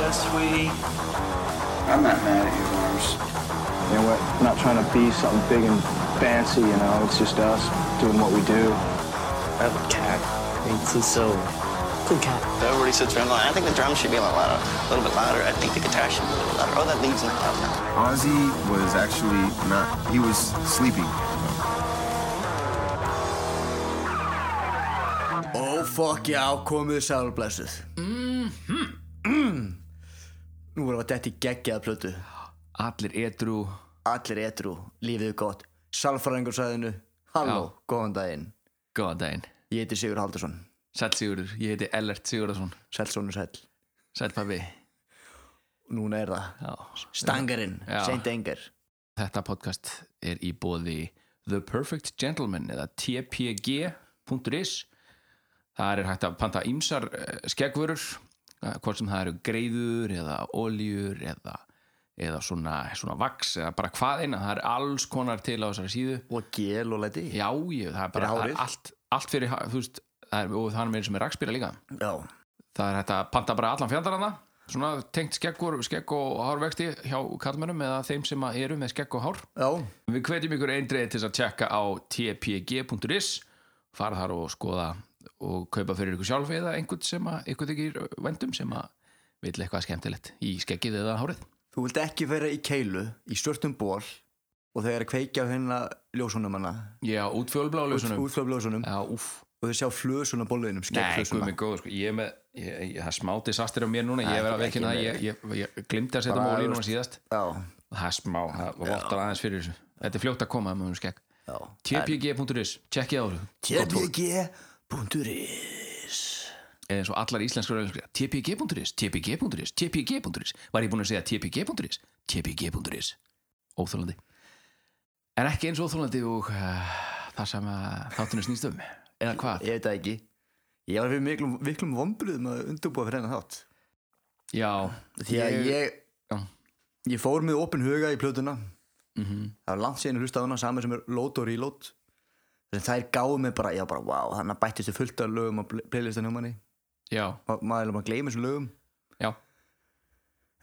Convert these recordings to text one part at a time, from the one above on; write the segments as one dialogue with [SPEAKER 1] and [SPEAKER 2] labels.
[SPEAKER 1] Yes, sweetie.
[SPEAKER 2] I'm not mad at you, Lars.
[SPEAKER 3] You know, we're not trying to be something big and fancy, you know, it's just us doing what we do.
[SPEAKER 4] I have a cat. It's just so cool cat.
[SPEAKER 5] Everybody sits around going, I think the drums should be a lot louder, a little bit louder. I think the guitar should be a little louder. Oh, that lead's not loud enough.
[SPEAKER 6] Ozzy was actually not, he was sleeping.
[SPEAKER 7] Ó, fokk, já, komuðu sálblessuð. Mm Nú erum við að detti geggjaða plötu.
[SPEAKER 8] Allir edru
[SPEAKER 7] Allir etru, lífið er gott. Sálfræðingur sæðinu, halló, góðan daginn.
[SPEAKER 8] Góðan daginn
[SPEAKER 7] Ég heiti Sigur Haldursson,
[SPEAKER 8] Sæll Sigurður, ég heiti Ellert Sigurðarsson
[SPEAKER 7] selsónu sæll.
[SPEAKER 8] Sæll pabbi
[SPEAKER 7] Núna er það.
[SPEAKER 8] Já.
[SPEAKER 7] Stangarinn,
[SPEAKER 8] Já.
[SPEAKER 7] seint engar.
[SPEAKER 8] Þetta podcast er í bóði The Perfect Gentleman eða tpg.is Það er hægt að panta ímsar skeggvörur eh, hvort sem það eru greiður eða oljur eða, eða svona, svona vaks eða bara hvaðina, það er alls konar til á þessari síðu
[SPEAKER 7] Og gel og leti.
[SPEAKER 8] Já, ég, það er bara
[SPEAKER 7] Fyrir
[SPEAKER 8] það
[SPEAKER 7] hárið.
[SPEAKER 8] er allt, allt fyrir, há- þú veist, það er, og það er meira sem er rakspýra líka
[SPEAKER 7] Já.
[SPEAKER 8] það er hægt að panta bara allan fjandarana svona tengt skeggur, skegg og hárvexti hjá kallmennum eða þeim sem að eru með skegg og hár
[SPEAKER 7] Já.
[SPEAKER 8] við hvetjum ykkur eindreið til þess að tjekka á tpg.is fara þar og skoða og kaupa fyrir ykkur sjálf eða einhvern sem að ykkur þykir vendum sem að vill eitthvað skemmtilegt í skeggið eða hárið
[SPEAKER 7] Þú vilt ekki vera í keilu, í störtum ból og þau er að kveikja á hérna ljósunum hana.
[SPEAKER 8] já, út fjólblá ljósunum
[SPEAKER 7] Útflöf ljósunum.
[SPEAKER 8] já, úff
[SPEAKER 7] Og þau sjá flösun á bólveginum,
[SPEAKER 8] Nei,
[SPEAKER 7] skegg
[SPEAKER 8] guð mig góður, sko, ég er með ég, ég, það er smá disaster á mér núna, ég
[SPEAKER 7] Nei,
[SPEAKER 8] verð að
[SPEAKER 7] ekki
[SPEAKER 8] veikina það
[SPEAKER 7] meira.
[SPEAKER 8] ég, ég, ég glimti að setja
[SPEAKER 7] Bara,
[SPEAKER 8] móli
[SPEAKER 7] þú
[SPEAKER 8] núna
[SPEAKER 7] veist-
[SPEAKER 8] síðast
[SPEAKER 7] Já.
[SPEAKER 8] það er smá, það vottar aðeins fyrir þessu þetta er fljótt að koma ef maður um skegg
[SPEAKER 7] Já.
[SPEAKER 8] tpg.is, tjekkið á þessu Gott fólk.
[SPEAKER 7] tpg.is
[SPEAKER 8] eða eins og allar íslenskar öðlinskar tpg.is, tpg.is, tpg.is var ég búin að segja tpg.is tpg.is, óþólandi en ekki eins óþólandi og uh, það sem að þáttunum snýst um eða hvað,
[SPEAKER 7] Ég veit það ekki Ég var fyrir miklum, miklum vombriðum að undurbúa fyrir hennar þátt
[SPEAKER 8] já
[SPEAKER 7] Því að ég ég,
[SPEAKER 8] Já.
[SPEAKER 7] fór með opin huga í plötuna Það var langt síðan ég hlusta á hana saman sem er Load og Reload Þannig þær gáðu mig bara, ég var bara, wow, þannig að bættist þið fullt af lögum á pl- playlistan hjá manni
[SPEAKER 8] já,
[SPEAKER 7] Ma, Maður er bara að gleyma þessum lögum
[SPEAKER 8] já,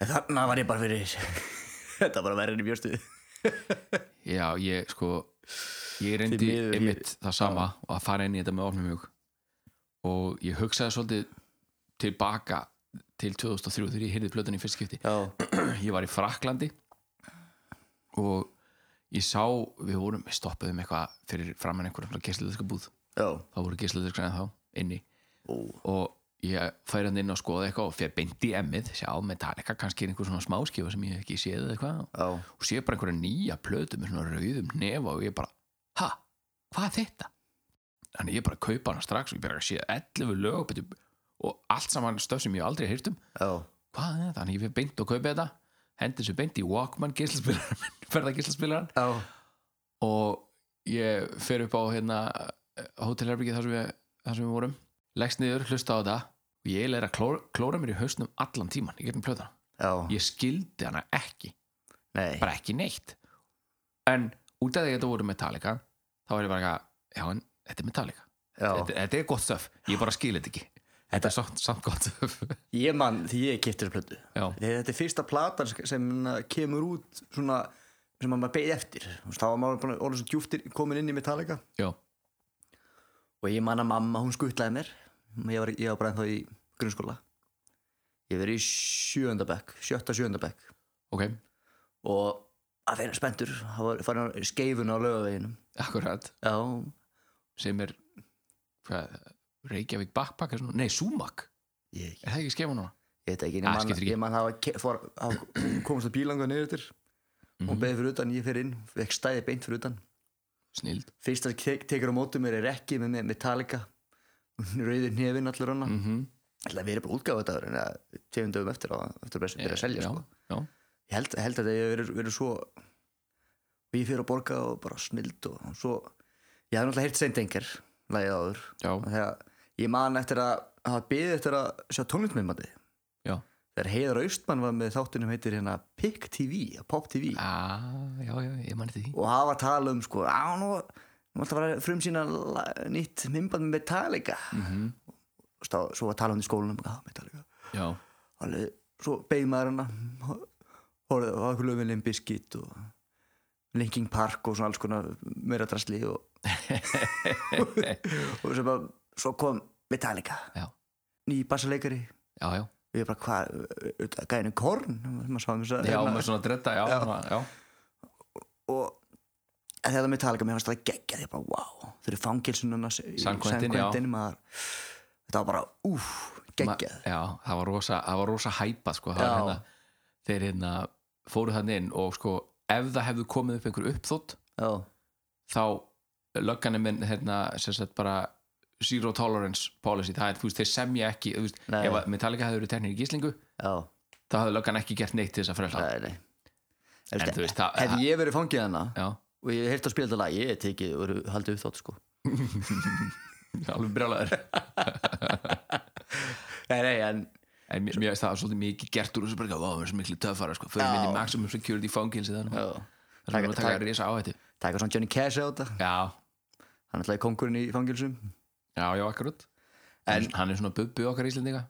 [SPEAKER 7] En þarna var ég bara fyrir Þetta var bara verðin í björstu
[SPEAKER 8] já, ég sko ég
[SPEAKER 7] Því
[SPEAKER 8] reyndi
[SPEAKER 7] miður, ég-
[SPEAKER 8] einmitt það sama og að fara inn í þetta með ofnum hug og ég hugsaði svolítið tilbaka til 2003 þegar ég heyrði plötunni í fyrst skipti
[SPEAKER 7] Já,
[SPEAKER 8] ég var í Fraklandi og ég sá við vorum, við stoppuðum eitthvað fyrir framann einhverjum gæsliðiska búð
[SPEAKER 7] já,
[SPEAKER 8] þá voru gæsliðiska en þá inni
[SPEAKER 7] Ó.
[SPEAKER 8] og ég færi hann inn og skoða eitthvað og fyrir beint í emmið, sjá Metallica kannski er einhver svona smáskifa sem ég hef ekki séð eða eitthvað
[SPEAKER 7] já,
[SPEAKER 8] og sé bara einhverja nýja plötu með svona rauðum nefa og ég bara, ha, hvað er þetta? Þannig ég bara kaupa hana strax og ég bara sé 11 lög betur, og allt saman stöf sem ég hef aldrei heyrt um
[SPEAKER 7] já
[SPEAKER 8] hvað er þetta? Þannig ég fyrir beint og kaupi þetta hendi þessu beint í Walkman gíslaspilaran ferða gíslaspilaran
[SPEAKER 7] Já,
[SPEAKER 8] og ég fer upp á hérna hótelherbyggið þar sem við, þar sem við vorum leggst niður, hlusta á þetta og ég er að klóra, klóra mér í hausnum allan tíman í gegnum plötana.
[SPEAKER 7] já,
[SPEAKER 8] Ég skildi hana ekki
[SPEAKER 7] nei
[SPEAKER 8] bara ekki neitt en út af því að þetta voru Metallica þá er ég bara eitthvað, já en þetta er Metallica
[SPEAKER 7] Já.
[SPEAKER 8] þetta, þetta er gott stöf, ég bara skil þetta ekki þetta er samt, samt gott stöf
[SPEAKER 7] Ég mann því ég kipti þessu plötu
[SPEAKER 8] Já.
[SPEAKER 7] Þegar þetta er fyrsta platan sk- sem na- kemur út svona sem að maður beið eftir Þú veist, þá var maður bara orðin svo djúftir komin inn í Metallica
[SPEAKER 8] já,
[SPEAKER 7] og ég man að mamma hún skuttlaði mér ég var, ég var bara ennþá í grunnskóla ég verið í sjöunda bekk sjötta sjöunda bekk
[SPEAKER 8] ok,
[SPEAKER 7] og að þeirra spendur það var farin að skeifuna á lögaveginum
[SPEAKER 8] akkurat
[SPEAKER 7] já,
[SPEAKER 8] sem er hvað, Reykjavík Backpack er svona, nei Sumac
[SPEAKER 7] ég,
[SPEAKER 8] er það ekki skefa núna?
[SPEAKER 7] ég veit ekki
[SPEAKER 8] Ah,
[SPEAKER 7] ég man,
[SPEAKER 8] skiptir ekki.
[SPEAKER 7] ég man hafa, ke- fór, hafa komast að bílanga niður eftir og
[SPEAKER 8] Mhm.
[SPEAKER 7] beðið fyrir utan, ég fyrir inn fekk stæði beint fyrir utan
[SPEAKER 8] Snild
[SPEAKER 7] fyrst að te tekur á móti mér er ekki með með Metallica rauðir nefin allir hana mm.
[SPEAKER 8] mm -hmm.
[SPEAKER 7] ætla að vera bara útgáfa þetta en að tegum dögum eftir að eftir að byrja að selja
[SPEAKER 8] Eh, já,
[SPEAKER 7] sko.
[SPEAKER 8] já,
[SPEAKER 7] ég held, held að það hefur verið- verið svo við fyrir að borga og bara snild og svo ég hafði náttúrulega heyrt seint engar lagið áður
[SPEAKER 8] Já.
[SPEAKER 7] Og þegar ég man eftir að hafa byggði eftir að sjá tónlistmyndmandi
[SPEAKER 8] já.
[SPEAKER 7] þegar Heiðar Austmann var með þáttunum heitir hérna Pick TV, Pop TV
[SPEAKER 8] Ah, já, já, ég mani því
[SPEAKER 7] og hafa að tala um sko á nú, nú ætla að vera frum sína nýtt mymband með Mhm. Metallica mm -hmm. og stá, svo að tala um það í skólanum á, Metallica
[SPEAKER 8] já,
[SPEAKER 7] alveg svo beigð maður hana horfði á okkur lögum Limp Bizkit og Linking Park og svona alls konar meira drasli og og svo, bara, svo kom Metallica
[SPEAKER 8] Já.
[SPEAKER 7] ný bassaleikari
[SPEAKER 8] já, já,
[SPEAKER 7] og ég bara hvað, auðvitað, gæðinu korn maður sá um þess
[SPEAKER 8] já, með svona dretta já, já. já,
[SPEAKER 7] og en þegar Metallica, mér fannst það geggjað ég bara, wow, þau eru fangilsununa
[SPEAKER 8] San Quentin, já.
[SPEAKER 7] maður þetta var bara, úf,
[SPEAKER 8] Ma-
[SPEAKER 7] geggjað
[SPEAKER 8] já, það var rosa, það var rosa hæpa sko, það var
[SPEAKER 7] Já.
[SPEAKER 8] hérna, þeir hérna fóru þannig inn og sko ef það hefðu komið upp einhver uppþótt
[SPEAKER 7] já,
[SPEAKER 8] þá lögganir minn hérna, sem sagt bara zero tolerance policy, það er, þú veist, þeir semja ekki þú veist,
[SPEAKER 7] Nei.
[SPEAKER 8] ef að Metallica hefur verið teknir í gíslingu
[SPEAKER 7] já,
[SPEAKER 8] þá hefðu löggan ekki gert neitt til þess að frelsa
[SPEAKER 7] það er nei
[SPEAKER 8] En þú veist, það-
[SPEAKER 7] hefði ég verið fangið hana
[SPEAKER 8] já,
[SPEAKER 7] og ég heilt að spila þetta lag, ég hef tekið og verið haldið upp þátt sko
[SPEAKER 8] alveg brjálæður
[SPEAKER 7] nei, nei, en
[SPEAKER 8] en mér, mér veist það var svolítið mikið gert úr þessu bara, vá, það er svo miklu töffara sko, fyrir minni maximum security fangilsi þannig
[SPEAKER 7] já.
[SPEAKER 8] þannig að við erum að taka
[SPEAKER 7] Taka-
[SPEAKER 8] risa áhættu
[SPEAKER 7] taka svona Johnny Cash á þetta
[SPEAKER 8] já,
[SPEAKER 7] hann ætlaði kongurinn í fangilsum
[SPEAKER 8] já, já, akkurat en,
[SPEAKER 7] En-
[SPEAKER 8] hann er svona bubbi okkar íslendinga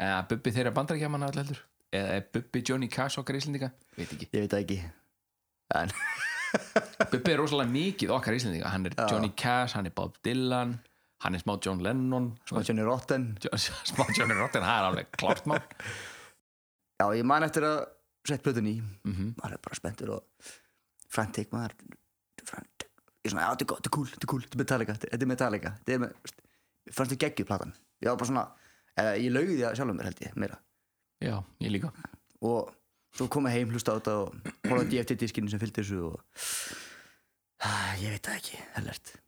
[SPEAKER 8] eða bubbi þeirra bandarækjaman allir heldur eða er bubbi Johnny Cash okkar íslendinga veit ekki,
[SPEAKER 7] ég veit það ekki en,
[SPEAKER 8] bubbi er rosalega mikið okkar íslendinga, hann er Johnny Cash hann er Bob Dylan, hann er smá John Lennon
[SPEAKER 7] smá Johnny Rotten
[SPEAKER 8] Jo- smá Johnny Rotten, það er alveg klart mál
[SPEAKER 7] já, ég man eftir að sett plötun í
[SPEAKER 8] Mhm.
[SPEAKER 7] maður er bara spenntur og frantik maður frantik, ég er svona, já, þetta er gott, þetta er cool, þetta er cool þetta er Metallica, þetta- þetta er Metallica þetta er, með- veist, mér fannst þetta geggjuð platan ég var bara svona, eða, ég laugði það sjálfum mér held ég meira,
[SPEAKER 8] já, ég líka
[SPEAKER 7] og svo kom ég heim hlusta á þetta og horfði á DFT diskinu sem fylgdi þessu og ah, ég veit það ekki, hellert það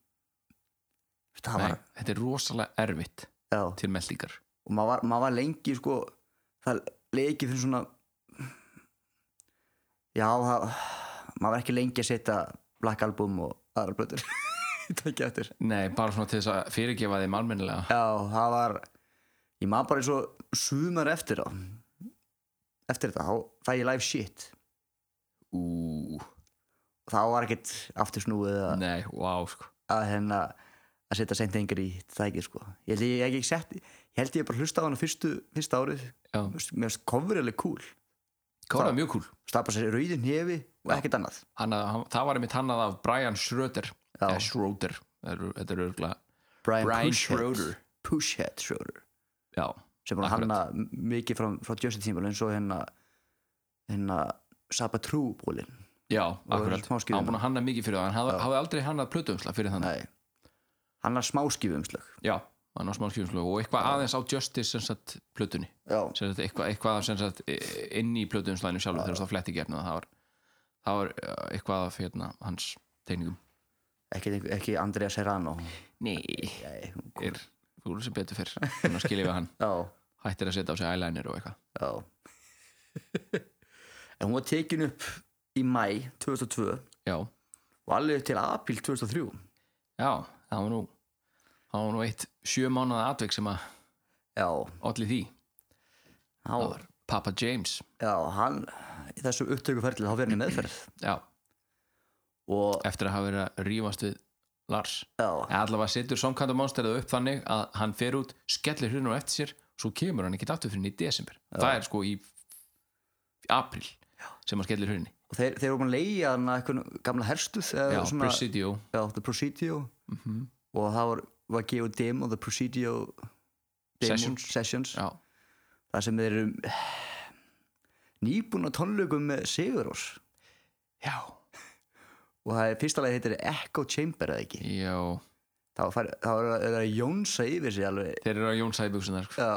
[SPEAKER 8] Nei,
[SPEAKER 7] var,
[SPEAKER 8] þetta er rosalega erfitt
[SPEAKER 7] já
[SPEAKER 8] til meldingar
[SPEAKER 7] og maður var, maður var lengi sko, það leið ekki fyrir svona já það, maður var ekki lengi að setja Black Album og aðra blöður ekki eftir
[SPEAKER 8] Nei, bara svona til þess að fyrirgefa þeim almennilega
[SPEAKER 7] já það var ég maður bara eins og sumar eftir á eftir þetta þá fæ ég live shit
[SPEAKER 8] Ú,
[SPEAKER 7] þá var ekkert aftur snúið að,
[SPEAKER 8] nei, wow sko.
[SPEAKER 7] að hérna að setja seint engar í það ekki sko ég held ég ekki sett ég held ég bara hlusta á hana fyrstu, fyrsta árið
[SPEAKER 8] Já.
[SPEAKER 7] mér finnst coverið alveg cool
[SPEAKER 8] Kára, mjög cool
[SPEAKER 7] stapa sér rauðin hefi og ekkert annað
[SPEAKER 8] hann, að- hann, Það var einmitt hannað af Brian Schröder
[SPEAKER 7] Já.
[SPEAKER 8] Eða Schroeder Það eru- Þetta er örgulega
[SPEAKER 7] Brian,
[SPEAKER 8] Brian
[SPEAKER 7] Pushhead.
[SPEAKER 8] Schroeder.
[SPEAKER 7] Pushhead Schroeder
[SPEAKER 8] Já,
[SPEAKER 7] sem búin að hanna m- mikið frá, frá Justin Timberlake eins og hérna hérna Sabatrú bólin
[SPEAKER 8] já
[SPEAKER 7] er
[SPEAKER 8] akkurat
[SPEAKER 7] smá skýrðum.
[SPEAKER 8] Hann búin að hanna mikið fyrir það En hann hafði aldrei hannað plötuumsla fyrir þannig
[SPEAKER 7] nei hann er smáskifumslög
[SPEAKER 8] Já, hann á smá skýrumsla Og eitthvað aðeins á Justice sem sagt plötunni
[SPEAKER 7] já
[SPEAKER 8] sem sagt, eitthvað, eitthvað sem sagt i- inn í plötuumslæðinu sjálfur þegar það fletti gefna Það var, það var uh, eitthvað af hérna, hans teikningum
[SPEAKER 7] ekki, ekki Andrea Serrano
[SPEAKER 8] Nei,
[SPEAKER 7] nei hún-
[SPEAKER 8] er, þú eru sem betur fyrr Þannig að skilja við hann
[SPEAKER 7] já
[SPEAKER 8] Hættir að setja á sig eyeliner og eitthvað
[SPEAKER 7] já en hún var tekin upp í mæ 2002
[SPEAKER 8] Já,
[SPEAKER 7] og alveg til apíl 2003
[SPEAKER 8] Já, það var nú það var nú eitt sjö mánuða atvik sem að
[SPEAKER 7] já
[SPEAKER 8] olli því,
[SPEAKER 7] hann
[SPEAKER 8] það var Papa James
[SPEAKER 7] já hann í þessu upptökuferðlið þá verið hann í meðferð
[SPEAKER 8] já,
[SPEAKER 7] og
[SPEAKER 8] eftir að hafa verið að rífast við Lars,
[SPEAKER 7] já
[SPEAKER 8] en allavega setur Songkanda Monster upp þannig að hann fer út skellir hrunum eftir sér, svo kemur hann ekki aftur fyrir hann í desember, það er sko í april sem hann skellir hrunni,
[SPEAKER 7] og þeir, þeir voru búin að leigja hann eitthvað gamla herstuð
[SPEAKER 8] já,
[SPEAKER 7] eða svona,
[SPEAKER 8] Presidio Mhm.
[SPEAKER 7] já, The Presidio og það var, var að gefa út demo The Presidio demo,
[SPEAKER 8] Sessions.
[SPEAKER 7] sessions
[SPEAKER 8] já,
[SPEAKER 7] það sem þeir eru nýbúna tónleikum með Sigurós
[SPEAKER 8] já,
[SPEAKER 7] og það er fyrsta leið heitir Echo Chamber eða ekki
[SPEAKER 8] já
[SPEAKER 7] þá var það að jónsa yfir sig alveg
[SPEAKER 8] þeir eru á Jón Sæbjúksunar sko.
[SPEAKER 7] já,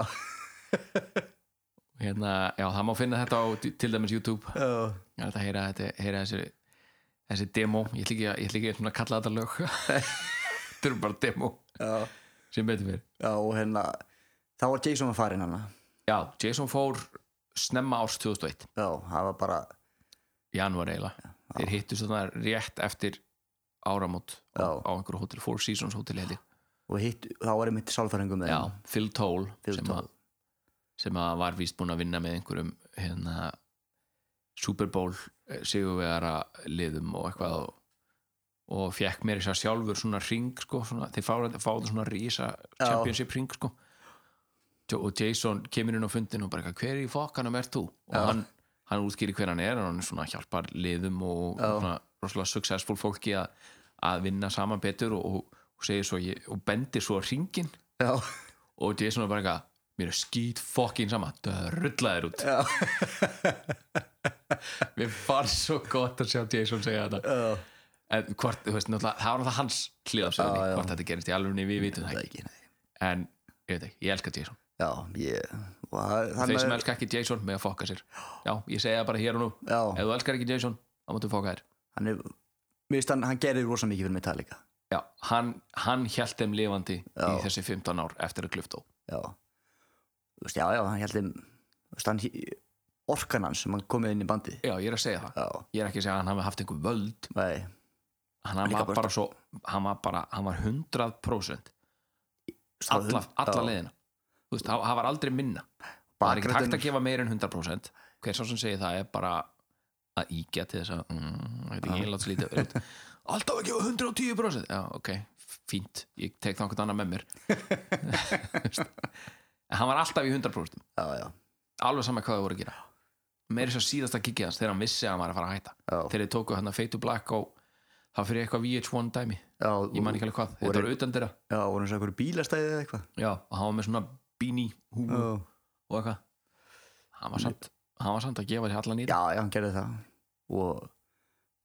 [SPEAKER 8] hérna, já, það má finna þetta á til dæmis YouTube
[SPEAKER 7] já,
[SPEAKER 8] Já, þetta heyra, þetta, heyra þessi, þessi demo, ég ætla ekki, að- ég ætla ekki svona að kalla þetta lög Þetta eru bara demo
[SPEAKER 7] já,
[SPEAKER 8] sem betur fyrir
[SPEAKER 7] já og hérna þá var Jason að fara inn hana
[SPEAKER 8] Já, Jason fór snemma árs 2001
[SPEAKER 7] já, það var bara
[SPEAKER 8] janúar eiginlega, þeir hittust þarna rétt eftir áramót
[SPEAKER 7] Já.
[SPEAKER 8] á, á einhverju hótel, Four Seasons hótel held ég
[SPEAKER 7] og hitt, þá var ég mitt sálfæringum með
[SPEAKER 8] Já,
[SPEAKER 7] þeim.
[SPEAKER 8] Phil Toll
[SPEAKER 7] Phil
[SPEAKER 8] sem,
[SPEAKER 7] Toll.
[SPEAKER 8] Að, sem að var víst búinn að vinna með einhverjum hérna Super Bowl eh, sigurvegara liðum og eitthvað og, og fekk mér þess að sjálfur svona ring sko, svona, þeir fáðu fá svona rísa championship ring sko Jo- og Jason kemur inn á fundin og bara eitthvað, hver í fokkanum er þú og hann, hann útskýri hver hann er og hann svona hjálpar liðum og svona, rosalega successful fólki að, að vinna saman betur og, og, og segir svo ég, og bendir svo ringin
[SPEAKER 7] já,
[SPEAKER 8] og Jason er bara eitthvað mér er skýt fokkin sama rullaðir út mér var svo gott að sjá Jason segja þetta
[SPEAKER 7] já,
[SPEAKER 8] en hvort, þú veist, náttúrulega, það var náttúrulega hans hlið af
[SPEAKER 7] Já,
[SPEAKER 8] sögunni,
[SPEAKER 7] já.
[SPEAKER 8] hvort þetta gerist í alveg við vitum það
[SPEAKER 7] það
[SPEAKER 8] ekki,
[SPEAKER 7] ekki, nei
[SPEAKER 8] en ég veit ekki, ég elska Jason
[SPEAKER 7] já, ég, og það
[SPEAKER 8] Þeir
[SPEAKER 7] þannig-
[SPEAKER 8] sem elska ekki Jason með að fokka sér Já, ég segja það bara hér og nú
[SPEAKER 7] Já.
[SPEAKER 8] Ef þú elskar ekki Jason, þá máttu fokka þér
[SPEAKER 7] hann er, mér finnst hann, hann gerir rosa mikið fyrir Metallica
[SPEAKER 8] Já, hann, hann hjælt þeim lifandi í
[SPEAKER 7] Já.
[SPEAKER 8] þessi 15 ár eftir að klufta
[SPEAKER 7] já, þú veist, já, já, hann heldur þú veist, hann orkan hans sem hann komið inn í bandi
[SPEAKER 8] Já, ég er að segja það
[SPEAKER 7] já,
[SPEAKER 8] Ég er ekki að segja að hann hafi haft einhver völd
[SPEAKER 7] nei,
[SPEAKER 8] Hann
[SPEAKER 7] Líka
[SPEAKER 8] var
[SPEAKER 7] bara-
[SPEAKER 8] bara svo Hann var bara, hann var 100% Alla, alla leiðina Þú veist, hann hann var aldrei minna Það er ekki takt að gefa meir en 100% Hver sá sem segir það er bara að ígja til þess að mm, ég veit ekki, ég lát slítið út. Alltaf að gefa 110% Já, ok, fínt Ég tek það einhvern annan með mér En hann var alltaf í 100%
[SPEAKER 7] já, já,
[SPEAKER 8] Alveg saman hvað þau voru að gera Meiri svo síðasta kikið hans þegar hann vissi að hann var að fara að hætta
[SPEAKER 7] Já.
[SPEAKER 8] Þegar þið tóku hann að feitu black og það fyrir eitthvað VH1 dæmi
[SPEAKER 7] já
[SPEAKER 8] Ég man ekki alveg hvað, þetta var utan þeirra
[SPEAKER 7] já, voru eins og einhverju bílastæði eða eitthvað
[SPEAKER 8] Já, og hann var með svona beanie húfu
[SPEAKER 7] já,
[SPEAKER 8] og eitthvað Hann var samt, hann var samt að gefa þér allan í þetta
[SPEAKER 7] já, já, hann gerði það og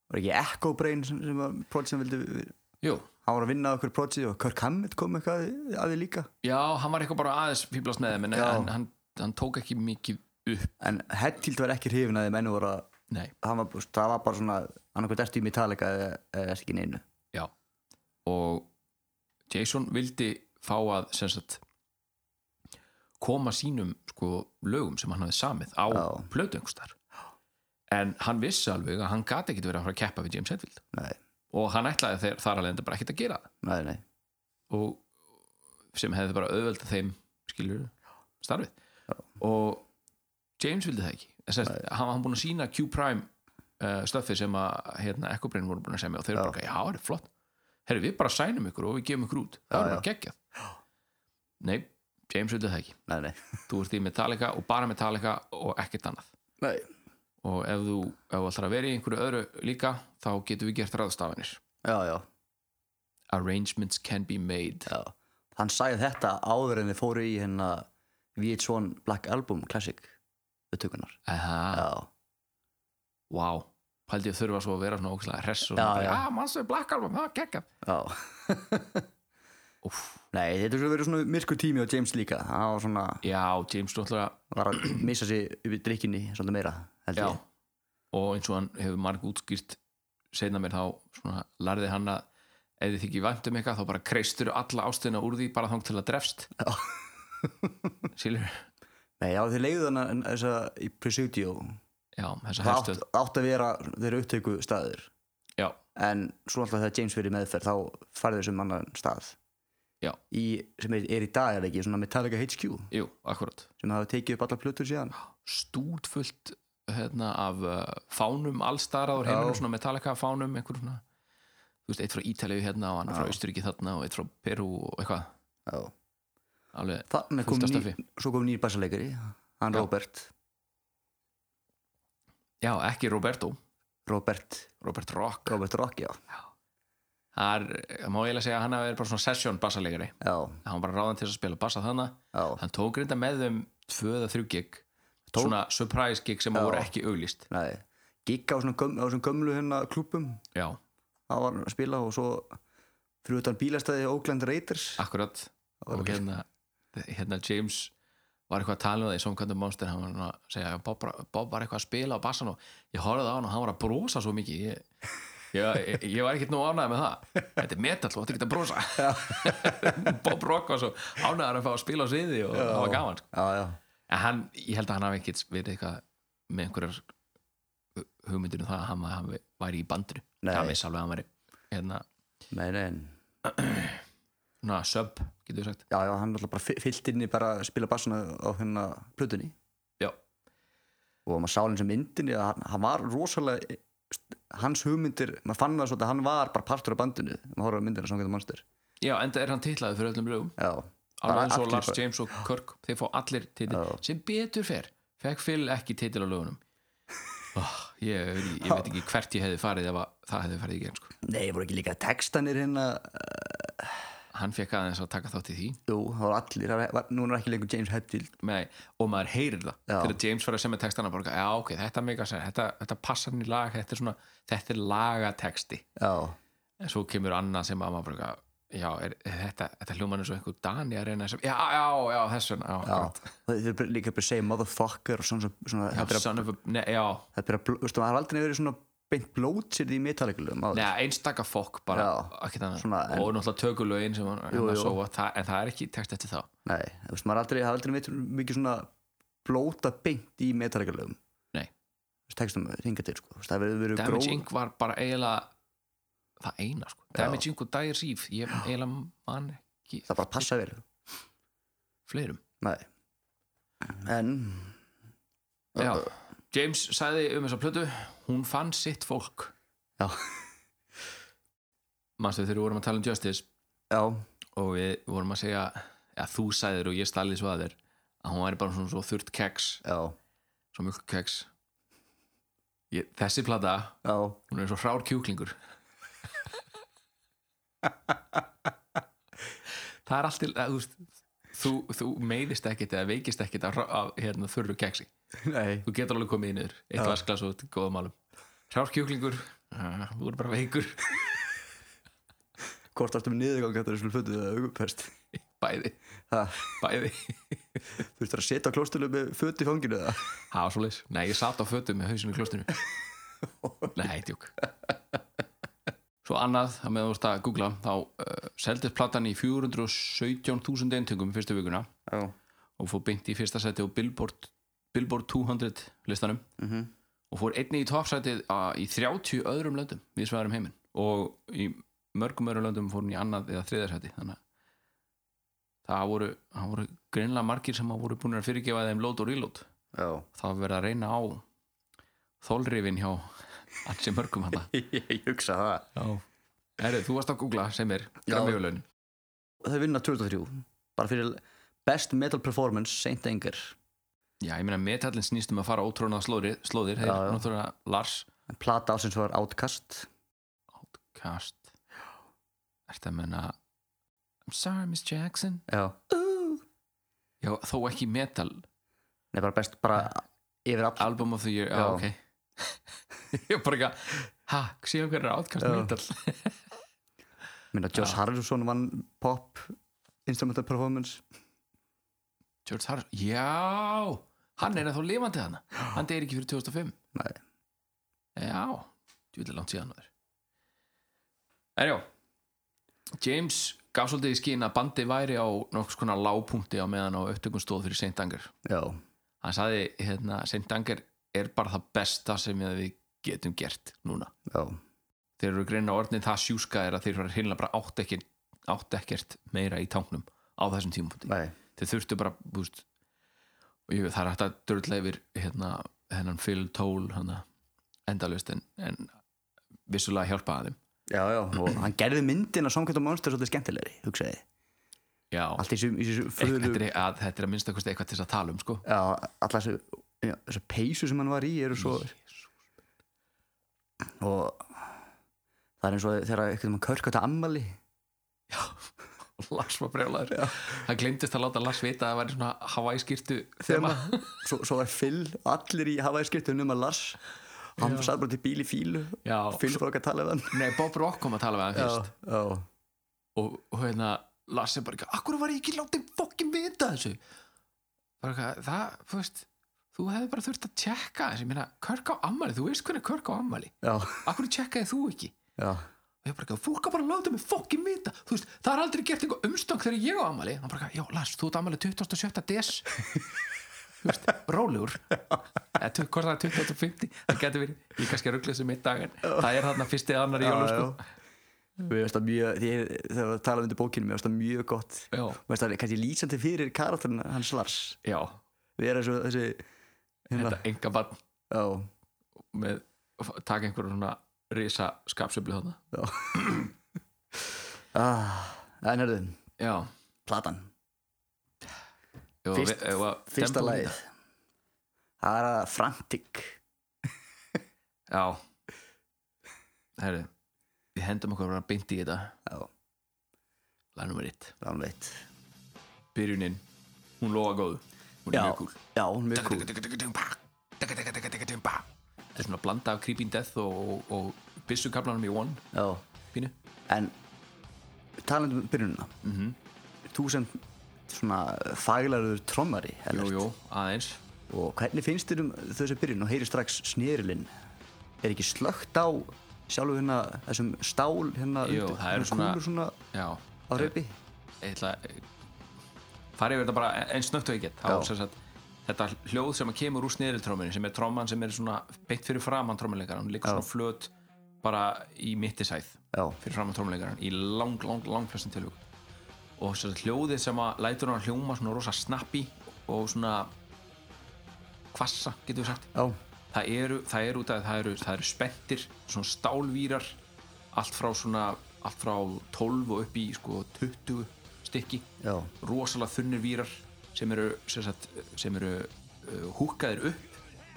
[SPEAKER 7] var ekki Echo Brain sem, sem var projekt sem vildi hann
[SPEAKER 8] Jú,
[SPEAKER 7] var að vinna að okkur projekt og Kirk Hammett kom eitthvað að- að því líka
[SPEAKER 8] já, hann var eitthvað bara aðeins fýblast með þeim en
[SPEAKER 7] Já.
[SPEAKER 8] en hann, hann tók ekki mikið upp
[SPEAKER 7] en Hetfield var ekki hrifin að þeim enn voru að
[SPEAKER 8] Nei,
[SPEAKER 7] hann var, þú veist, það var bara svona hann okkur derti í Metallica eða eða ertu ekki í neinu
[SPEAKER 8] já og Jason vildi fá að sem sagt koma sínum sko lögum sem hann hafði samið á
[SPEAKER 7] Já.
[SPEAKER 8] plötungustar en hann vissi alveg að hann gati ekki verið að fara að keppa við James Hetfield
[SPEAKER 7] nei,
[SPEAKER 8] og hann ætlaði þeir, þar alveg bara ekkert að gera það
[SPEAKER 7] nei, nei,
[SPEAKER 8] og sem hefði bara auðvelda þeim skilur starfið og James vildi það ekki Sest, hann var búin að sína Q-Prime uh, stöfið sem að hérna, Echo Brain voru búin að semja og þeir eru bara, já, það er flott herri, við bara sænum ykkur og við gefum ykkur út það
[SPEAKER 7] Já,
[SPEAKER 8] er bara
[SPEAKER 7] já.
[SPEAKER 8] geggjað nei, James vildi það ekki
[SPEAKER 7] nei, nei.
[SPEAKER 8] þú ert í Metallica og bara Metallica og ekkert annað
[SPEAKER 7] Nei.
[SPEAKER 8] og ef þú, ef þú ætlar að vera í einhverju öðru líka þá getum við gert ráðstafanir
[SPEAKER 7] já, já,
[SPEAKER 8] arrangements can be made
[SPEAKER 7] já hann sagði þetta áður en þið fóru í hérna VH1 Black Album Classic upptökunar
[SPEAKER 8] aha
[SPEAKER 7] já,
[SPEAKER 8] Vá, wow. pældi ég þurfa svo að vera svona ógæslega hress og
[SPEAKER 7] Já,
[SPEAKER 8] bara,
[SPEAKER 7] já.
[SPEAKER 8] já, mannstu við Black Album, það gekk
[SPEAKER 7] já
[SPEAKER 8] Úff,
[SPEAKER 7] nei, þetta er svo verið svona myrkur tími á James líka hann var svona,
[SPEAKER 8] já, James náttúrulega
[SPEAKER 7] var að missa sig upp í drikkinni svolítið meira, held
[SPEAKER 8] já,
[SPEAKER 7] ég
[SPEAKER 8] og eins og hann hefur marg útskýrt seinna mér þá svona lærði hann að ef þið þykir vænt um eitthvað þá bara kreistur alla ástina úr því bara þang til að drefst
[SPEAKER 7] Já.
[SPEAKER 8] Sílur,
[SPEAKER 7] nei, já, þið leiðu hann þess að í Presidio
[SPEAKER 8] já, þessa
[SPEAKER 7] það átt,
[SPEAKER 8] herstöð
[SPEAKER 7] átt að vera þeirra upptöku staðir
[SPEAKER 8] Já,
[SPEAKER 7] en svo alltaf þegar James verið meðferð þá farið þessum annan stað
[SPEAKER 8] Já.
[SPEAKER 7] í, sem er, er í dag er ekki svona Metallica HQ
[SPEAKER 8] jú, akkurat
[SPEAKER 7] sem hafa tekið upp allar plötur síðan
[SPEAKER 8] stútfullt hérna, af uh, fánum allstaraður heiminum, svona Metallica fánum einhver svona, þú veist, eitt frá Ítalíu hérna og annar frá Austuríki þarna og eitt frá Perú og eitthvað,
[SPEAKER 7] Já.
[SPEAKER 8] alveg
[SPEAKER 7] þannig kom
[SPEAKER 8] fullt af
[SPEAKER 7] ný,
[SPEAKER 8] stöfi
[SPEAKER 7] svo kom nýr bassaleikari hann
[SPEAKER 8] Já.
[SPEAKER 7] Robert
[SPEAKER 8] Já, ekki Roberto,
[SPEAKER 7] Robert,
[SPEAKER 8] Robert Rock
[SPEAKER 7] Robert Rock, já,
[SPEAKER 8] Það er, það má eiginlega segja að hann hafi verið bara svona session bassalegari,
[SPEAKER 7] já,
[SPEAKER 8] hann var bara ráðan til að spila bassa þarna,
[SPEAKER 7] já.
[SPEAKER 8] hann tók reynda með þeim tvö eða þrjú gig
[SPEAKER 7] Tók?
[SPEAKER 8] svona surprise gig sem voru ekki auglýst
[SPEAKER 7] Nei. gikk á svona, göm, á svona gömlu hérna klúpum
[SPEAKER 8] Já,
[SPEAKER 7] það var hann að spila og svo fyrir utan bílastæði Oakland Raiders
[SPEAKER 8] akkurat
[SPEAKER 7] var
[SPEAKER 8] og
[SPEAKER 7] ekki-
[SPEAKER 8] hérna, hérna James var eitthvað að tala um það í Some Kind of Monster hann var svona að segja að Bob, bara- Bob var eitthvað að spila á bassan og ég horfði á hann og hann var að brosa svo mikið ég, ég, ég, ég var ekkert nú ánægð með það þetta er metal og þetta er ekki að brosa Bob Rock var svo ánægður að fá að spila á sviði og það var gaman sko.
[SPEAKER 7] já, já,
[SPEAKER 8] en hann, ég held að hann hafi ekkert verið eitthvað með einhverjar hugmyndir um það að hann, hann væri í bandinu
[SPEAKER 7] Nei.
[SPEAKER 8] það með alveg að hann væri hérna,
[SPEAKER 7] nei, nei
[SPEAKER 8] svona sub, getur við sagt
[SPEAKER 7] já, já, hann alltaf bara fy- fyllt inn í bara að spila bassuna á hérna plötunni
[SPEAKER 8] já,
[SPEAKER 7] og maður sá hann sem myndinni að hann, hann var rosalega hans hugmyndir, maður fann það svolítið að hann var bara partur af bandinu, maður horfður á myndina sem hann getur mannstur
[SPEAKER 8] já enda er hann titlaði fyrir öllum lögum
[SPEAKER 7] já,
[SPEAKER 8] alveg
[SPEAKER 7] Bara
[SPEAKER 8] eins og
[SPEAKER 7] allir
[SPEAKER 8] Lars
[SPEAKER 7] fá-
[SPEAKER 8] James og Kirk þeir fá allir titil, sem betur fer fekk Phil ekki titil á lögunum oh, ég, ég, ég veit ekki hvert ég hefði farið ef að það hefði farið í gegn sko.
[SPEAKER 7] Nei, voru ekki líka textanir hérna
[SPEAKER 8] hann fekk aðeins að taka þátt í því
[SPEAKER 7] Jú, það voru allir, það var, núna er ekki lengur James Hetfield
[SPEAKER 8] Nei, og maður heyrir það
[SPEAKER 7] Já.
[SPEAKER 8] þegar James var að semja textana bara, já ok, þetta, mega, sens, þetta, þetta passar hann í lag þetta er, svona, þetta er lagatexti
[SPEAKER 7] Já,
[SPEAKER 8] en svo kemur annað sem að maður bara já, er, þetta, þetta hljóman er svo einhver Dani að reyna sem, já, já, já, þess vegna já,
[SPEAKER 7] já
[SPEAKER 8] já.
[SPEAKER 7] Og Þeir eru líka bara að segja motherfucker og svona, svona
[SPEAKER 8] Já,
[SPEAKER 7] þetta er að-
[SPEAKER 8] son of a, ne, já,
[SPEAKER 7] þetta er að, bló- veistu, það er aldrei verið svona beint blótsir í metallikulum
[SPEAKER 8] neða, einstaka fokk bara,
[SPEAKER 7] Já,
[SPEAKER 8] ekkert annað
[SPEAKER 7] svona, en-
[SPEAKER 8] og náttúrulega tökulögin sem hann
[SPEAKER 7] Jú,
[SPEAKER 8] hann að
[SPEAKER 7] jú.
[SPEAKER 8] sóa, það, en það er ekki text eftir þá
[SPEAKER 7] Nei, þú veist, maður aldrei, það er aldrei meitt, mikið svona blóta beint í metallikalögum
[SPEAKER 8] Nei.
[SPEAKER 7] Tekstum ringa til, sko Þú veist, Það hefur verið
[SPEAKER 8] Damage
[SPEAKER 7] gróð-
[SPEAKER 8] Inc. var bara eiginlega það eina, sko, Damage Inc. og Dire Eve ég eiginlega man ekki
[SPEAKER 7] Það bara passa vel
[SPEAKER 8] fleirum
[SPEAKER 7] Nei En,
[SPEAKER 8] já. James sagði um þessa plötu hún fann sitt fólk
[SPEAKER 7] Já.
[SPEAKER 8] manstu þegar við vorum að tala um Justice
[SPEAKER 7] já,
[SPEAKER 8] og við vorum að segja að þú sagðir og ég stallið svo að þér að hún væri bara svona svo þurrt keks
[SPEAKER 7] já,
[SPEAKER 8] svo mjölk keks ég, þessi plata,
[SPEAKER 7] já
[SPEAKER 8] hún er svo frár kjúklingur það er alltaf að, þú, veist, þú, þú meiðist ekkit eða veikist ekkit af, hrá- af hérna, þurru keksi
[SPEAKER 7] Nei,
[SPEAKER 8] þú getur alveg komið í niður eitt vasklas og þetta er góða málum frár kjúklingur, ah, þú er bara veikur
[SPEAKER 7] hvort áttum niðurgang Þetta er svona fötuð eða augupest
[SPEAKER 8] bæði,
[SPEAKER 7] Það,
[SPEAKER 8] bæði
[SPEAKER 7] þú veist það að setja á klóstilu með fötu í fanginu eða
[SPEAKER 8] Það var svoleiðis. Nei, ég satt á fötum með hausinu í klostinu. Nei, tjók. Svo annað, að með þú vorst að googla, þá uh, seldist platan í 417.000 eintökum fyrstu vikuna
[SPEAKER 7] Já,
[SPEAKER 8] og fór beint í fyrsta seti á Billboard, Billboard 200 listanum
[SPEAKER 7] Mhm.
[SPEAKER 8] og fór einni í toppsætið uh, í 30 öðrum löndum við svæðarum heiminn og í mörgum öðrum löndum fór hún í annað eða þriðarsæti þannig að það voru, það voru greinlega margir sem að voru búin að fyrirgefa þeim load og reload
[SPEAKER 7] já
[SPEAKER 8] það var verið að reyna á þólrifin hjá alls mörgum hann
[SPEAKER 7] Ég hugsa það
[SPEAKER 8] Herru, þú varst að googla sem er
[SPEAKER 7] Já.
[SPEAKER 8] Grammyjólun
[SPEAKER 7] Þau vinna 2003 Bara fyrir best metal performance Saint Anger
[SPEAKER 8] Já, ég meina metallin snýst um að fara ótrónað slóðir, slóðir þeir
[SPEAKER 7] Já, já.
[SPEAKER 8] náttúrulega Lars
[SPEAKER 7] En plata ásins var Outcast
[SPEAKER 8] Kast Ertu að menna I'm sorry Miss Jackson
[SPEAKER 7] Já
[SPEAKER 8] Já, þó ekki metal
[SPEAKER 7] Nei, bara best bara yfir all
[SPEAKER 8] Album of the year, já,
[SPEAKER 7] Já.
[SPEAKER 8] ok Ég var bara ekki að Ha, séu hvernig er átkast
[SPEAKER 7] Já.
[SPEAKER 8] metal
[SPEAKER 7] Minna, Josh
[SPEAKER 8] Já.
[SPEAKER 7] Harrison vann pop instrumental performance
[SPEAKER 8] George Harrison, já Hann er ennþá lifandi hann Hann deyr ekki fyrir 2005
[SPEAKER 7] Nei,
[SPEAKER 8] Já, djúlega langt síðan þar En já James gaf svolítið í skín að bandi væri á nokks konar lágpunkti á meðan á upptökum stóð fyrir Saint Anger
[SPEAKER 7] já,
[SPEAKER 8] Hann sagði, hérna, Saint Anger er bara það besta sem við getum gert núna
[SPEAKER 7] já,
[SPEAKER 8] Þeir eru greina orðnið það sjúska er að þeir eru hérna bara átt ekkert, átt ekkert meira í tanknum á þessum tímapunkti
[SPEAKER 7] nei,
[SPEAKER 8] þeir þurftu bara búst, og ég veit það er hægt að dörðla yfir hérna, hennan Phil Toll hana, endalust en, en vissulega hjálpa að þeim
[SPEAKER 7] já, já og hann gerði myndin að samkvæmt á Monster svolítið skemmtilegri, hugsaði
[SPEAKER 8] já,
[SPEAKER 7] allt í þessu, í þessu
[SPEAKER 8] þetta
[SPEAKER 7] föðu
[SPEAKER 8] er, e- að, þetta er að minnsta kosti eitthvað til þess að tala um sko.
[SPEAKER 7] já, alla þessu, já, þessu peysu sem hann var í eru svo og það er eins og þegar einhvern veginn körk átt að ammali
[SPEAKER 8] Lars var brjólaður það glemdist að láta Lars vita að það væri svona Hawaii skýrtu
[SPEAKER 7] þema, svo, svo var Phil allir í hafaði skiptum um að Lars hann
[SPEAKER 8] Já.
[SPEAKER 7] satt bara til bíl í fílu
[SPEAKER 8] já,
[SPEAKER 7] Phil frá okkar talað við hann
[SPEAKER 8] nei, Bob Rock kom að tala við hann
[SPEAKER 7] já,
[SPEAKER 8] fyrst
[SPEAKER 7] já,
[SPEAKER 8] og, og hérna Lars er bara ekki, akkur var ég ekki látið fokkin vita þessu bara eitthvað, það, þú veist þú hefði bara þurft að tjekka þessu, ég meina Körk á ammali, þú veist hvernig Körk á ammali
[SPEAKER 7] já,
[SPEAKER 8] akkur tjekkaði þú ekki
[SPEAKER 7] já,
[SPEAKER 8] og ég bara ekki, fólk að bara láta mig fokkin vita þú veist, það er aldrei gert einhver umstang þegar ég á ammali hann bara ekki, já Lars, þú ert ammali 27. des þú veist, rólegur eða tu- hvort það er 2050 það getur verið, ég kannski ruggla þessu mitt dag en það er þarna fyrsti eða annar í
[SPEAKER 7] já,
[SPEAKER 8] jólu
[SPEAKER 7] já.
[SPEAKER 8] sko.
[SPEAKER 7] Mér finnst það mjög, því ég- þegar við talaðum undir bókinu, mér finnst það mjög gott
[SPEAKER 8] Já.
[SPEAKER 7] Mér finnst það kannski lýsandi fyrir karakterinn hans Lars
[SPEAKER 8] já,
[SPEAKER 7] Við erum svo þessi, hérna,
[SPEAKER 8] þetta enga barn
[SPEAKER 7] já,
[SPEAKER 8] með taka einhverjum svona risa skapsöfli þarna
[SPEAKER 7] já ah, En herðu,
[SPEAKER 8] já,
[SPEAKER 7] platan
[SPEAKER 8] Ef að
[SPEAKER 7] Fyrst-
[SPEAKER 8] við- ef að
[SPEAKER 7] Fyrsta
[SPEAKER 8] tempóið
[SPEAKER 7] lagið
[SPEAKER 8] þetta-
[SPEAKER 7] Það er að frantic
[SPEAKER 8] Já Herru, við hendum okkur bara beint í þetta
[SPEAKER 7] Já,
[SPEAKER 8] Lag nummer 1
[SPEAKER 7] alveg eitt
[SPEAKER 8] Byrjunin, hún lofa góðu Hún er
[SPEAKER 7] Já,
[SPEAKER 8] mjög kúl
[SPEAKER 7] já, hún er mjög kúl
[SPEAKER 8] Þetta er svona blanda af Creeping Death og, og, og byssukablanum í One
[SPEAKER 7] Já,
[SPEAKER 8] pínu.
[SPEAKER 7] en talandi um byrjunina -hmm.
[SPEAKER 8] Mhm.
[SPEAKER 7] Þú sem svona faglarður trommari
[SPEAKER 8] Jú,
[SPEAKER 7] Ellert,
[SPEAKER 8] jú, aðeins
[SPEAKER 7] og hvernig finnst þér um þessu byrjun og heyri strax snerilinn er ekki slögt á sjálfu hérna þessum stál hérna
[SPEAKER 8] Jú,
[SPEAKER 7] undir-
[SPEAKER 8] það
[SPEAKER 7] hérna
[SPEAKER 8] eru svona-
[SPEAKER 7] kúlur svona
[SPEAKER 8] Já,
[SPEAKER 7] á reypi
[SPEAKER 8] ég ætla að farið yfir þetta bara en snögt og ég get
[SPEAKER 7] Já.
[SPEAKER 8] þá, sem sagt, þetta hljóð sem kemur úr sneriltróminu sem er tróman sem er svona beint fyrir framann trómuleikar hún liggur
[SPEAKER 7] Já.
[SPEAKER 8] svona flöt bara í mittisæð
[SPEAKER 7] Já.
[SPEAKER 8] fyrir framann trómuleikaran í lang, lang, lang flestin tilvöku og sem sagt, hljóðið sem að lætur hann að hljóma svona rosa snappi og svona hvassa, getur við sagt
[SPEAKER 7] Já,
[SPEAKER 8] það eru, það eru út af það eru, það eru spettir, svona stálvírar allt frá svona allt frá 12 og upp í sko 20 stykki
[SPEAKER 7] já,
[SPEAKER 8] rosalega þunnir vírar sem eru, sem sagt, sem eru uh, húkkaðir upp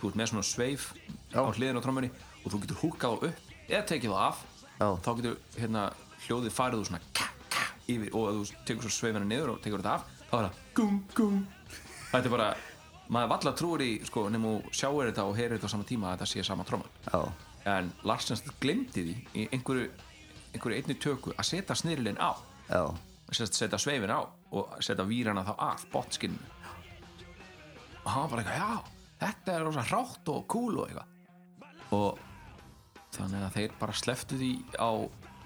[SPEAKER 8] þú ert með svona sveif á hliðin á trommunni og þú getur húkkað þá upp eða tekið það af
[SPEAKER 7] Já.
[SPEAKER 8] þá getur hérna, hljóðið farið úr svona ka, ka, yfir, og ef þú tekur svo sveifina niður og tekur þetta af þá er það gung, gung þetta er bara, maður valla trúir í sko, nefnum og sjáir þetta og heyrir þetta á sama tíma að þetta sé sama tromman
[SPEAKER 7] já,
[SPEAKER 8] en Larsens glemdi því í einhverju, einhverju einni töku að setja snirlinn á
[SPEAKER 7] já
[SPEAKER 8] sest, setja sveifin á og setja výrana þá af botskinn og hann var bara eitthvað, já, þetta er rosa hrátt og cool og eitthvað og þannig að þeir bara sleftu því á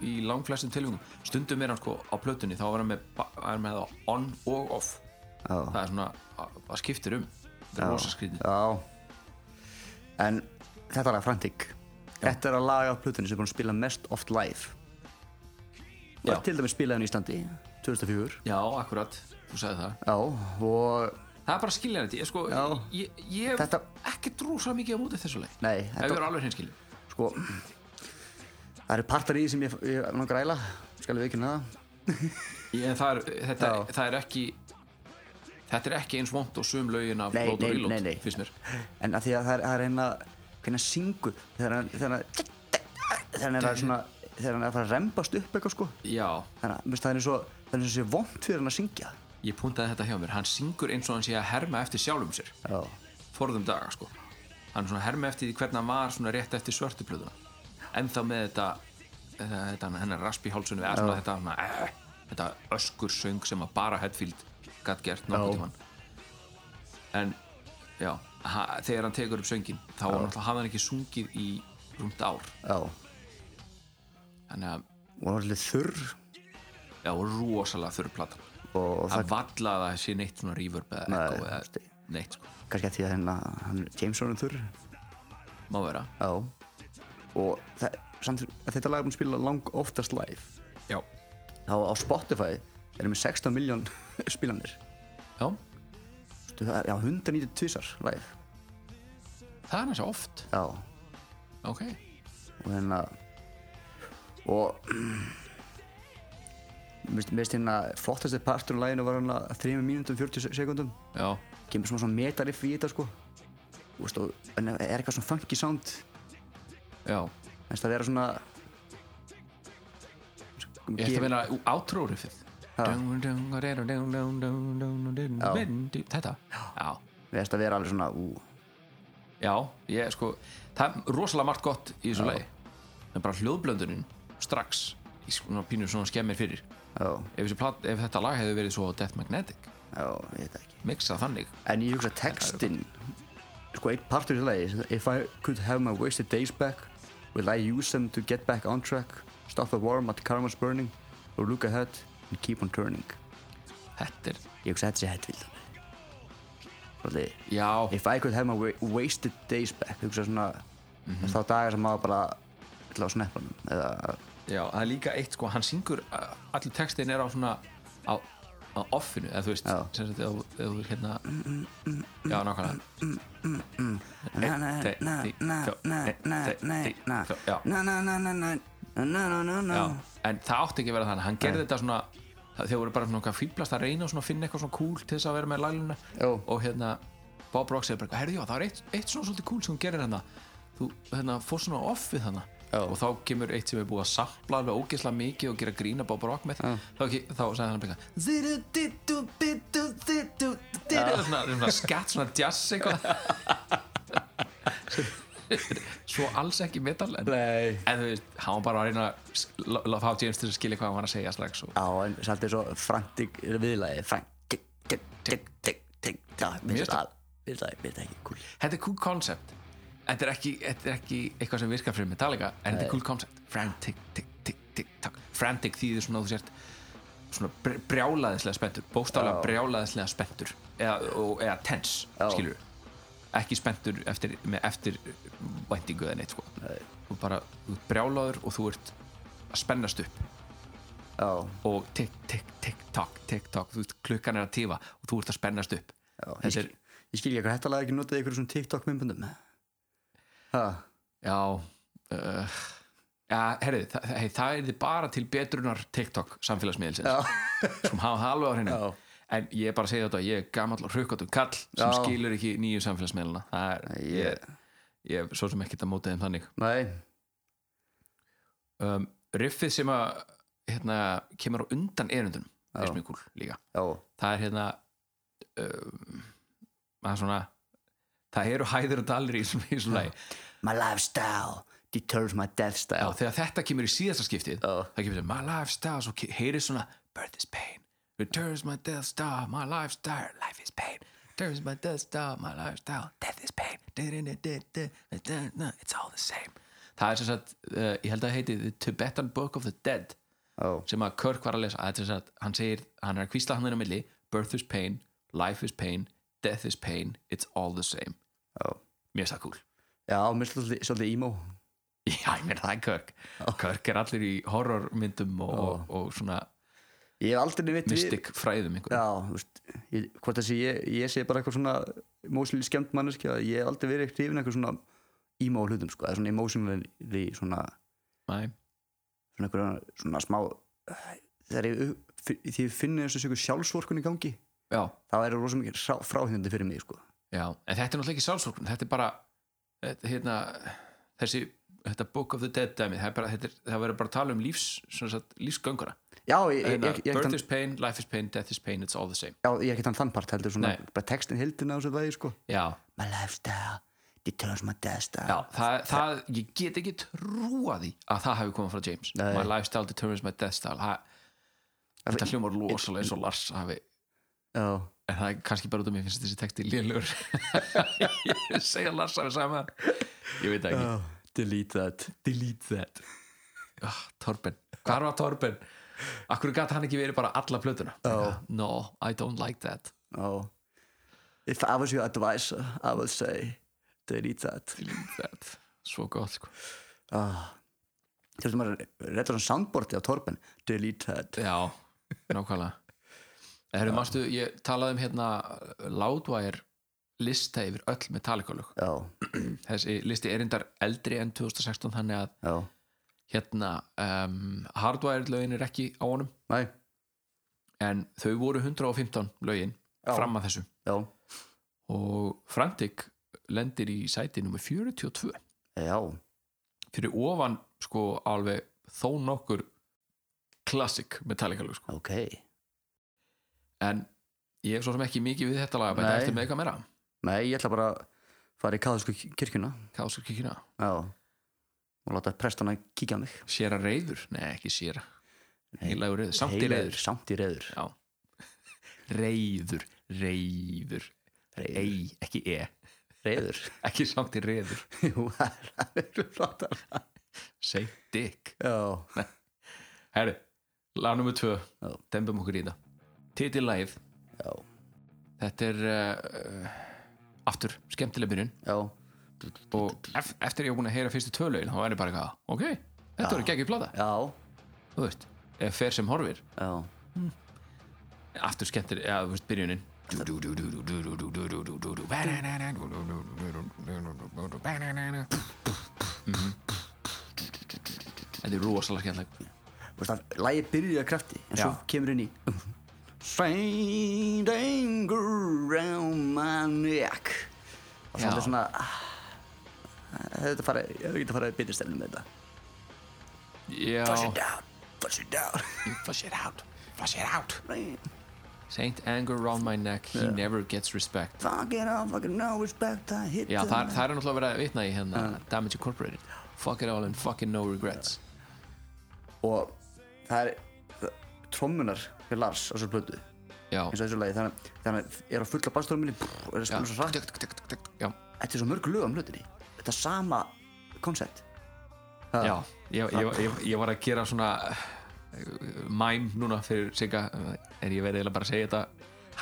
[SPEAKER 8] í langflestum tilfengum stundum er hann sko á plötunni þá var hann með, ba- hann með það on og off
[SPEAKER 7] Já.
[SPEAKER 8] það er svona að, að skiptir um þetta
[SPEAKER 7] já,
[SPEAKER 8] er rosa skrítið
[SPEAKER 7] Já En þetta er að frantik Þetta er að laga á plötunni sem er búin að spila mest oft live
[SPEAKER 8] Já.
[SPEAKER 7] Já. Til dæmis spilaði hann í Íslandi 2004
[SPEAKER 8] já, akkurat, þú sagði það
[SPEAKER 7] Já, og
[SPEAKER 8] það er bara skiljanandi, ég sko
[SPEAKER 7] Já.
[SPEAKER 8] ég, ég hef
[SPEAKER 7] Þetta-
[SPEAKER 8] ekki drúsa mikið á móti þessu leik
[SPEAKER 7] Nei,
[SPEAKER 8] ef
[SPEAKER 7] þetta-
[SPEAKER 8] ég er alveg hinskilin
[SPEAKER 7] sko Það eru partar í því sem ég, ég er nú græla Skal við ekki það
[SPEAKER 8] En það er, þetta,
[SPEAKER 7] Já.
[SPEAKER 8] það er ekki Þetta er ekki eins vond og sum lögin af
[SPEAKER 7] Nei,
[SPEAKER 8] Lót og
[SPEAKER 7] nei, nei,
[SPEAKER 8] Rílót
[SPEAKER 7] nei.
[SPEAKER 8] finnst mér
[SPEAKER 7] En að því að það er, það er hérna Hvernig hann syngur Þegar hann Þegar hann Þegar hann er að svona Þegar hann er að fara að rembast upp eitthvað sko
[SPEAKER 8] Já,
[SPEAKER 7] Þannig að mér finnst það er eins og Það er eins og sé vond fyrir hann að syngja
[SPEAKER 8] ég puntaði þetta hjá mér Hann syngur eins og hann sé að herma eftir sjálfum sér
[SPEAKER 7] Já
[SPEAKER 8] Forðum daga sko Hann er svona að herma eftir því hvernig hann var svona rétt eftir svörtuplöðuna En þá með þetta, þetta, þetta hennar raspi hálsunum eða svona þetta, svona, eh, þetta öskur söng sem að bara Hetfield gatt gert nokkuð tímann En já, ha, þegar hann tekur upp söngin þá var náttúrulega hafði hann ekki sungið í rúmt ár
[SPEAKER 7] Já Og
[SPEAKER 8] Þannig að
[SPEAKER 7] hann var allir þurr
[SPEAKER 8] Já, og rosalega þurr platan
[SPEAKER 7] Og það
[SPEAKER 8] Það valla að það sé neitt svona reverb eða
[SPEAKER 7] Nei,
[SPEAKER 8] echo eða
[SPEAKER 7] stið.
[SPEAKER 8] neitt sko.
[SPEAKER 7] er kannski að því að hérna Hann er Jameson er þurr
[SPEAKER 8] Má vera
[SPEAKER 7] Já Og það, samt, að þetta lag er búin að spila lang oftast live
[SPEAKER 8] Já,
[SPEAKER 7] Þá á Spotify Erum við 16 miljón spilanir
[SPEAKER 8] já
[SPEAKER 7] Þú- það er- Já, 192 live
[SPEAKER 8] það er næst oft
[SPEAKER 7] Já
[SPEAKER 8] Ok
[SPEAKER 7] og hérna og mér finnst hérna flottasti partur á læginu var hérna 3 mínútum 40 sekundum
[SPEAKER 8] Já,
[SPEAKER 7] kemur svona svona metariff í þetta sko Þú veist, og en er eitthvað svona funky sound
[SPEAKER 8] já
[SPEAKER 7] en það er svona
[SPEAKER 8] Ég ætti að meina átrúrufið
[SPEAKER 7] Já.
[SPEAKER 8] Þetta Já,
[SPEAKER 7] Mér finnst að vera alveg svona ú,
[SPEAKER 8] já ég, sko, Það er rosalega margt gott í þessu lagi En bara hljóðblöndunin strax í svona pínu svona skemmir fyrir
[SPEAKER 7] já,
[SPEAKER 8] ef, þessi plat, ef þetta lag hefði verið svo Death Magnetic
[SPEAKER 7] já, ég veit það ekki
[SPEAKER 8] mixa þannig
[SPEAKER 7] en ég hugsa textin sko einn partur í þessu lagi sem- if I could have my wasted days back will I use them to get back on track stop the war at karma's burning or look ahead and keep on turning
[SPEAKER 8] Þetta er,
[SPEAKER 7] ég hugsa þetta sé Hetfield Svolítið,
[SPEAKER 8] já
[SPEAKER 7] if I could have my wa- wasted days back hugsa svona þá dagar sem maður bara ætla á sneppanum eða
[SPEAKER 8] Já, það er líka eitt sko, hann syngur uh, allur textin er á svona á, á offinu, eða þú veist
[SPEAKER 7] Já.
[SPEAKER 8] sem sagt, ef ef þú hérna já, nákvæmlega
[SPEAKER 7] na na na na na na na na
[SPEAKER 8] Já.
[SPEAKER 7] na na na na na na na na na
[SPEAKER 8] Já, en það átti ekki að vera þannig hann gerði þetta svona það- þeir voru bara svona okkar fýblast að reyna og svona að finna eitthvað svona cool til þess að vera með læluna
[SPEAKER 7] Jó.
[SPEAKER 8] og hérna Bob Rock segir bara, herrjú, það er eitt, eitt svona svolítið cool sem hún gerir hérna þú hérna, fór svona off við hana
[SPEAKER 7] Já.
[SPEAKER 8] og þá kemur eitt sem er búið að sapla alveg ógeðslega mikið og gera grína Bob Rock með þá, ke- þá sagði hann bara ziru, dittu, bittu, dittu, dittu og svona, svona skatt, svona jazz eitthvað svo alls ekki metal en,
[SPEAKER 7] Nei.
[SPEAKER 8] en þú veist, hann var bara að reyna að sk- lá- lá- fá James til að skilja hvað hann var að segja strax og
[SPEAKER 7] Já, en svolítið svo frantik viðlæði Frantik, tik, tik, tik, tik Já, mér finnst
[SPEAKER 8] Mér finnst
[SPEAKER 7] það Mér finnst það- mér finnst það ekki cool
[SPEAKER 8] þetta er cool concept þetta er ekki, þetta er ekki eitthvað sem virkar fyrir Metallica en þetta er cool concept frantic, tick, tick, tick, tick. frantic þýðir svona að þú sért svona br- brjálaðislega spenntur bóstaflega brjálaðislega spenntur eða, og, eða tense,
[SPEAKER 7] Já.
[SPEAKER 8] skilur ekki spenntur eftir, með eftir væntingu eða neitt sko þú bara, þú ert brjálaður og þú ert að spennast upp
[SPEAKER 7] Já,
[SPEAKER 8] og tick, tick, tick, tock, tick, tock þú veist, klukkan er að tífa og þú ert að spennast upp
[SPEAKER 7] já ég
[SPEAKER 8] þetta
[SPEAKER 7] skil-
[SPEAKER 8] er,
[SPEAKER 7] Ég skil ekki hvað þetta lag ekki notaði ykkur svona TikTok myndbundum Ha,
[SPEAKER 8] Já uh, Já, herrið, það, hey, það er þið bara til betrunar TikTok samfélagsmiðilsins sem hafa það alveg á hreinu
[SPEAKER 7] Já.
[SPEAKER 8] en ég er bara að segja þetta, ég er gamall og hrukkatum kall sem
[SPEAKER 7] Já.
[SPEAKER 8] skilur ekki nýju samfélagsmiðluna það er,
[SPEAKER 7] ég-
[SPEAKER 8] ég, ég er svo sem ekkert að móta þeim þannig
[SPEAKER 7] nei
[SPEAKER 8] um, riffið sem að hérna, kemur á undan erundunum
[SPEAKER 7] Já.
[SPEAKER 8] er mjög kúl líka
[SPEAKER 7] Já,
[SPEAKER 8] það er hérna um, það er svona það eru hæðir og dalir í svona, í svona lagi
[SPEAKER 7] my lifestyle deters my death
[SPEAKER 8] Já,
[SPEAKER 7] style
[SPEAKER 8] þegar þetta kemur í síðasta skiptið
[SPEAKER 7] Já.
[SPEAKER 8] það kemur þetta, my lifestyle, svo ke- heyrir svona birth is pain, returns my death star my lifestyle, life is pain returns my death star, my lifestyle death is pain, it's all the same það er sem sagt, uh, ég held að það heiti The Tibetan Book of the Dead
[SPEAKER 7] Já,
[SPEAKER 8] sem að Kirk var að lesa að að hann segir, hann er að kvísla hann inn á milli birth is pain, life is pain death is pain, it's all the same
[SPEAKER 7] já
[SPEAKER 8] mér finnst það cool
[SPEAKER 7] Já, mér finnst það svolítið- svolítið emo
[SPEAKER 8] Já, ég meina það er Kirk Kirk er allir í horrormyndum og, og, og svona
[SPEAKER 7] Ég hef aldrei veit
[SPEAKER 8] mystic fræðum einhver.
[SPEAKER 7] Já, þú veist, ég, hvort þessi ég, ég sé bara eitthvað svona emotionally skemmt manneski að ég hef aldrei verið eitthvað yfir eitthvað svona emo hlutum sko, eða svona emotionally svona,
[SPEAKER 8] Nei,
[SPEAKER 7] svona, eitthvað, svona smá þegar ég, upp- fi- því ég finni þessu sjöku sjálfsvorkun í gangi
[SPEAKER 8] já,
[SPEAKER 7] þá er það rosa mikið sá- fráhrindandi fyrir mig sko.
[SPEAKER 8] já En þetta er náttúrulega ekki sálsorgun Þetta er bara þetta, hérna, þessi, þetta Book of the Dead dæmi, það, er bara, þetta er, það verður bara að tala um lífs, svona sagt, lífsgönguna
[SPEAKER 7] Já, ég, ég,
[SPEAKER 8] hérna,
[SPEAKER 7] ég, ég,
[SPEAKER 8] Birth
[SPEAKER 7] ég,
[SPEAKER 8] is pain, life is pain, death is pain It's all the same
[SPEAKER 7] já, ég er ekki þann þann part heldur svona,
[SPEAKER 8] Nei.
[SPEAKER 7] bara textin hildina á þessu lagi sko.
[SPEAKER 8] Já,
[SPEAKER 7] My lifestyle, determines my death
[SPEAKER 8] já
[SPEAKER 7] style
[SPEAKER 8] það, það, ég get ekki trúa því að það hafi komið frá James
[SPEAKER 7] Nei.
[SPEAKER 8] My lifestyle determines my death style það, Þetta hljómar rosalega eins og Lars hafi
[SPEAKER 7] Já,
[SPEAKER 8] en það er kannski bara út af mér finnst þessi texti lélugur ég segja Lars að við sama ég veit það ekki
[SPEAKER 7] oh, delete that
[SPEAKER 8] delete that oh, Torben, hvar var Torben akkur gæti hann ekki verið bara alla plötuna oh. no, I don't like that
[SPEAKER 7] Oh. If I was your advisor, I would say delete that.
[SPEAKER 8] delete that, svo gott sko
[SPEAKER 7] Þurftum að rétta svona soundboardi á Torben. Delete that.
[SPEAKER 8] já, nákvæmlega Herru, mástu, ég talaði um hérna Loudwire lista yfir öll Metallica-lög
[SPEAKER 7] Já,
[SPEAKER 8] þessi listi er reyndar eldri en 2016 þannig að
[SPEAKER 7] já.
[SPEAKER 8] hérna um, Hardwired lögin er ekki á honum
[SPEAKER 7] Nei,
[SPEAKER 8] en þau voru 115 lögin
[SPEAKER 7] Já.
[SPEAKER 8] fram að þessu
[SPEAKER 7] já.
[SPEAKER 8] og Frantic lendir í sæti nummer 42
[SPEAKER 7] Já,
[SPEAKER 8] fyrir ofan sko alveg þó nokkur klassik Metallica lög sko
[SPEAKER 7] ok.
[SPEAKER 8] en ég hef svo sem ekki mikið við þetta lag
[SPEAKER 7] Nei.
[SPEAKER 8] þetta eftir með eitthvað meira
[SPEAKER 7] Nei, ég ætla bara að fara í kaðalsku kirkjuna.
[SPEAKER 8] Káskirkina
[SPEAKER 7] Já. Og láta prestana kíkja á mig.
[SPEAKER 8] Sera Reyður? Nei, ekki Sera
[SPEAKER 7] Nei.
[SPEAKER 8] Heilagur Reyður, samt í
[SPEAKER 7] Heilagur,
[SPEAKER 8] Reyður
[SPEAKER 7] Samt í reyður.
[SPEAKER 8] Já Reyður, Reyður Rey, ekki E
[SPEAKER 7] Reyður.
[SPEAKER 8] ekki samt í Reyður
[SPEAKER 7] Jú, það er- það er flott að...
[SPEAKER 8] Say dick
[SPEAKER 7] Já.
[SPEAKER 8] Herri, lag nummer tvö
[SPEAKER 7] Já.
[SPEAKER 8] Dembum okkur í þetta Titill lagið
[SPEAKER 7] Já.
[SPEAKER 8] Þetta er uh, aftur skemmtileg byrjun
[SPEAKER 7] Já.
[SPEAKER 8] og ef, eftir ég var búin að heyra fyrstu tvö lögin þá er ég bara eitthvað, ok, þetta voru geggjum plata
[SPEAKER 7] Já.
[SPEAKER 8] þú veist, eh, fer sem horfir
[SPEAKER 7] Já.
[SPEAKER 8] aftur skemmtileg, eða þú veist, byrjunin Þetta Mhm. er rosalega skemmtileg
[SPEAKER 7] Þú veist að lægi byrjuði að krafti en svo
[SPEAKER 8] Já.
[SPEAKER 7] kemur inn í faint anger around my neck og
[SPEAKER 8] Já.
[SPEAKER 7] það er svona ah, þetta farið, ég geta farið að byrja stefnum með þetta
[SPEAKER 8] Já,
[SPEAKER 7] push it down, push it down
[SPEAKER 8] Flush it out Flush it out
[SPEAKER 7] Rain,
[SPEAKER 8] Saint anger around my neck He never gets respect
[SPEAKER 7] fuck it up, fucking no respect I hit
[SPEAKER 8] Já,
[SPEAKER 7] the
[SPEAKER 8] það, það er náttúrulega verið að vitna í hérna Damage Incorporated Fuck it all and fucking no regrets
[SPEAKER 7] og það er það- trommunar fyrir Lars á svo plötu eins
[SPEAKER 8] Já,
[SPEAKER 7] og þessu lagi þannig þannig að er á fulla basströmminni og er að spila
[SPEAKER 8] Já.
[SPEAKER 7] svo rætt
[SPEAKER 8] já,
[SPEAKER 7] þetta er svo mörg lög um hlutinni þetta er sama koncept
[SPEAKER 8] já ég, ég, ég, ég var að gera svona eh, mæm núna fyrir Sigga eh, en ég verði eiginlega bara að segja þetta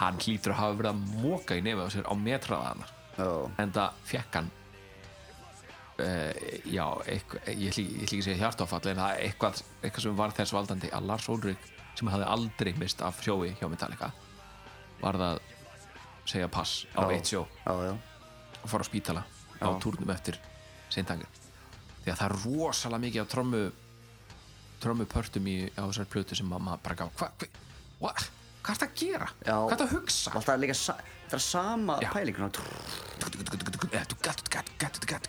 [SPEAKER 8] hann hlýtur að hafa verið að móka í nefið á sér á metraða hennar
[SPEAKER 7] oh.
[SPEAKER 8] en það fekk hann uh, já, eitthvað, ég ætli ég ætli ekki að segja hjartáfall en það er eitthvað, eitthvað sem var þess valdandi að Lars Ulrik sem hafði aldrei mist af sjói hjá Metallica var það segja pass á eitt sjó
[SPEAKER 7] já, já.
[SPEAKER 8] og fara á spítala á túrnum eftir seintangur því að það er rosalega mikið af trommu trommupörtum í á þessar plötu sem mamma bara gaf hva, hva, hva, hvað er það að gera?
[SPEAKER 7] Já.
[SPEAKER 8] hvað er það að hugsa?
[SPEAKER 7] Og alltaf líka sa þetta er sama
[SPEAKER 8] Já.
[SPEAKER 7] pæling svona, trú,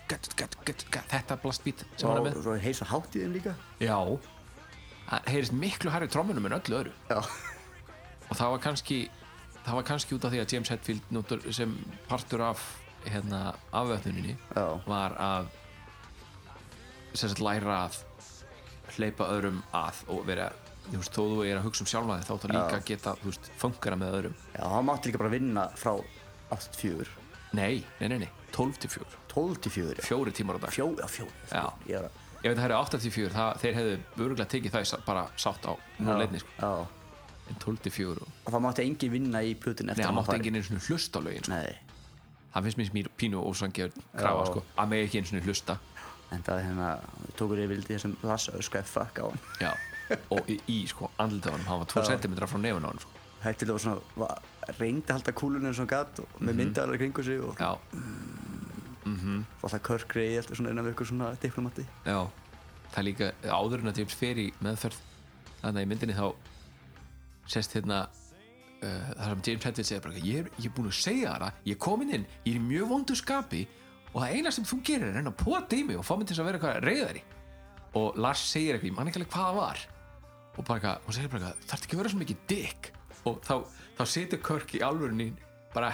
[SPEAKER 8] þetta blastbít sem hann er
[SPEAKER 7] og
[SPEAKER 8] með
[SPEAKER 7] svo heisa hátt í þeim líka
[SPEAKER 8] já það heyrist miklu hærri trommunum en öllu öðru
[SPEAKER 7] já,
[SPEAKER 8] og það var kannski það var kannski út af því að James Hetfield notur, sem partur af hérna, afvöfnuninni
[SPEAKER 7] Já.
[SPEAKER 8] var að sem sagt læra að hleypa öðrum að og vera, þú veist, þó þú er að hugsa um sjálfa þig þá þá líka að geta, þú veist, fungera með öðrum
[SPEAKER 7] já, hann mátti líka bara vinna frá 84,
[SPEAKER 8] nei, nei, nei, nei, 12 til 4
[SPEAKER 7] 12 til 4
[SPEAKER 8] fjóri tímar á dag
[SPEAKER 7] fjó, já, fjó
[SPEAKER 8] Já.
[SPEAKER 7] ég er að
[SPEAKER 8] Ég veit að það eru 84, það, þeir hefðu örgulega tekið það í sa- bara sátt á núleitni sko.
[SPEAKER 7] já,
[SPEAKER 8] en 12-4 og
[SPEAKER 7] og það mátti engin vinna í plötin
[SPEAKER 8] Nei,
[SPEAKER 7] eftir
[SPEAKER 8] það
[SPEAKER 7] hann
[SPEAKER 8] mátti
[SPEAKER 7] var-
[SPEAKER 8] enginn einu svona hlusta á lögin sko.
[SPEAKER 7] nei,
[SPEAKER 8] Það finnst mér sem mér pínu og ósangjöð krafa
[SPEAKER 7] Já.
[SPEAKER 8] sko. að megi ekki einu svona hlusta
[SPEAKER 7] en það er hérna tókur ég vildi þessum Lars öskraði fuck á hann
[SPEAKER 8] Já. og í, í sko, andlita honum hann var 2 cm frá nefun á honum sko.
[SPEAKER 7] hætti það var svona, var, reyndi að halda kúlunum eins og hann gat og með myndaðalar kringu sig og
[SPEAKER 8] Já,
[SPEAKER 7] og það körkriði alltaf svona innan við ykkur svona diplomati
[SPEAKER 8] já Það er líka áður en að James fer í meðferð þannig að í myndinni þá sest hérna uh, þar sem James Hetfield segir bara ég er, ég er búin að segja það, ég er komin inn ég er í mjög vondu skapi og það eina sem þú gerir er að reyna að pota í mig og fá mig til þess að vera eitthvað reyðari og Lars segir eitthvað, ég man ekki alveg hvað það var og bara eitthvað, hún segir bara eitthvað þarf ekki að vera svo mikið dick og þá, þá setur Körk í alvörunni bara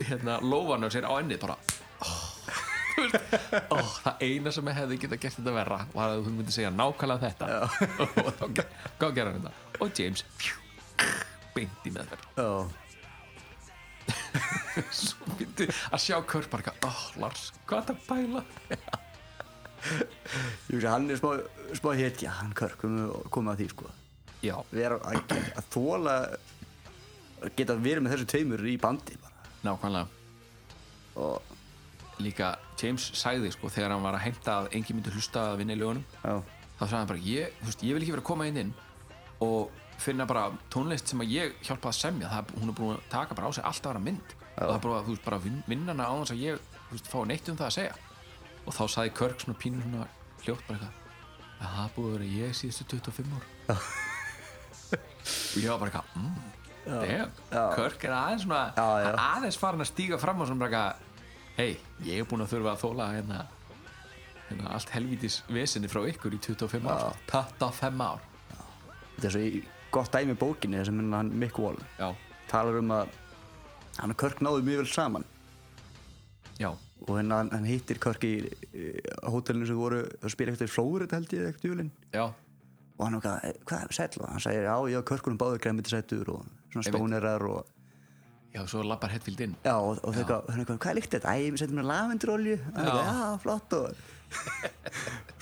[SPEAKER 8] hérna lófan á sér á enni bara oh, oh, það eina sem ég hefði getað gert þetta verra var að þú myndi segja nákvæmlega þetta og þá ge- þá gerði hann þetta og James pjú, beint í meðferð
[SPEAKER 7] Já,
[SPEAKER 8] svo myndi að sjá Körk bara eitthvað, oh Lars, hvað er það að bæla
[SPEAKER 7] ég veist að hann er smá, smá hetja, hann Körk, komum við komum að því sko.
[SPEAKER 8] já,
[SPEAKER 7] Vera að, ge- að þóla, geta verið með þessu tveimur í bandi bara.
[SPEAKER 8] nákvæmlega
[SPEAKER 7] Og,
[SPEAKER 8] líka James sagði sko þegar hann var að heimta að engin myndi hlusta að vinna í lögunum
[SPEAKER 7] já,
[SPEAKER 8] þá sagði hann bara ég, þú veist, ég vil ekki vera að koma inn inn og finna bara tónlist sem að ég hjálpa að semja það, hún er búin að taka bara á sig alltaf aðra mynd og það er bara, þú veist, bara vin- vinna hana á þess að ég þú veist, fá neitt um það að segja og þá sagði Körk svona pínur svona hljótt bara eitthvað að það er búið að vera ég síðustu 25 ár og ég var bara eitthvað mm, damn, Körk er aðeins svona
[SPEAKER 7] Já, já.
[SPEAKER 8] aðeins farin að stíga fram og svona bara eitthvað hei, ég er búin að þurfa að þóla hérna hérna, allt helvítis vesinni frá ykkur í 25 ár sko. 25 ár
[SPEAKER 7] þetta er svo í gott dæmi í bókinni þar sem minna hann Mick Wall
[SPEAKER 8] já,
[SPEAKER 7] talar um að hann og Körk náðu mjög vel saman
[SPEAKER 8] já,
[SPEAKER 7] og hérna hann, hann hittir Körk í, í hótelinu sem voru að spila eitthvað í Flórit held ég eitthvað júlinn
[SPEAKER 8] já,
[SPEAKER 7] og hann okkar, hvað er sæll og hann segir, já, já, Körkunum báður græmitisættur og svona stónerar og
[SPEAKER 8] já, svo lappar Hetfield inn
[SPEAKER 7] Já, og, og þau eitthvað, hann eitthvað, hvað líkt þetta? Æ, við setjum hérna lavendurolju. Já. Eitthvað, já, flott og...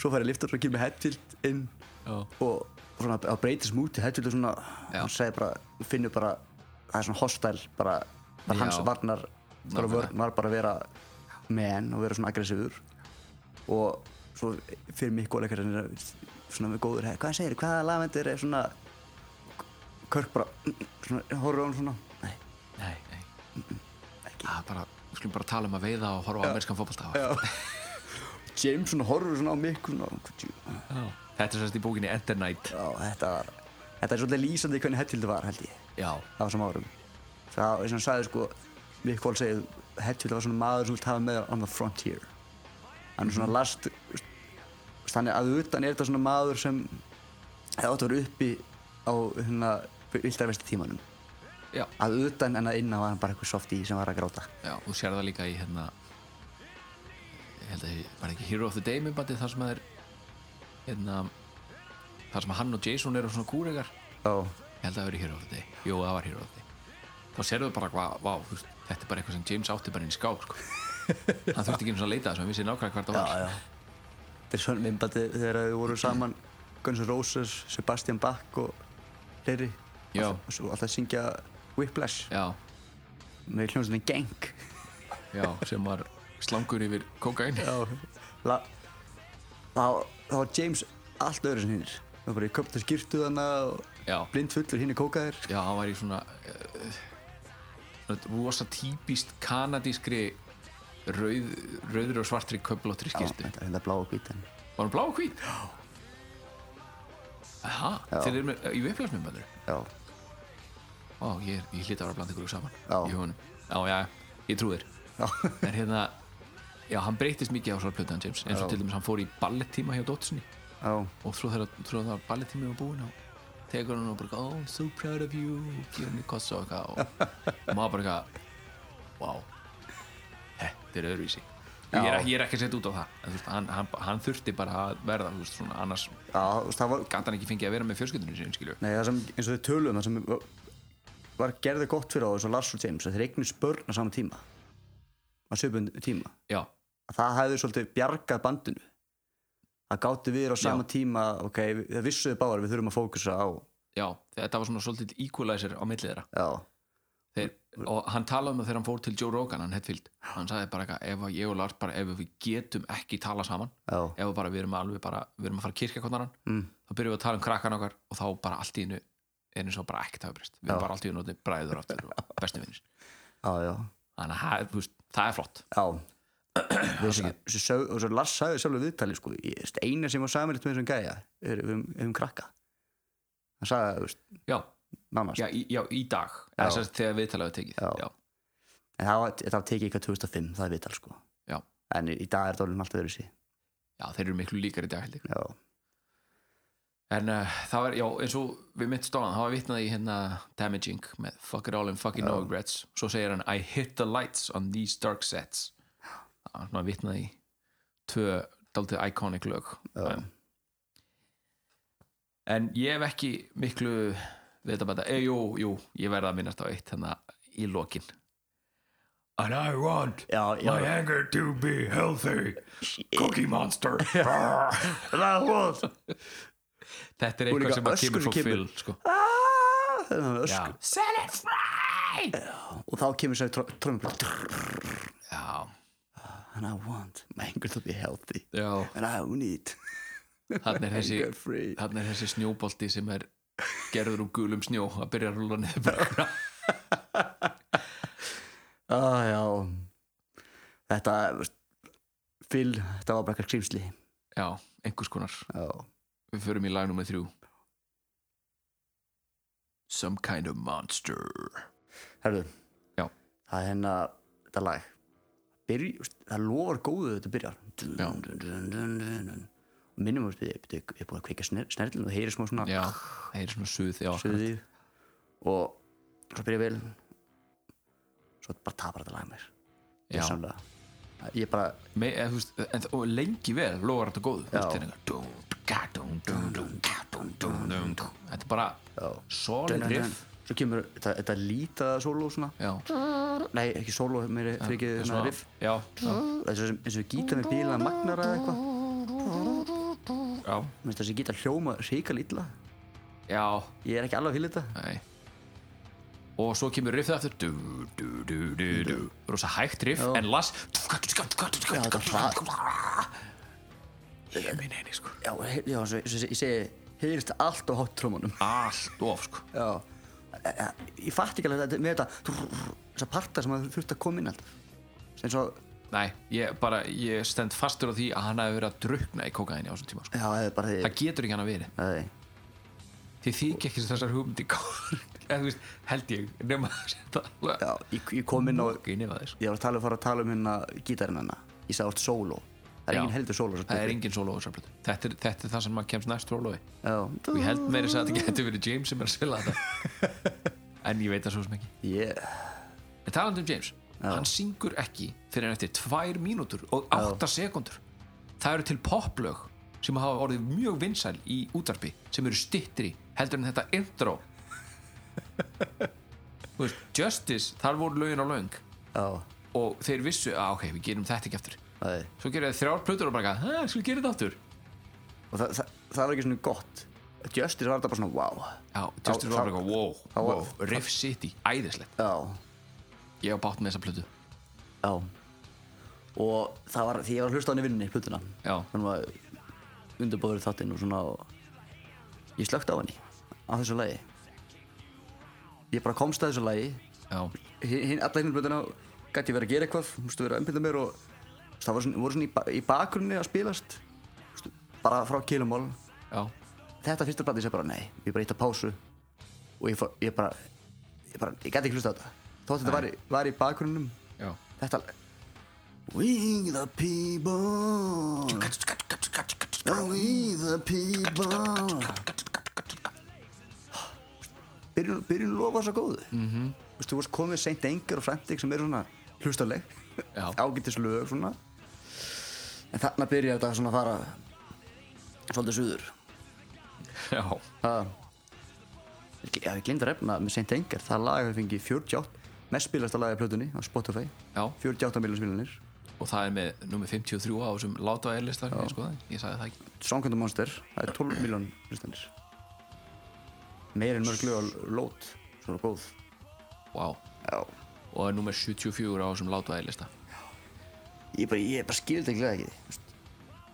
[SPEAKER 7] svo fær ég liftur og kemur Hetfield inn
[SPEAKER 8] Já.
[SPEAKER 7] og, og svona að breytist múti Hetfield og svona, hann segir bara, finnur bara, það er svona hostile, bara, bara hans
[SPEAKER 8] Já.
[SPEAKER 7] varnar, bara
[SPEAKER 8] Nákvæmlega.
[SPEAKER 7] vörn var bara að vera menn og vera svona aggressífur og svo fyrir mig góðleikar svona með góður, "Hey, hvað segir, hvaða lavendur er svona, Körk bara, svona, horfður á hann svona, nei,
[SPEAKER 8] nei, nei það er bara, við skulum bara tala um að veiða og horfa á amerískan fótbolta
[SPEAKER 7] James svona horfur svona á mig svona, hvað djú-
[SPEAKER 8] þetta er sérst í bókinni Enter Night
[SPEAKER 7] já, þetta var þetta er svolítið lýsandi hvernig Hetfield var held ég
[SPEAKER 8] Já,
[SPEAKER 7] á þessum árum það sem hann sagði sko Mick Wall segið Hetfield var svona maður sem vilt hafa með on the frontier hann er svona last þannig að utan er þetta svona maður sem hefði átt að vera uppi á hérna vildarvesti tímanum
[SPEAKER 8] já,
[SPEAKER 7] að utan en að inna var hann bara eitthvað softi sem var að gráta
[SPEAKER 8] já og sér það líka í hérna ég held að ég bara ekki Hero of the Day myndbandi þar sem að er hérna þar sem að hann og Jason eru svona kúregar ég
[SPEAKER 7] og
[SPEAKER 8] held að það veri Hero of the Day, jú það var Hero of the Day þá sérðu bara hvað, vá, þú veist, þetta er bara eitthvað sem James átti bara inn í skák sko. hann þurfti ekki einu sinni að leita þess að hann vissi nákvæmlega hvað það var
[SPEAKER 7] já þetta er svona minnbæti þegar þau voru saman Guns N' Roses, Sebastian Bach og fleiri
[SPEAKER 8] Já.
[SPEAKER 7] og svo alltaf að syngja Whiplash
[SPEAKER 8] já,
[SPEAKER 7] með hljómsveitin Gang
[SPEAKER 8] já, sem var slangur yfir kokain
[SPEAKER 7] Já La, þá, þá var James allt öðru sem hinnir Það var bara í köpta skýrtu þarna og
[SPEAKER 8] Já.
[SPEAKER 7] blind fullur hinn er kókaðir
[SPEAKER 8] Já, hann var í svona uh, svona rosa típist kanadískri rauð, rauður og svartri köflóttri skýrtu
[SPEAKER 7] Þetta er hérna blá og hvít en
[SPEAKER 8] Var hann blá og hvít? Aha, þeir eru með, í viðfélagsmyndbændur
[SPEAKER 7] Já,
[SPEAKER 8] Ó, ég, er- ég hlýta að vera bland ykkur saman
[SPEAKER 7] Já.
[SPEAKER 8] í hugunum Já, já, ég trú þér
[SPEAKER 7] já,
[SPEAKER 8] En hérna, já, hann breytist mikið á svona plötu hann James eins og
[SPEAKER 7] Já.
[SPEAKER 8] til dæmis hann fór í ballettíma hjá dóttusinni
[SPEAKER 7] já,
[SPEAKER 8] og svo þegar svo þegar það var ballettími var búinn þá tekur hann og bara oh, I'm so proud of you og gefur henni kossa og eitthvað og maður bara eitthvað wow þetta er öðruvísi ég er,
[SPEAKER 7] Já.
[SPEAKER 8] ekki- ég er ekki að setja út á það en, þú veist, hann, hann, hann þurfti bara að verða þú veist, svona, annars
[SPEAKER 7] já þú veist, það var
[SPEAKER 8] gæti hann ekki fengið að vera með fjölskyldunum sinni skilju
[SPEAKER 7] Nei, það sem, eins og þau töluðum það sem var- var gerðið gott fyrir á þessu Lars og James að þeir eignist börn á sama tíma á söpum tíma
[SPEAKER 8] já,
[SPEAKER 7] að það hefði svolítið bjargað bandinu að gáttu við á sama tíma ok, við- það vissuðu báðar við þurfum að fókusa á
[SPEAKER 8] já, þetta var svona svolítið equalizer á milli þeirra
[SPEAKER 7] já,
[SPEAKER 8] Þeir, og hann talaði um það þegar hann fór til Joe Rogan hann Hetfield, hann sagði bara eitthvað ef að ég og Lars bara, ef við getum ekki tala saman
[SPEAKER 7] já,
[SPEAKER 8] ef við bara, við erum alveg bara, við erum að fara að kirkja konar hann,
[SPEAKER 7] Mm.
[SPEAKER 8] þá byrjum við að tala um krakkan okkar og þá bara allt í einu er eins og bara ekkert hafa breyst, við erum bara allt í einu orðnir bræður aftur og bestu vinnir
[SPEAKER 7] já, já
[SPEAKER 8] þannig að það- þú veist, það er flott
[SPEAKER 7] Já Þessi, þessi, sög- og svo Lars sagði sjálfur í viðtali sko, ég- veist, eina sem var samanlegt með þessum gæja er ef um, ef um krakka hann sagði það,
[SPEAKER 8] já,
[SPEAKER 7] nánast
[SPEAKER 8] já, í, já, í dag já. Þess, þegar við talaðu tekið
[SPEAKER 7] Já.
[SPEAKER 8] Já,
[SPEAKER 7] en það, var- það tekið eitthvað 2005, það er viðtal sko.
[SPEAKER 8] já.
[SPEAKER 7] en í í dag er það orðin allt öðru sí
[SPEAKER 8] já, þeir eru miklu líkar í dag held ég
[SPEAKER 7] já,
[SPEAKER 8] en uh, það var, já, eins og við mitt stóðan það var vitnað í hérna Damaging með Fuck it all and fucking no regrets svo segir hann I hit the lights on these dark sets það var svona vitnað í tvö daldið iconic lög en, en ég hef ekki miklu við þetta bara, eh, jú, jú ég verða að minnast á eitt hérna í lokin And I want
[SPEAKER 7] já, já.
[SPEAKER 8] my anger to be healthy Cookie Monster
[SPEAKER 7] það var
[SPEAKER 8] Þetta er
[SPEAKER 7] Og
[SPEAKER 8] eitthvað
[SPEAKER 7] líka
[SPEAKER 8] sem að kemur
[SPEAKER 7] öskur sem
[SPEAKER 8] frá
[SPEAKER 7] kemur.
[SPEAKER 8] Phil sko.
[SPEAKER 7] Þannig að ösk-
[SPEAKER 8] Já. Set it free
[SPEAKER 7] og þá kemur sér trömmur
[SPEAKER 8] Já,
[SPEAKER 7] and I want my anger to be healthy
[SPEAKER 8] já
[SPEAKER 7] and I need
[SPEAKER 8] Þannig er þessi
[SPEAKER 7] anger free
[SPEAKER 8] Þannig er þessi snjóbolti sem er gerður úr gulum snjó að byrja að rúla niður brekkuna
[SPEAKER 7] ah, já. þetta veist, Phil, þetta var bara eitthvað skrýmsli
[SPEAKER 8] Já, einhvers konar
[SPEAKER 7] já
[SPEAKER 8] Við förum í lag nummer þrjú Some kind of monster
[SPEAKER 7] Herðu,
[SPEAKER 8] Já.
[SPEAKER 7] það er hérna þetta lag Byrj, veist, það lofar góðu þegar þetta byrjar dun,
[SPEAKER 8] Já.
[SPEAKER 7] dun, dun, dun, dun, dun. og minnum við ég, ég er búin að kveika snerlun og heyri smá svona
[SPEAKER 8] Já, það er svona suð Já,
[SPEAKER 7] suði og svo byrja vel svo bara tapar þetta lag mér
[SPEAKER 8] já.
[SPEAKER 7] Gjörsamlega. ég bara,
[SPEAKER 8] Me, eða, þú veist, en, og lengi vel lofar þetta góð
[SPEAKER 7] Já.
[SPEAKER 8] Þetta er bara solid
[SPEAKER 7] dun, dun, dun.
[SPEAKER 8] riff
[SPEAKER 7] svo kemur þetta, þetta lítaða sóló svona
[SPEAKER 8] Já,
[SPEAKER 7] nei, ekki sóló, mér er fyrir ekki
[SPEAKER 8] svona-
[SPEAKER 7] riff
[SPEAKER 8] já, já,
[SPEAKER 7] þessu sem- eins og gítar með bíla magnara eða eitthvað
[SPEAKER 8] já,
[SPEAKER 7] Mér finnst þessi gítar hljóma ríka lítla
[SPEAKER 8] já.
[SPEAKER 7] ég er ekki alveg að fylgja þetta
[SPEAKER 8] Nei. og svo kemur riffið aftur du, du, du, du, du. rosa hægt riff en las
[SPEAKER 7] Já, þetta er hra-
[SPEAKER 8] ég minn eini sko
[SPEAKER 7] Já, he- já svo, svo, ég segi heyrist allt á hátt trómunum
[SPEAKER 8] allt of sko
[SPEAKER 7] Já Eh, eh, Ég fatt ekki alveg þetta með þetta þessar partar sem maður þurfti að koma inn alltaf eins og,
[SPEAKER 8] Nei, ég, bara, ég stend fastur á því að hann hafi verið að drukna í kokaðinni á þessum tíma sko.
[SPEAKER 7] já, eða bara því
[SPEAKER 8] það getur ekki hann að verið
[SPEAKER 7] Nei,
[SPEAKER 8] því þykja ekki þessar hugmyndi góðar. eða þú veist, held ég nema að setja alveg
[SPEAKER 7] Já, ég, ég kom inn á
[SPEAKER 8] ekki nefna þess
[SPEAKER 7] Ég var að tala um að fara að tala um hérna gítarinn hérna Ég sagði oft solo Það er
[SPEAKER 8] Já.
[SPEAKER 7] engin heldur solo svo
[SPEAKER 8] það er engin solo á þessar plötu þetta er, þetta er það sem maður kemst næst rólofi
[SPEAKER 7] Já
[SPEAKER 8] og ég held meira að segja að þetta getur verið James sem er að spila þetta en ég veit það svo sem ekki
[SPEAKER 7] Ég
[SPEAKER 8] en talandi um James, hann syngur ekki fyrir en eftir tvær mínútur og átta sekundur það eru til poplög sem hafa orðið mjög vinsæl í útarpi sem eru stittri heldur en þetta intro Þú veist, Justice, þar voru lögin á löng
[SPEAKER 7] Já
[SPEAKER 8] og þeir vissu að ok, við gerum þetta ekki aftur
[SPEAKER 7] Það er
[SPEAKER 8] svo gerir þeir þrjár plötur og bara hæ, skal við gera þetta aftur
[SPEAKER 7] Og það, það, það var ekki svona gott Justice var þetta bara svona wow
[SPEAKER 8] já, Justice
[SPEAKER 7] Þá-
[SPEAKER 8] var bara eitthvað, wow,
[SPEAKER 7] þá-
[SPEAKER 8] wow, Riff City æðislegt,
[SPEAKER 7] Já
[SPEAKER 8] ég var bátt með þessa plötu
[SPEAKER 7] Já Og það var, því ég var að hlusta á hann í vinnunni, plötuna
[SPEAKER 8] Já.
[SPEAKER 7] Þannig var undirbúður þáttinn og svona og Ég slökkt á henni Á þessu lagi Ég bara komst að þessu lagi
[SPEAKER 8] já,
[SPEAKER 7] hin, hin- alla hinn blöndina gæti ég verið að gera eitthvað, mústu verið að umbynda mér og þú veist, það var svona, voru svona í, ba- í bakgrunni að spilast mústu, bara frá kilumál
[SPEAKER 8] já,
[SPEAKER 7] þetta fyrsta blandi sem bara nei, ég bara eitt að pásu og ég, fór, ég bara ég bara, ég gæti ekki hlusta á þetta þótt þetta var, í- var í bakgrunnum
[SPEAKER 8] já
[SPEAKER 7] þetta We the people We the people Byrjun, byrjun lofa svo góðu mm -hmm. Þú veist komið seint engar og fremtig sem eru svona hlustaleg
[SPEAKER 8] Já.
[SPEAKER 7] ágætis lög svona en þarna byrjar þetta svona að fara svolítið suður
[SPEAKER 8] Já,
[SPEAKER 7] Það Já, ég glinda refna með seint engar það lag hefur fengið 48 mest spilasta lagið á plötunni á Spotify
[SPEAKER 8] já,
[SPEAKER 7] 48 miljón spilanir
[SPEAKER 8] og það er með nummer 53 á þessum láta eðlistar, ég sko það, ég sagði það ekki
[SPEAKER 7] Songkjöndum Monster, það er 12 miljón hlustanir Meir en mörg lög á lót Svo er það góð
[SPEAKER 8] wow.
[SPEAKER 7] Já
[SPEAKER 8] og er nummer 74 á þessum láta eðlista
[SPEAKER 7] Ég bara, ég bara skil þetta ekki lega ekki þú veist.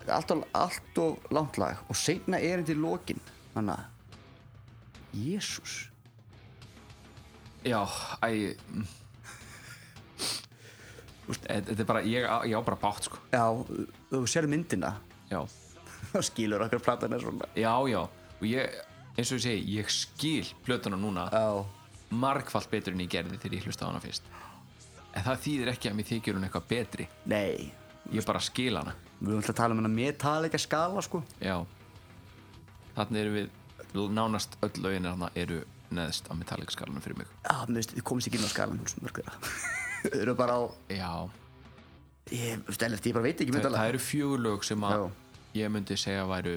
[SPEAKER 7] Þetta er allt of, allt of langt lag Og seinna er þetta í lokin Þannig að Jésús
[SPEAKER 8] Já, æ mm. Þetta þetta er bara, ég, á- ég á bara bátt sko
[SPEAKER 7] Já, ef þú sér myndina
[SPEAKER 8] Já,
[SPEAKER 7] Þá skilur okkar platan er svona
[SPEAKER 8] já, já og ég, eins og ég segi, ég skil plötuna núna
[SPEAKER 7] Já
[SPEAKER 8] margfalt betur en ég gerði þegar ég hlusta á hana fyrst en það þýðir ekki að mér þykir hún eitthvað betri
[SPEAKER 7] Nei
[SPEAKER 8] ég bara skil hana
[SPEAKER 7] Við höfum alltaf að tala um hennar Metallica skala sko
[SPEAKER 8] Já Þannig erum við Nánast öll lögin þarna eru neðst á Metallica skalanum fyrir mig
[SPEAKER 7] Já, mér veist, þið komist ekki inn á skalan þú veist, Mörg þeirra Þau eru bara á
[SPEAKER 8] Já
[SPEAKER 7] Ég, þú veist, ellert, ég bara veit ekki
[SPEAKER 8] Þa,
[SPEAKER 7] myndalega
[SPEAKER 8] Það eru fjögur lög sem að
[SPEAKER 7] Já.
[SPEAKER 8] ég myndi segja væru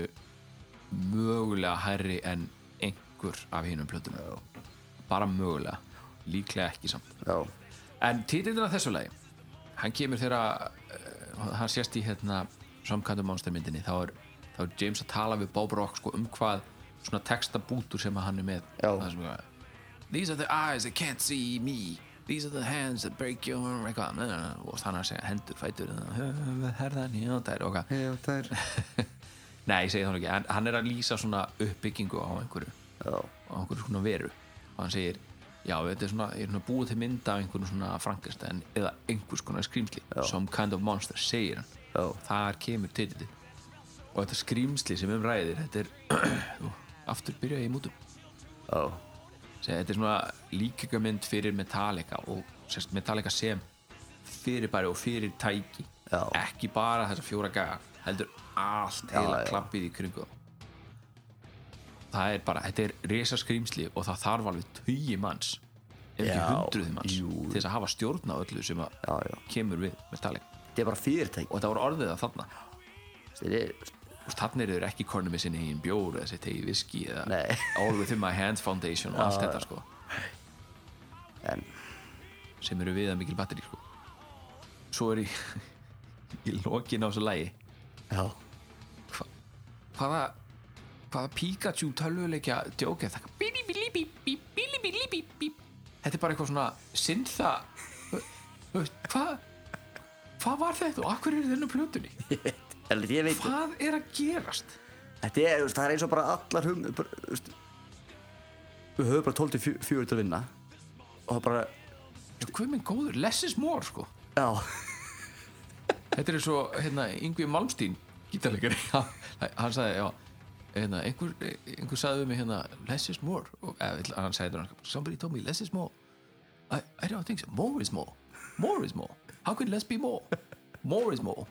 [SPEAKER 8] mögulega hærri en einhver af hinnum plötum Já. Bara mögulega Líklega ekki samt
[SPEAKER 7] Já
[SPEAKER 8] En títillin af þessu lagi hann kemur þegar uh, hann sést í hérna samkvæmdum mánstermyndinni þá er, þá er James að tala við Bob Rock sko, um hvað svona textabútur sem að hann er með
[SPEAKER 7] Já.
[SPEAKER 8] Það sem að, These are the eyes that can't see me These are the hands that break your eitthvað, na, na, na, og hann er að segja hendur, fætur hérna. herðan, já, það er okkar
[SPEAKER 7] Já, það er
[SPEAKER 8] Nei, ég segi það nú ekki, hann, hann er að lýsa svona uppbyggingu á einhverju
[SPEAKER 7] Já,
[SPEAKER 8] á einhverju svona veru og hann segir, já þetta er svona, ég er svona búið til mynda af einhverju svona Frankenstein eða einhvers konar skrýmsli, some kind of monster segir hann,
[SPEAKER 7] Já.
[SPEAKER 8] þar kemur titillin og þetta skrýmsli sem um ræðir þetta er, Ú, aftur byrja ég í mútum
[SPEAKER 7] já,
[SPEAKER 8] Segir, þetta er svona líkingamynd fyrir Metallica og sérst, Metallica sem fyrirbæri og fyrir tæki
[SPEAKER 7] Já.
[SPEAKER 8] ekki bara þessa fjóra gaga heldur allt heila
[SPEAKER 7] já.
[SPEAKER 8] klappið í kringu þá. það er bara, þetta er resa skrýmsli og það þarf alveg tugi manns ef ekki
[SPEAKER 7] Já,
[SPEAKER 8] hundruði manns
[SPEAKER 7] jú.
[SPEAKER 8] til þess að hafa stjórn á öllu sem að
[SPEAKER 7] Já, já.
[SPEAKER 8] kemur við Metallica
[SPEAKER 7] þetta er bara fyrirtæk
[SPEAKER 8] og þetta voru orðið að þarna
[SPEAKER 7] Þetta er,
[SPEAKER 8] Úst, þarna eru þeir ekki konum með sinni einn bjór eða sitt eigi viski eða
[SPEAKER 7] Nei.
[SPEAKER 8] All With My Hand Foundation og allt þetta sko
[SPEAKER 7] en
[SPEAKER 8] sem eru viða mikil batteri sko. svo er í í lokin á þessu lægi
[SPEAKER 7] Já,
[SPEAKER 8] hva, hvaða hvaða Pikachu tölvuleikja djókið er þetta Bíli, bíli, bí, bí, bíli, bíli, bí, bí. þetta er bara eitthvað svona syntha Þú veist, hvað hvað var þetta og akkur er þennu hérna plötunni
[SPEAKER 7] ellert, ég veit
[SPEAKER 8] hvað er að gerast
[SPEAKER 7] Þetta er, þú veist, það er eins og bara allar hum bara, þú veist, Við höfum bara 12 til 4 til að vinna Og það bara,
[SPEAKER 8] Já, hvað minn góður, less is more sko
[SPEAKER 7] já,
[SPEAKER 8] Þetta er svo, hérna, Yngvi Malmstín gítarleikari, hann hann sagði, já hérna, einhver, einhver sagði við mig hérna less is more og eða, vill- hann sagði hann, somebody told me less is more I, I don't think so, more is more more is more, how can less be more more is more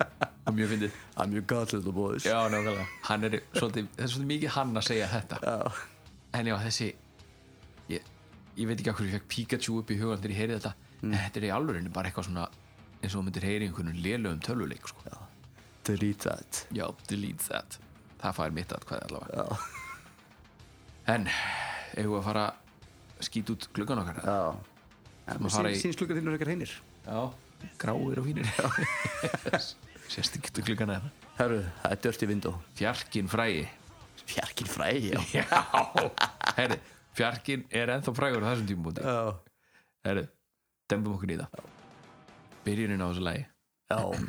[SPEAKER 8] og mjög fyndið
[SPEAKER 7] I'm your god little boys
[SPEAKER 8] já, nákvæmlega Hann er svolítið, það er svolítið mikið hann að segja þetta já. en já, þessi ég, ég veit ekki af hverju ég fekk Pikachu upp í hugan þegar ég heyrði þetta þetta er í alvörinu bara eitthvað svona eins og þú myndir heyri í einhvernum lélegum tölvuleik sko. já.
[SPEAKER 7] Delete that
[SPEAKER 8] Já, delete that Það fær mitt að hvað allavega
[SPEAKER 7] Já.
[SPEAKER 8] En, eigum við að fara að skýta út gluggan okkar eða?
[SPEAKER 7] Já
[SPEAKER 8] Má fara í-
[SPEAKER 7] Sýn slukka þínur ekkert heinir
[SPEAKER 8] Já, gráir og fínir Sérst ekki út gluggan eða
[SPEAKER 7] Herru, það er dörti vindó
[SPEAKER 8] Fjarkin frægi
[SPEAKER 7] Fjarkin fræði já
[SPEAKER 8] Já, herri, fjarkin er ennþá frægur á þessum tímabúti
[SPEAKER 7] Já
[SPEAKER 8] Herri, dembum okkur í það Byrjunin á þessu lagi
[SPEAKER 7] Já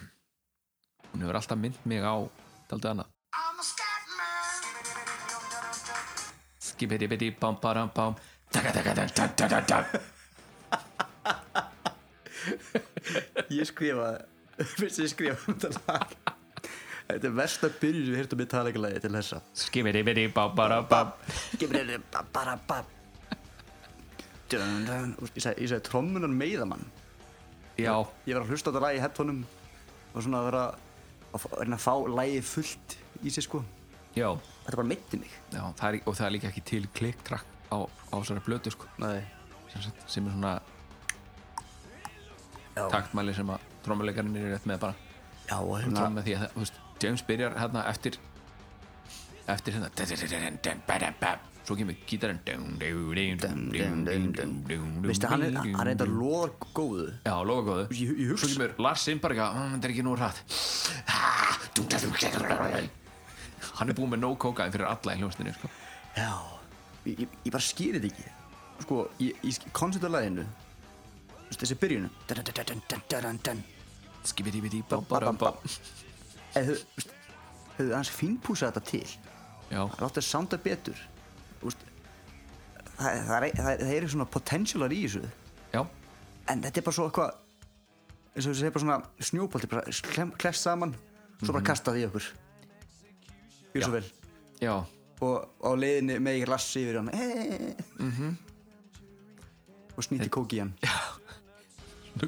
[SPEAKER 8] Hún hefur alltaf mynd mig á Daldið annað Skipiti biti Bám baram bám Taka taka taka taka taka taka
[SPEAKER 7] Ég skrifa Fyrst ég skrifa um þetta lag Þetta er versta byrjun sem við hirtum við talegulegi til þessa
[SPEAKER 8] Skipiti biti Bám baram bám
[SPEAKER 7] Gefur þér ba- bara ba- Dun, dun. Úst, Ég sagði, ég sagði trommunar meiða mann
[SPEAKER 8] Já,
[SPEAKER 7] Ég var að hlusta á þetta lag í headphoneum Og svona að vera að fá- reyna að fá lagið fullt í sig sko
[SPEAKER 8] já,
[SPEAKER 7] Þetta bara meitti mig
[SPEAKER 8] já það er, og það er líka ekki til klikktrack á, á þessari blötu sko,
[SPEAKER 7] Nei
[SPEAKER 8] sem, sagt- sem er svona
[SPEAKER 7] Já.
[SPEAKER 8] taktmæli sem að trommuleikarinn er rétt með bara
[SPEAKER 7] Já, og hérna
[SPEAKER 8] trommu því að það, þú veist, James byrjar hérna eftir eftir hérna svo kemur gítarinn
[SPEAKER 7] Veistu,
[SPEAKER 8] Veistu,
[SPEAKER 7] hann er, hann er þetta loðar góðu
[SPEAKER 8] Já, lofa góðu
[SPEAKER 7] Ég- ég hugsa-
[SPEAKER 8] Svo kemur Lars inn bara eitthvað "Mm, Þetta er ekki nú rætt Hann er búinn með no cocaine fyrir alla í hljómsninu sko.
[SPEAKER 7] Já Ég, ég, ég bara skýri þetta ekki Sko, ég, ég konceptu að læginu Veistu, Þessi byrjun Dun, dun, dun, dun, dun, dun.
[SPEAKER 8] Skibidi-bidi bá-bá-bá
[SPEAKER 7] Ef þau- veistu, Hefðu hans fínpúsað þetta til
[SPEAKER 8] Já,
[SPEAKER 7] Láttu það sounda betur Úst, það, það, er, það, er, það eru svona potentialar í þessu
[SPEAKER 8] já,
[SPEAKER 7] En þetta er bara svo eitthvað eins og þessi er bara svona snjópolti bara klem, klest saman, svo bara kastað í okkur Gjör svo vel
[SPEAKER 8] já
[SPEAKER 7] og á leiðinni með ég rassi yfir hann mm -hmm. og snýtti kóki í hann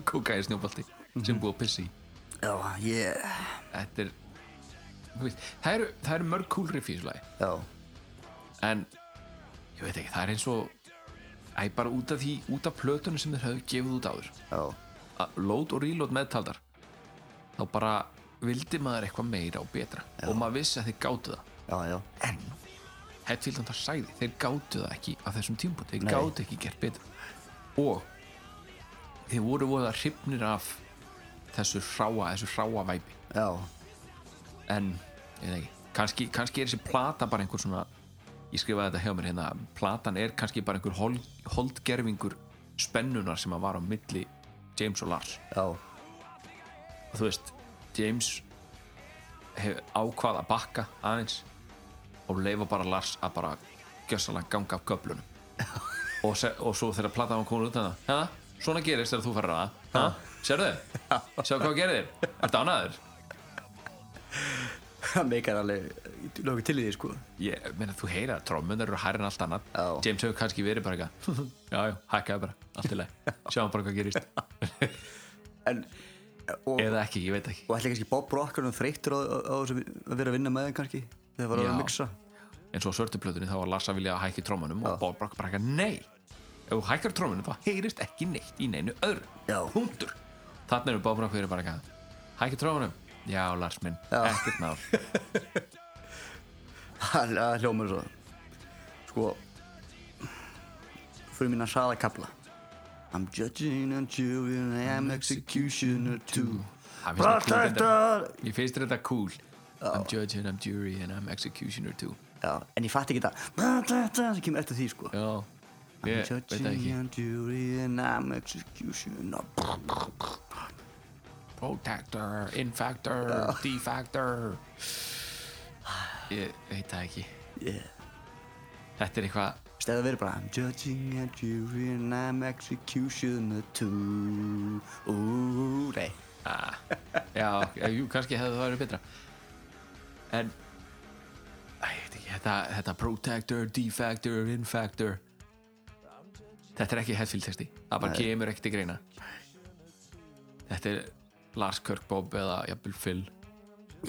[SPEAKER 8] Kokain snjóbalti sem er búið að pissa í
[SPEAKER 7] já, ég
[SPEAKER 8] Þetta er þú veist, Það eru, það eru mörg cool riff í þessu lagi
[SPEAKER 7] já,
[SPEAKER 8] En Ég veit ekki, það er eins og Æ, bara út af því, út af plötunum sem þeir höfðu gefið út áður
[SPEAKER 7] já,
[SPEAKER 8] að load og reload meðtaldar þá bara vildi maður eitthvað meira og betra og maður vissi að þeir gátu það
[SPEAKER 7] já, já
[SPEAKER 8] en Hetfield hann það sagði þeir gátu það ekki að þessum tímpúnt þeir
[SPEAKER 7] Nei.
[SPEAKER 8] gátu ekki gert betra og þeir voru voða hrifnir af þessu hráa, þessu hráa væpi
[SPEAKER 7] já,
[SPEAKER 8] en, ég veit ekki, kannski, kannski er þessi plata bara einhver svona ég skrifaði þetta hjá mér hérna, platan er kannski bara einhver hol, holdgerfingur spennunar sem að var á milli James og Lars
[SPEAKER 7] já,
[SPEAKER 8] og þú veist, James hefur ákvað að bakka aðeins og leifa bara Lars að bara gjössalega ganga af göflunum og, se- og svo þegar platan hann komur út að það svona gerist þegar þú ferð að það sérðu, sérðu hvað gerir þér ertu ánaður
[SPEAKER 7] það meikar alveg lóku til í því sko
[SPEAKER 8] ég meina þú heyra það, trómmunar eru hærri en allt annað
[SPEAKER 7] Já.
[SPEAKER 8] James hefur kannski verið bara eitthvað já, já, hækkaði bara, allt í lagi sjáum bara hvað gerist
[SPEAKER 7] en, og,
[SPEAKER 8] eða ekki, ég veit ekki
[SPEAKER 7] og ætli kannski Bob Rocker hann þreyttur á, á, á þessu að vera að vinna með þeim kannski þegar var að vera
[SPEAKER 8] Já.
[SPEAKER 7] að mixa
[SPEAKER 8] eins og á svörtuplötunni þá var Lars að vilja að hækja í trómanum og Bob Rock bara ekki nei ef þú hækkar trómanum þá heyrist ekki neitt í neinu öðru
[SPEAKER 7] Já.
[SPEAKER 8] hundur þannig er Bob Rock verið bara ekki hækja trómanum já Lars minn ekkert mál
[SPEAKER 7] það það hljómar svo sko fyrir mín að saða kapla I'm judging on you and I'm executioner too
[SPEAKER 8] Ha, mér finnst þetta cool
[SPEAKER 7] Protector
[SPEAKER 8] þetta- mér finnst þetta cool I'm judge and I'm jury and I'm executioner too
[SPEAKER 7] Já, en ég fatt ekki það Protector sem kemur eftir því sko
[SPEAKER 8] já
[SPEAKER 7] I'm
[SPEAKER 8] ég veit það
[SPEAKER 7] judging
[SPEAKER 8] ekki
[SPEAKER 7] on jury and I'm executioner
[SPEAKER 8] protector infactor defactor ég veit það ekki
[SPEAKER 7] Yeah
[SPEAKER 8] þetta er eitthvað
[SPEAKER 7] Stæða verið bara I'm judging on jury and I'm executioner too Úúúú, nei
[SPEAKER 8] Já, já, jú, kannski hefði það verið betra En Æ, þetta, þetta protector, defactor, infactor Þetta er ekki Hetfield texti Það bara kemur ekkert í greina Þetta er Lars Kirk Bob eða jafnvel Phil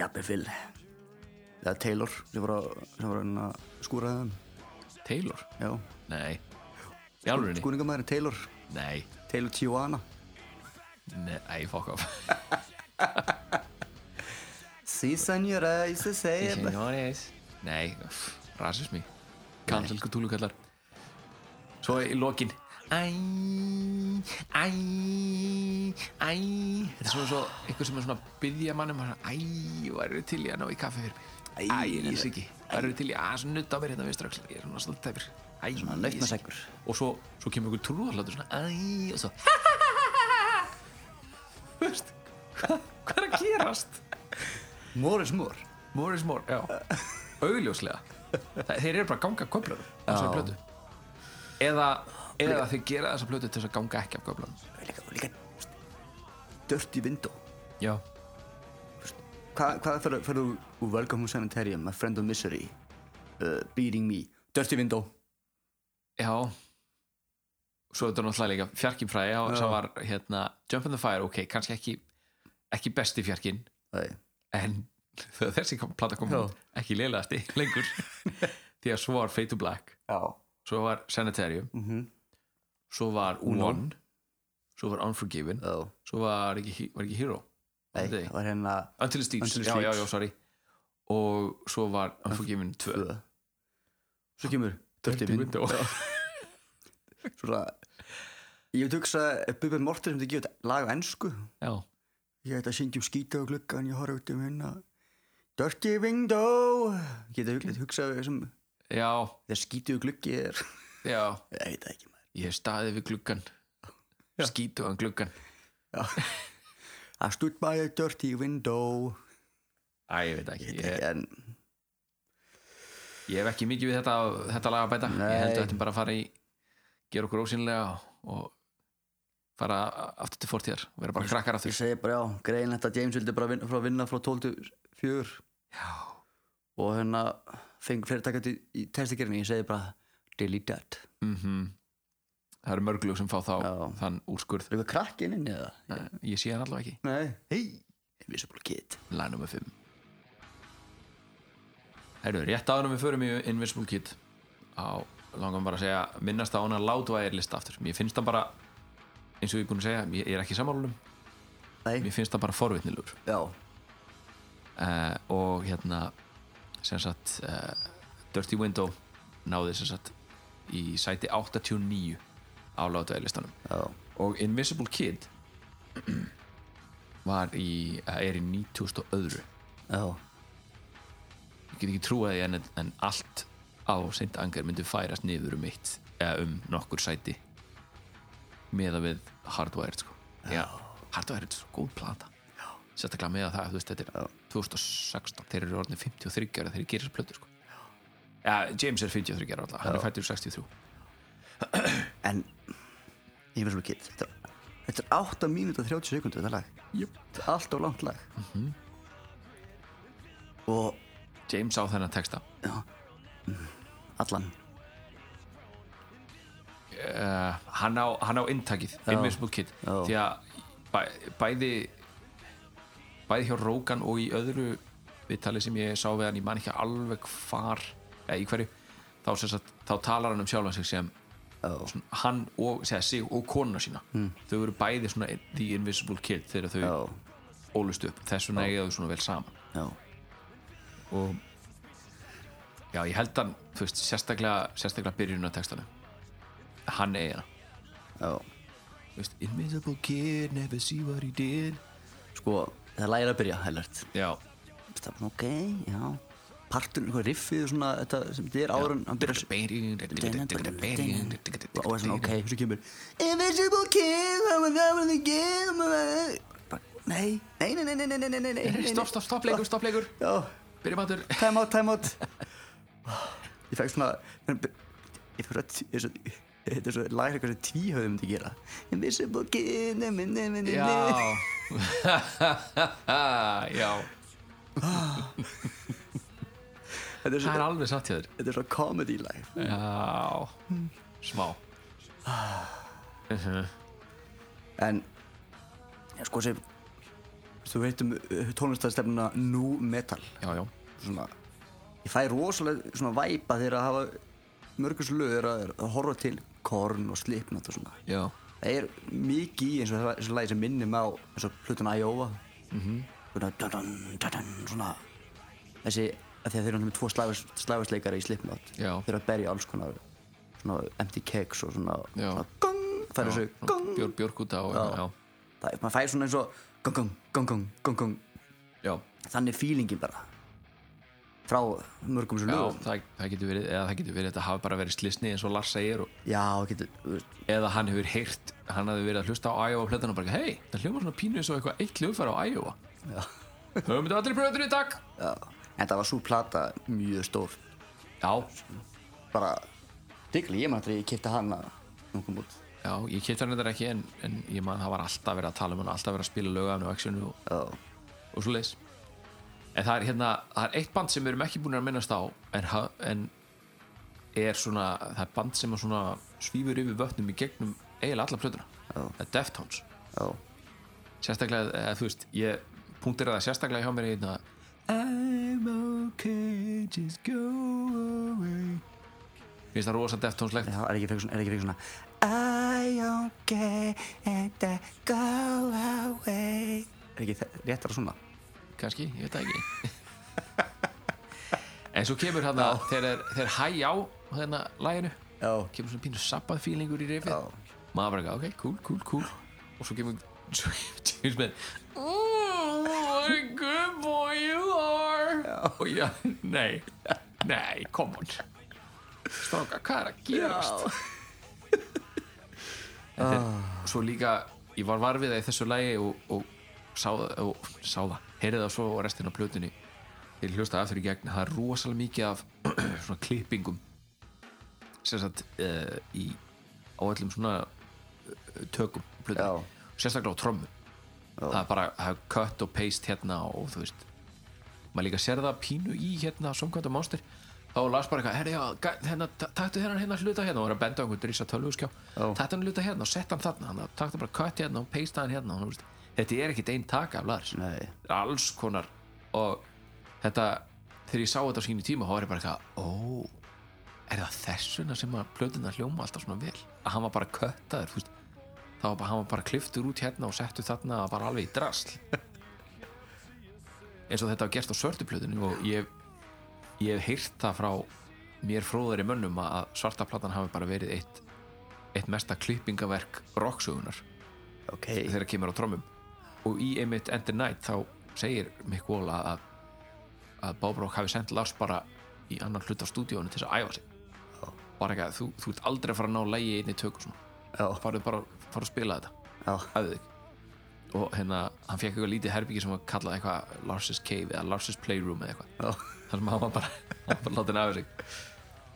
[SPEAKER 7] Jabbi Phil eða Taylor sem var að, sem var að reyna að skúra þeim
[SPEAKER 8] Taylor?
[SPEAKER 7] já,
[SPEAKER 8] Nei Í alvörinni?
[SPEAKER 7] skúningamæðurinn Taylor
[SPEAKER 8] Nei,
[SPEAKER 7] Taylor Tijuana
[SPEAKER 8] nei, fuck off
[SPEAKER 7] Sí senjora, ég sé segja
[SPEAKER 8] Senores Nei, pff, rasismi Kansel Cthulhu kallar Svo í lokin Æ, æ, æ Þetta er svona svo einhver sem er svona um að byggja mannum og svona, Æ, væri til í að ná í kaffi fyrir mig Æ, ég nýs ekki Væri til í að svona nutta á mér hérna við strax Ég er svona svolítið tæpir Æ,
[SPEAKER 7] Svona
[SPEAKER 8] ég sé ekki.
[SPEAKER 7] nautnaseggur.
[SPEAKER 8] Og svo, svo kemur einhver trúðarlátur svona Æ, og svo Þú veist, hvað hvað er að gerast?
[SPEAKER 7] Morris Moore
[SPEAKER 8] More is more, já augljóslega, Þa- þeir eru bara að ganga af köflunum, þessari plötu eða, eða þeir gera þessa plötu til þess að ganga ekki af köflunum
[SPEAKER 7] líka, líka Dirty Window
[SPEAKER 8] já,
[SPEAKER 7] Hva, Hvað fyrir, fyrir úr Welcome Home Sanitarium My Friend of Misery uh, Beating Me Dirty Window
[SPEAKER 8] já svo þetta er náttúrulega líka fjarkinn fræði já, sem var hérna, Jump in the Fire, ok, kannski ekki ekki besti fjarkinn
[SPEAKER 7] Æ,
[SPEAKER 8] en þegar þessi kom, plata kom út ekki leilaðasti lengur því að svo var Fade to Black
[SPEAKER 7] Já
[SPEAKER 8] svo var Sanitarium svo var Mhm. Uno svo var Unforgiven
[SPEAKER 7] Já
[SPEAKER 8] svo var ekki, var ekki Hero
[SPEAKER 7] Nei,
[SPEAKER 8] Nei.
[SPEAKER 7] það var hérna
[SPEAKER 8] Until it sleeps,
[SPEAKER 7] Until it
[SPEAKER 8] já, já,
[SPEAKER 7] Sleeps.
[SPEAKER 8] já, sorry og svo var Unforgiven 2
[SPEAKER 7] Tvö. Svo kemur Dirty Window Svona Ég veit hugsa Bubba Morten sem þið gefið lag á ennsku
[SPEAKER 8] já,
[SPEAKER 7] Ég ætla að syngja um skýta á gluggan Ég horf út um hérna Dirty Window Geta hugsað um hugsa sem
[SPEAKER 8] já,
[SPEAKER 7] Þegar skýtu gluggi er
[SPEAKER 8] já
[SPEAKER 7] Ég veit það ekki maður
[SPEAKER 8] ég hef staðið við gluggan skítuðan gluggan
[SPEAKER 7] I stood by a dirty window
[SPEAKER 8] Æ, ég veit ekki, ég,
[SPEAKER 7] En
[SPEAKER 8] ég hef ekki mikið við þetta, þetta lag að bæta ég held
[SPEAKER 7] Nei.
[SPEAKER 8] að þetta bara að fara í gera okkur ósynlega og fara aftur til fortíðar og vera bara
[SPEAKER 7] ég
[SPEAKER 8] krakkar aftur
[SPEAKER 7] segi bara já Greinlegt að James vildi bara vinna, frá að vinna frá 12 til 4
[SPEAKER 8] já,
[SPEAKER 7] Og hérna Fengur fleiri takkandi í testakirni Ég segi bara Delete that
[SPEAKER 8] Mhm. það eru mörglu sem fá þá
[SPEAKER 7] Já.
[SPEAKER 8] þann úrskurð
[SPEAKER 7] Er eitthvað krakkin inn í það?
[SPEAKER 8] ég sé hann allavega ekki,
[SPEAKER 7] Nei Hei Invisible Kid
[SPEAKER 8] lag nummer 5 Herru, rétt áðurum við förum í Invisible Kid á, langan bara að segja minnast á hana látvæðir lista aftur mér finnst það bara, eins og ég er búin að segja ég er ekki sammálunum,
[SPEAKER 7] Nei
[SPEAKER 8] mér finnst það bara forvitnilegur
[SPEAKER 7] Já
[SPEAKER 8] uh, og hérna sem sagt uh, Dirty Window náði sem sagt í sæti 89 á látvæðir listanum
[SPEAKER 7] Já
[SPEAKER 8] og Invisible Kid var í, eh, er í 90 öðru
[SPEAKER 7] Já
[SPEAKER 8] ég get ekki trúið því en, en allt á Saint Anger myndi færast niður um eitt eða um nokkur sæti með að við Hardwired sko. Já, Hardwired er svo góð plata sérstaklega með að það, þú veist, þetta er 2016, þeir eru orðinni 53 ára þegar þeir gerir þessar plötur sko. Já, James er 53 ára alltaf, hann er fættur 63
[SPEAKER 7] En Invisible Kid Þetta er, þetta er 8 mínúta 30 sekundu þetta lag
[SPEAKER 8] Jöp.
[SPEAKER 7] Þetta er allt of langt lag
[SPEAKER 8] Mhm.
[SPEAKER 7] Og
[SPEAKER 8] James á þennan texta
[SPEAKER 7] allan
[SPEAKER 8] uh, hann, á, hann á inntakið Invisible Kid
[SPEAKER 7] Já.
[SPEAKER 8] því að bæ, bæði bæði hjá Rógan og í öðru viðtali sem ég sá við hann ég man ekki alveg hvar eða í hverju þá, sem sagt, þá talar hann um sjálfan sig sem
[SPEAKER 7] Já.
[SPEAKER 8] svona, hann og, segja, sig og konuna sína mm. þau eru bæði svona The Invisible Kid þegar þau
[SPEAKER 7] Hmm. Já.
[SPEAKER 8] ólust upp þess vegna eiga þau svona vel saman
[SPEAKER 7] Já
[SPEAKER 8] og já, ég held hann, þú veist, sérstaklega sérstaklega byrjunum á textanum hann eigi hana
[SPEAKER 7] Já
[SPEAKER 8] Þú veist, Invisible kid, never see what he did
[SPEAKER 7] Sko Það lægir að byrja Hælert
[SPEAKER 8] Já,
[SPEAKER 7] Það er ok Já Partur eitthvað riffið og svona Þetta sem þetta er áður en hann byrjar Og það er svona ok Svo kemur Invisible King I'm a devil in the game I'm a- Bara, Nei Nei, nei, nei, nei, nei, nei, nei, nei, nei, nei
[SPEAKER 8] Stopp, stopp, stopp, leikur, stopp, leikur
[SPEAKER 7] Já
[SPEAKER 8] Byrjum áttur
[SPEAKER 7] time out, time out ég fekk svona ég fekk svona þetta er svo lagar eitthvað sem tvíhauðum myndi gera invisible kid nemi, nemi, nemi.
[SPEAKER 8] Já Já
[SPEAKER 7] Þetta er
[SPEAKER 8] það er
[SPEAKER 7] svo,
[SPEAKER 8] alveg satt hjá þér
[SPEAKER 7] þetta er svo comedy life
[SPEAKER 8] Já, smá
[SPEAKER 7] En en sko sem Þú veit um tónlistastefnuna Nu Metal
[SPEAKER 8] Já, já,
[SPEAKER 7] svona, Ég fæ rosalega svona væpa þegar að hafa mörgus lög þegar að, að horfa til Korn og Slipknot og svona
[SPEAKER 8] já
[SPEAKER 7] Það er mikið í eins og þessu lagi sem minnum á eins og plötun Æjóa
[SPEAKER 8] Mhm.
[SPEAKER 7] svona, dun, dun, dun, dun, svona þessi af því að þeir eru með tvo slæfarsleikara í Slipknot
[SPEAKER 8] Já.
[SPEAKER 7] þeir eru að berja alls konar svona empty cakes og svona,
[SPEAKER 8] Já.
[SPEAKER 7] svona gong, fær þessu gong
[SPEAKER 8] Björg, Björg út á
[SPEAKER 7] Já.
[SPEAKER 8] Já,
[SPEAKER 7] það, maður fær svona eins og gong, gong, gong, gong, gong, gong
[SPEAKER 8] já,
[SPEAKER 7] þannig feelingin bara frá mörgum svo
[SPEAKER 8] já
[SPEAKER 7] lögum
[SPEAKER 8] það, það getur verið eða það getur verið að þetta hafi bara verið slisni eins og Lars segir og,
[SPEAKER 7] já, getur, þú veist,
[SPEAKER 8] eða hann hefur heyrt, hann hafi verið að hlusta á Iowa plötan og bara, hei, það hljóma svona pínu eins og eitthvað eitt hljóðfæra á Iowa Höfum þetta allir plötur í dag
[SPEAKER 7] já en það var svo plata mjög stór
[SPEAKER 8] Já,
[SPEAKER 7] bara, digli, ég maður þegar ég kipta hana nokkuð mútt
[SPEAKER 8] já, ég keitt hann þetta ekki en, en ég man það var alltaf verið að tala um hann alltaf verið að spila lögaðan og actionu og,
[SPEAKER 7] já
[SPEAKER 8] og svo leis en það er hérna, það er eitt band sem við erum ekki búin að minnast á en, ha- en er svona, það er band sem er svona svífur yfir vötnum í gegnum eiginlega alla plötuna, það er Deftones
[SPEAKER 7] Já,
[SPEAKER 8] sérstaklega, eða þú veist, ég punktir það sérstaklega hjá mér í hérna I'm okay, just go away Mér finnst það rosa Deftoneslegt
[SPEAKER 7] já er ekki frekar svona, er ekki frekar svona I don't care and I go away Er ekki þe- réttara svona?
[SPEAKER 8] kannski, ég veit það ekki en svo kemur hann að þegar þeir- þeir hæja á hérna, þennan læginu
[SPEAKER 7] Já
[SPEAKER 8] kemur svona pínu sabbað fílingur í rifið
[SPEAKER 7] Já.
[SPEAKER 8] maður bara, eitthvað, ok, cool, cool, cool og svo kemur svo kemur James með Ooh, what a good boy you are og ég, nei nei, come on stráka, hvað er að gerast En þeir- svo líka, ég var varfið í þessu lægi og, og sá það og sá það, heyrið það svo á restin af plötunni þeir hlusta aftur í gegn það er rosalega mikið af svona klippingum sem sagt uh, í á öllum svona eh, tökum plötunni, sérstaklega á trommu það er bara það er cut og paste hérna og þú veist maður líka sér það pínu í hérna Songkvæmta Monster þá las bara eitthvað, herri já, gæ- hérna, ta- taktu þennan hérna hluta hérna og var að benda á einhvern drýsa tölvuskjá taktu hann hluta hérna og sett hann þarna hann taktu bara kött hérna og peista hann hérna og, þú veist, þetta er ekkit einn taka af Lars
[SPEAKER 7] Nei.
[SPEAKER 8] Þetta er alls konar og þetta, þegar ég sá þetta á sínu tíma þá var ég bara eitthvað, ó er það þessuna sem að plötuna hljóma alltaf svona vel, að hann var bara köttaður þú veist, þá var bara, hann var bara kliftur út hérna og settu þarna bara alveg í drasl eins og þetta var gert á svörtuplötunni og ég, ég hef heyrt það frá mér fróðari mönnum að svarta platan hafi bara verið eitt, eitt mesta klippingaverk rocksögunar
[SPEAKER 7] Ok
[SPEAKER 8] þegar það kemur á trommum og í einmitt End the Night þá segir Mick Wall að, að, að Bob Rock hafi sendt Lars bara í annan hlut á stúdíónu til þess að æfa sig bara ekki að þú, þú ert aldrei að fara að ná lægi einni tökum
[SPEAKER 7] Já.
[SPEAKER 8] svona farið bara farið að spila þetta
[SPEAKER 7] Já,
[SPEAKER 8] æfðu þig og hérna, hann fekk eitthvað lítið herbyggi sem var kallað eitthvað Lars's Cave eða Lars's Playroom eða eitthvað
[SPEAKER 7] já
[SPEAKER 8] þar sem hann var bara, hann var bara látið af sig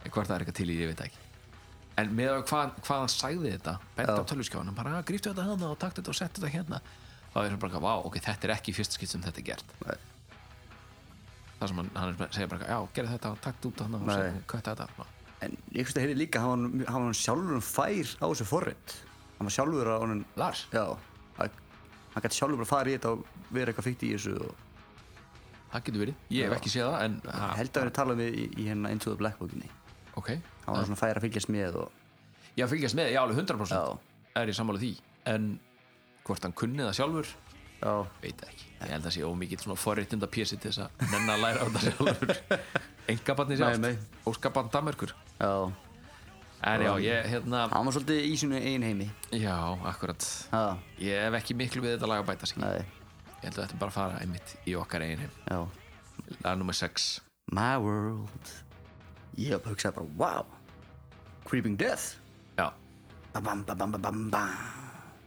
[SPEAKER 8] en hvort það er eitthvað til í, ég veit það ekki en með að hvað, hvað hann sagði þetta benda á tölvskjáðan, hann bara gríftu þetta hana og taktu þetta og settu þetta hérna þá er hann bara, vá, ok, þetta er ekki í fyrsta skipt sem þetta er gert
[SPEAKER 7] Nei.
[SPEAKER 8] þar sem hann, hann er- segir bara, já, gerðu þetta taktu út hana og
[SPEAKER 7] Nei.
[SPEAKER 8] settu- köttu þetta
[SPEAKER 7] En ég finnst að heyri líka hann var- hann var sjálfur um fær á þessu forrið Hann var sjálfur að honum
[SPEAKER 8] Lars,
[SPEAKER 7] Já að- Hann gæti sjálfur bara farið í þetta og verið eitthvað fíkt í þessu og
[SPEAKER 8] það getur verið ég hef ekki séð það, en ah,
[SPEAKER 7] Ég held að verið talað um í, í hérna Into the Black Bookinni
[SPEAKER 8] ok,
[SPEAKER 7] Hann var svona fær að fylgjast með og
[SPEAKER 8] ég fylgjast með, ég alveg 100%
[SPEAKER 7] Já.
[SPEAKER 8] er ég sammála því, en hvort hann kunni það sjálfur
[SPEAKER 7] Já
[SPEAKER 8] veit það ekki, ég held að sé ómikið svona forréttinda pjessi til þess að nenn að læra á þetta sjálfur engabarnir
[SPEAKER 7] Nei, nei.
[SPEAKER 8] sjálft óskabarn damerkur
[SPEAKER 7] Já
[SPEAKER 8] en já, ég hérna
[SPEAKER 7] Hann var svolítið í sínu eigin heimi
[SPEAKER 8] já, akkurat,
[SPEAKER 7] Já
[SPEAKER 8] ég hef ekki miklu við þetta lag að bæta sig,
[SPEAKER 7] Nei
[SPEAKER 8] ég held að þetta bara að fara einmitt í okkar eigin heim,
[SPEAKER 7] Já
[SPEAKER 8] lag nummer 6
[SPEAKER 7] My World Ég hugsaði bara, wow Creeping Death
[SPEAKER 8] já
[SPEAKER 7] ba bam, ba bam, ba bam, ba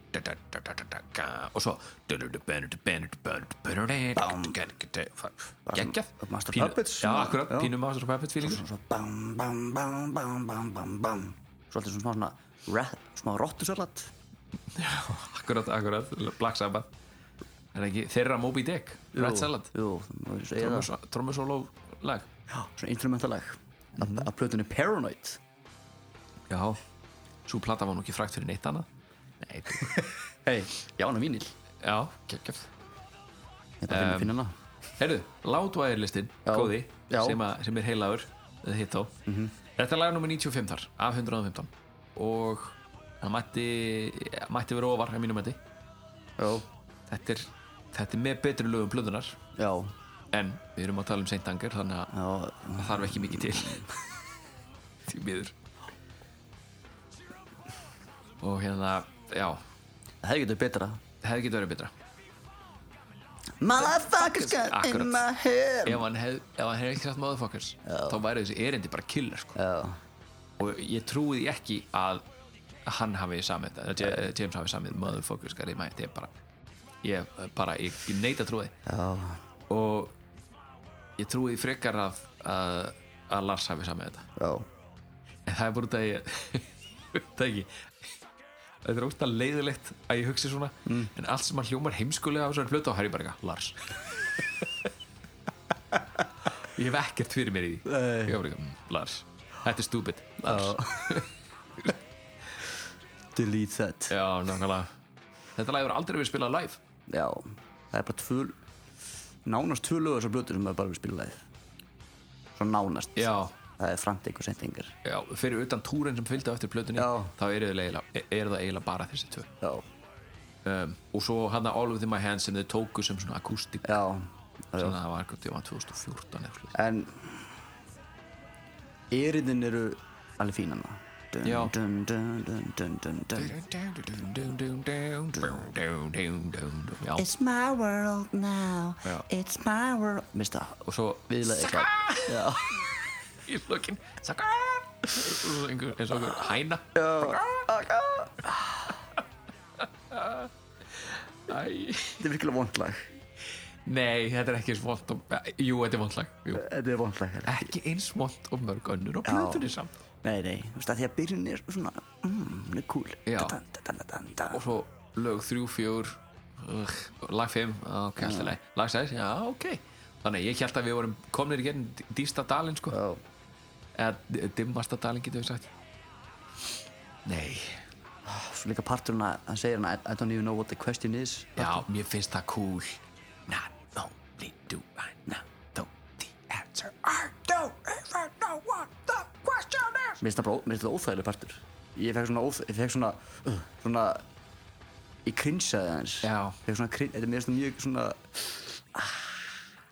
[SPEAKER 8] Da, da, da, da, da, da, da. og svo geggjað
[SPEAKER 7] Master
[SPEAKER 8] Pínu-
[SPEAKER 7] Puppets.
[SPEAKER 8] já, akkurat,
[SPEAKER 7] Já.
[SPEAKER 8] pínu Master Puppets feelingur
[SPEAKER 7] Svo bam, bam, bam, bam, bam, bam, bam Svolítið svona svona rat, Smá rottusalat
[SPEAKER 8] akkurat, akkurat, Black Sabbath er það ekki þeirra Moby Dick, Red Salad
[SPEAKER 7] Jú, þú veist, eða
[SPEAKER 8] trommusóló lag
[SPEAKER 7] Já, svona instrumental lag af, af plötunni Paranoid
[SPEAKER 8] Já, svo plata var nú ekki frægt fyrir neitt annað Nei, þú-
[SPEAKER 7] Hei, já, hann er vínil
[SPEAKER 8] já, geggjaf
[SPEAKER 7] Ég bara um, finna hana
[SPEAKER 8] Herðu, Loudwire listin,
[SPEAKER 7] Já.
[SPEAKER 8] góði
[SPEAKER 7] Já. Mhm.
[SPEAKER 8] sem, að, sem er heilagur, eða hitt á Þetta er lag nummer 95 þar, af 115 og hann mætti mætti vera ofar, að mínum mætti
[SPEAKER 7] Já,
[SPEAKER 8] þetta er, þetta er með betri lögum blöðunar
[SPEAKER 7] já,
[SPEAKER 8] en við erum að tala um Saint Anger þannig að
[SPEAKER 7] já
[SPEAKER 8] það þarf ekki mikið til því miður og hérna, já
[SPEAKER 7] Það hefði getur betra
[SPEAKER 8] það hefði getið verið betra
[SPEAKER 7] Motherfuckers got in
[SPEAKER 8] Akkurat.
[SPEAKER 7] my head
[SPEAKER 8] ef hann hefði hef ekki sagt motherfuckers þá væri þessi erindi bara killer sko.
[SPEAKER 7] Já,
[SPEAKER 8] og ég trúi því ekki að hann hafi samið þetta, að Ja- James hafi samið motherfuckers got in my head, ég bara ég bara, ég neita að trúi því og ég trúi því frekar að, að, að Lars hafi samið þetta
[SPEAKER 7] já,
[SPEAKER 8] En það er bara út að ég Það ekki Þetta er óstað leiðilegt að ég hugsi svona
[SPEAKER 7] Mm.
[SPEAKER 8] En allt sem hann hljómar heimskulega á þessari flötu Þá er ég bara eitthvað, Lars Ég hef ekkert fyrir mér í því Ég hef bara eitthvað, "Mm, Lars Þetta er stúbid
[SPEAKER 7] já Delete that
[SPEAKER 8] Já, nákvæmlega Þetta lag hefur aldrei verið spilað live
[SPEAKER 7] Já, það er bara tvö Nánast tvö lögur svo blötu sem maður bara við spila leið Svo nánast
[SPEAKER 8] Já,
[SPEAKER 7] Það er frantik og sendingar
[SPEAKER 8] já fyrir utan túrin sem fylgdi á eftir plötunni
[SPEAKER 7] Já.
[SPEAKER 8] Þá eru það eiginlega, er það eiginlega bara þessi tvö
[SPEAKER 7] Já,
[SPEAKER 8] um, Og svo hann All Within My Hands sem þau tóku sem svona akústik
[SPEAKER 7] já,
[SPEAKER 8] Svona það var eitthvað tíma 2014 eða eitthvað.
[SPEAKER 7] en Eriðin eru alveg fínan
[SPEAKER 8] Já.
[SPEAKER 7] dun, dun, dun, dun, dun, dun.
[SPEAKER 8] Já,
[SPEAKER 7] It's my world now
[SPEAKER 8] Já.
[SPEAKER 7] It's my world Mista,
[SPEAKER 8] og svo
[SPEAKER 7] viðlega eitthvað Já,
[SPEAKER 8] í lokin Saka Og svo einhver- eins og einhver hæna Æ.
[SPEAKER 7] þetta er virkilega vondlag
[SPEAKER 8] Nei, þetta er ekki eins vont og, Jú, þetta er vont lag jú.
[SPEAKER 7] Þetta er vondlag
[SPEAKER 8] Ekki eins vont og mörg önnur og plötunni samt
[SPEAKER 7] Nei, nei, þú veist að því að byrjun er svona Mmm, hún er cool
[SPEAKER 8] Já.
[SPEAKER 7] Dun, dun, dun, dun, dun.
[SPEAKER 8] Og svo lög 3, 4 uh, Lag 5, ok, alltaf leið Lag 6, já, ok Þannig, að ég held að við vorum komnir í gerin dýsta dalinn sko
[SPEAKER 7] Já,
[SPEAKER 8] Eða dimmasta dalinn getur við sagt Nei,
[SPEAKER 7] svo líka parturinn að hann segir hann I, I don't even know what the question is
[SPEAKER 8] Já, mér finnst það cool Not only do I not know the answer I don't even know what the question is
[SPEAKER 7] Mér finnst það bara, ó- mér finnst það óþægileg partur Ég fekk svona, óþ- ég fekk svona, uh, svona Ég krinsaði aðeins
[SPEAKER 8] Já.
[SPEAKER 7] Fekk svona krins, þetta er mér finnst það mjög svona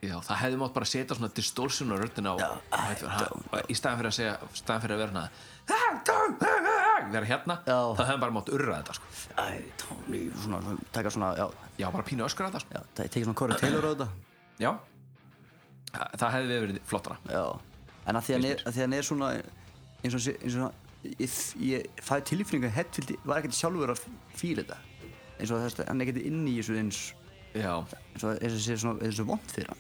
[SPEAKER 8] Já, það hefði mátt bara setja svona distortion á röddina á, á hættfjör, ha, í staðan fyrir að segja staðan fyrir að vera hana vera hérna,
[SPEAKER 7] Já.
[SPEAKER 8] það hefði bara mátt urra þetta sko.
[SPEAKER 7] Æ, tóni, svona, svona, taka svona, já,
[SPEAKER 8] Já, bara pínu öskra þetta sko.
[SPEAKER 7] já það- Ég tekið svona Corey Taylor á þetta
[SPEAKER 8] Já, það það hefði verið flottara
[SPEAKER 7] Já En að því hann er, að því hann er svona eins og, hann sé- eins og hann- ég, ég fæði tilfinningu að Hetfield var ekkert sjálfur að fíla þetta eins og þess að hann er ekkert inn í þessu eins
[SPEAKER 8] Já,
[SPEAKER 7] eins og eins og sé svona eins og vond fyrir hann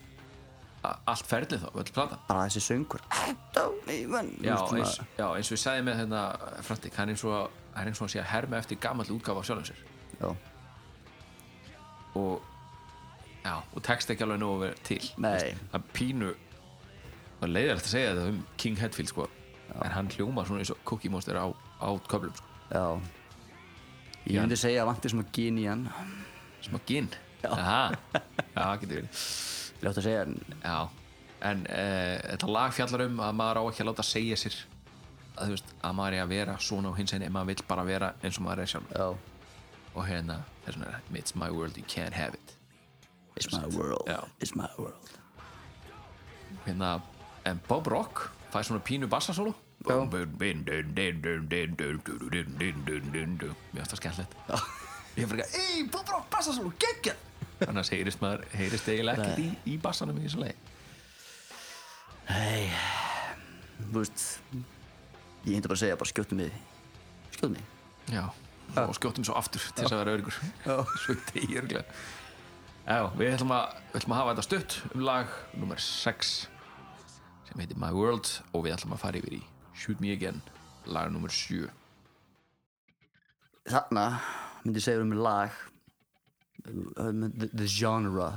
[SPEAKER 8] a- allt ferlið þá, öll platan
[SPEAKER 7] bara þessi söngur I don't even
[SPEAKER 8] Já,
[SPEAKER 7] Þú veist,
[SPEAKER 8] eins,
[SPEAKER 7] svona-
[SPEAKER 8] já, eins og við sagði með hérna Frantik, hann er eins og hann er eins og hann sé að herma eftir gamall útgáfa á sjálfum sér
[SPEAKER 7] já,
[SPEAKER 8] og já, og tekst ekki alveg nógu að vera til
[SPEAKER 7] Nei.
[SPEAKER 8] það pínu það er leiðilegt að segja þetta um King Hetfield sko. en hann hljómar svona eins og Cookie Monster á, á köflum, sko.
[SPEAKER 7] já ég
[SPEAKER 8] Já.
[SPEAKER 7] myndi segja að vantir sem að gín í hann
[SPEAKER 8] smá ginn Aha. já, getur verið
[SPEAKER 7] ljótt að segja en
[SPEAKER 8] já. en uh, þetta lag fjallar um að maður á ekki að láta segja sér að, þú veist, að maður er að vera svona og hins en maður vill bara vera eins og maður er sjálf
[SPEAKER 7] já
[SPEAKER 8] og hérna, þess vegna, er, it's my world, you can't have it
[SPEAKER 7] it's my world
[SPEAKER 8] Já.
[SPEAKER 7] it's my world
[SPEAKER 8] hérna, en Bob Rock fær svona pínu bassasólu
[SPEAKER 7] Já.
[SPEAKER 8] mér finnst það skemmtilegt ég fyrir ekki, ei Bob Rock bassasólu, geggja annars heyrist maður, heyrist eiginlega ekkert í, í bassanum í þessu leið
[SPEAKER 7] þú veist ég myndi bara að segja bara skjóttu mig skjóttu mig
[SPEAKER 8] já, og skjóttum svo aftur til þess að vera örgur svo í degi örglega já, við ætlum að, við ætlum að hafa þetta stutt um lag nummer 6 sem heitir My World og við ætlum að fara yfir í Shoot Me Again lag nummer 7
[SPEAKER 7] þarna myndi ég segja um lag uh, um, the, the genre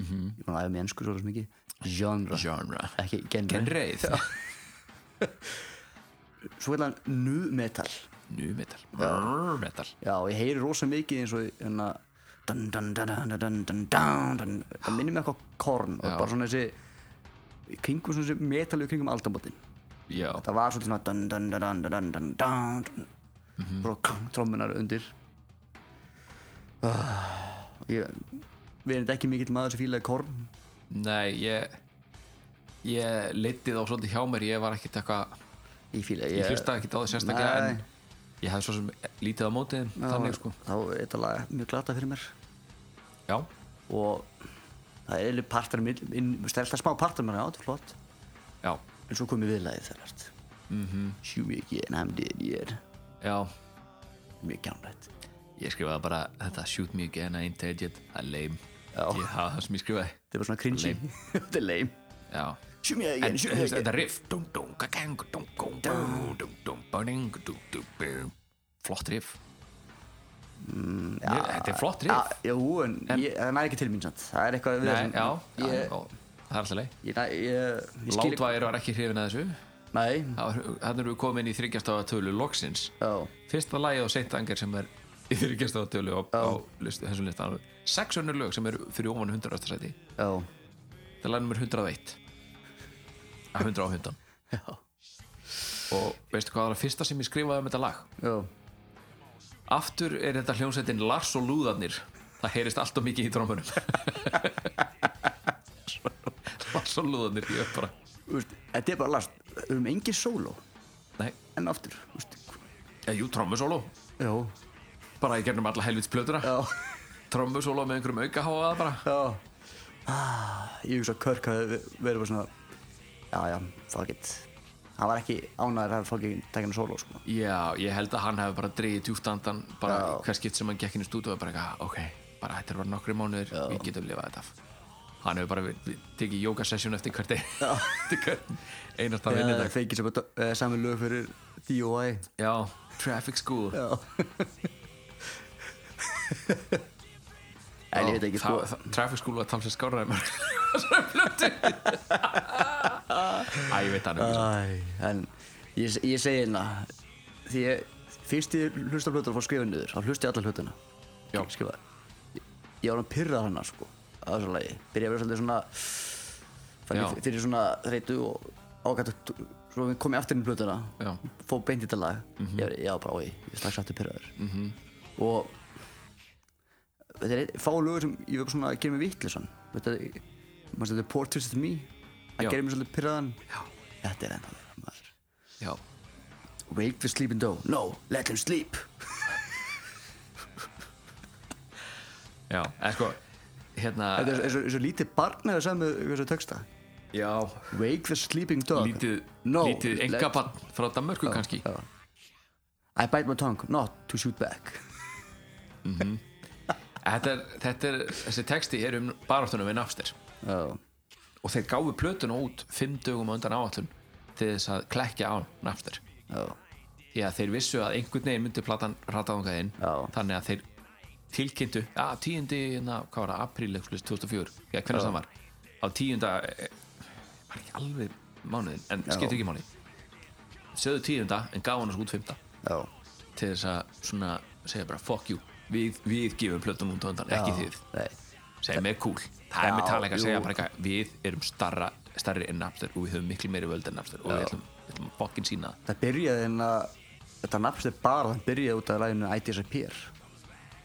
[SPEAKER 7] ég maður aðeins með ennsku svo mikið genre,
[SPEAKER 8] Mhm. genre
[SPEAKER 7] ekki genre
[SPEAKER 8] genreið,
[SPEAKER 7] svo vil hann nu metal
[SPEAKER 8] nu metal Brr metal,
[SPEAKER 7] já, og ég heyri rosa mikið eins og hérna dun, dun, dun, dun, dun, dun, dun, dun. það minnir mig eitthvað korn og
[SPEAKER 8] Já.
[SPEAKER 7] bara svona þessi kringum svona þessi metal í kringum aldamotinn
[SPEAKER 8] já
[SPEAKER 7] það var svolítið svona dun, dun, dun, dun, dun, dun, dun, dun.
[SPEAKER 8] Mhm.
[SPEAKER 7] Bara klang trommunar undir Ah, ég við erum ekki mikill maður sem fílaði korn
[SPEAKER 8] nei, ég ég leitið á svolítið hjá mér ég var ekkert eitthvað,
[SPEAKER 7] ég fílaði
[SPEAKER 8] ég hlustaði ekkert á það sérstaklega
[SPEAKER 7] Nei.
[SPEAKER 8] en ég hafði svo sem lítið á mótið þeim, þannig sko,
[SPEAKER 7] þá er þetta lag mjög glata fyrir mér
[SPEAKER 8] já
[SPEAKER 7] og það er eða partar minn, það er alltaf smá partar mér á, þetta er flott
[SPEAKER 8] já,
[SPEAKER 7] en svo komið viðlagið þegar allt
[SPEAKER 8] Mhm.
[SPEAKER 7] sjú mikið en hann did ég er
[SPEAKER 8] já,
[SPEAKER 7] mjög kjánlegt
[SPEAKER 8] ég skrifaði bara þetta shoot me again, I ain't dead yet, I lame
[SPEAKER 7] Já.
[SPEAKER 8] ég hafa það sem ég skrifaði
[SPEAKER 7] þetta er bara svona cringy,
[SPEAKER 8] Lame.
[SPEAKER 7] þetta er lame
[SPEAKER 8] já,
[SPEAKER 7] sjú mikið
[SPEAKER 8] en
[SPEAKER 7] again, sjú
[SPEAKER 8] þú veist,
[SPEAKER 7] mikið again
[SPEAKER 8] þetta riff Dum, dum, kakang, dum, gong, bú, dum, dum, bang, dum, dum, bum. flott riff
[SPEAKER 7] Mm,
[SPEAKER 8] Mér- þetta er flott
[SPEAKER 7] Ah,
[SPEAKER 8] riff
[SPEAKER 7] jú, en, ég, það næði ekki til mín sant það er eitthvað við
[SPEAKER 8] Nei,
[SPEAKER 7] þessum-
[SPEAKER 8] já, já,
[SPEAKER 7] ég,
[SPEAKER 8] já, það er alltaf leið
[SPEAKER 7] Ég, næ- ég, ég skil ekki
[SPEAKER 8] Látvægir var ekki hrifin að þessu
[SPEAKER 7] Nei,
[SPEAKER 8] Þannig erum við komin í þryggjastafa tölu loksins
[SPEAKER 7] já,
[SPEAKER 8] Fyrsta lagi á Seint Anger sem er í þryggjastafa tölu á, á listu, þessum listan Sex önnur lög sem eru fyrir ofan 100. sæti
[SPEAKER 7] já,
[SPEAKER 8] Það er lagið nummer 101 Að 100 á 100
[SPEAKER 7] já,
[SPEAKER 8] Og veistu hvað var að fyrsta sem ég skrifaði um þetta lag?
[SPEAKER 7] já
[SPEAKER 8] Aftur er þetta hljómsveitin Lars og Lúðarnir Það heyrist alltaf mikið í trómunum Lars og Lúðarnir Ég er bara,
[SPEAKER 7] Þú veist, Þetta er bara last, við höfum engin sóló
[SPEAKER 8] nei,
[SPEAKER 7] En aftur, þú veist
[SPEAKER 8] já, jú, trómusóló
[SPEAKER 7] Já,
[SPEAKER 8] Bara í gernum alla helvits plötuna
[SPEAKER 7] já,
[SPEAKER 8] Trómusóló með einhverjum aukaháaða bara
[SPEAKER 7] já ah, Ég hugsa að Körk hafi verið bara svona Já, já, fuck it Hann var ekki ánæður að fá ekki tekinu sóló sko.
[SPEAKER 8] Já, ég held að hann hefði bara dreigið djúpt andan bara
[SPEAKER 7] Já.
[SPEAKER 8] hver skipt sem hann gekk inn í stúdíu og bara eitthvað, ok, bara þetta er bara nokkri mánuður við getum lifað þetta af. Hann hefur bara við, við, tekið jókasessjón eftir hvert ein- eftir hvern einasta
[SPEAKER 7] Það
[SPEAKER 8] vinnudag
[SPEAKER 7] er fengið sem að eh, sami lög fyrir DOI
[SPEAKER 8] Já, Traffic School
[SPEAKER 7] Já En ég veit ekki sko
[SPEAKER 8] Þa- þa- Traffic School var talsið skárraði mér Æ, ég veit hann ekki sko.
[SPEAKER 7] Æ, en ég, ég segi hérna því ég, fyrst ég hlusta á plötuna og fór að skrifa niður, þá hlusta ég alla hlutuna
[SPEAKER 8] Já.
[SPEAKER 7] skrifa ég, ég var að pyrra hana sko að þessu lagi, byrja að vera svolítið svona fann
[SPEAKER 8] Já.
[SPEAKER 7] ég fyrir svona þreytu og ágætt að t- svo kom ég aftur inn í plötuna
[SPEAKER 8] Já. Mhm.
[SPEAKER 7] fór beint í þetta lag ég, var- ég var bara á ég, ég strax aftur pyrraður -hmm. og þetta er einn- fá lögur sem ég var bara svona að gera mig vittlisann þetta er maður stöður Portraits of Me
[SPEAKER 8] Já.
[SPEAKER 7] það gerir mér svolítið pyrraðan
[SPEAKER 8] Já,
[SPEAKER 7] Þetta er ennþá verið maður
[SPEAKER 8] já,
[SPEAKER 7] Wake the sleeping doe No, let him sleep
[SPEAKER 8] já, en sko hérna,
[SPEAKER 7] Þetta er eins og- eins og lítið barn eða sem þessu texta
[SPEAKER 8] já
[SPEAKER 7] Wake the sleeping dog
[SPEAKER 8] lítið,
[SPEAKER 7] no,
[SPEAKER 8] lítið
[SPEAKER 7] let-
[SPEAKER 8] engabann frá Danmörku kannski
[SPEAKER 7] já. I bite my tongue, not to shoot back
[SPEAKER 8] Þetta er, þetta er, þessi texti er um baráttunum við Napster
[SPEAKER 7] Já,
[SPEAKER 8] og þeir gáfu plötuna út fimm dögum á undan áallun til þess að klekja á Napster
[SPEAKER 7] já,
[SPEAKER 8] því að þeir vissu að einhvern veginn myndi platan rataðungað inn
[SPEAKER 7] Já.
[SPEAKER 8] þannig að þeir tilkynntu að tíundi, na, hvað var það, apríl 2004, já, hvernig það var á tíunda eh, var ekki alveg mánuðin, en skiptir ekki mánuð sögðu tíunda en gáðu hann svo út fymta
[SPEAKER 7] já
[SPEAKER 8] til þess að svona segja bara fuck you, við, við gefum plötun út á undan, ekki þið
[SPEAKER 7] Nei,
[SPEAKER 8] sem er cool það
[SPEAKER 7] Já,
[SPEAKER 8] er mér tala ekki að
[SPEAKER 7] jú.
[SPEAKER 8] segja bara eitthvað við erum starra, starri en Napster og við höfum miklu meiri völd en Napster og við ætlum, við ætlum að fokkin sína það.
[SPEAKER 7] það byrjaði en að Þetta nafnst er bara, það byrjaði út af læginu I Disappear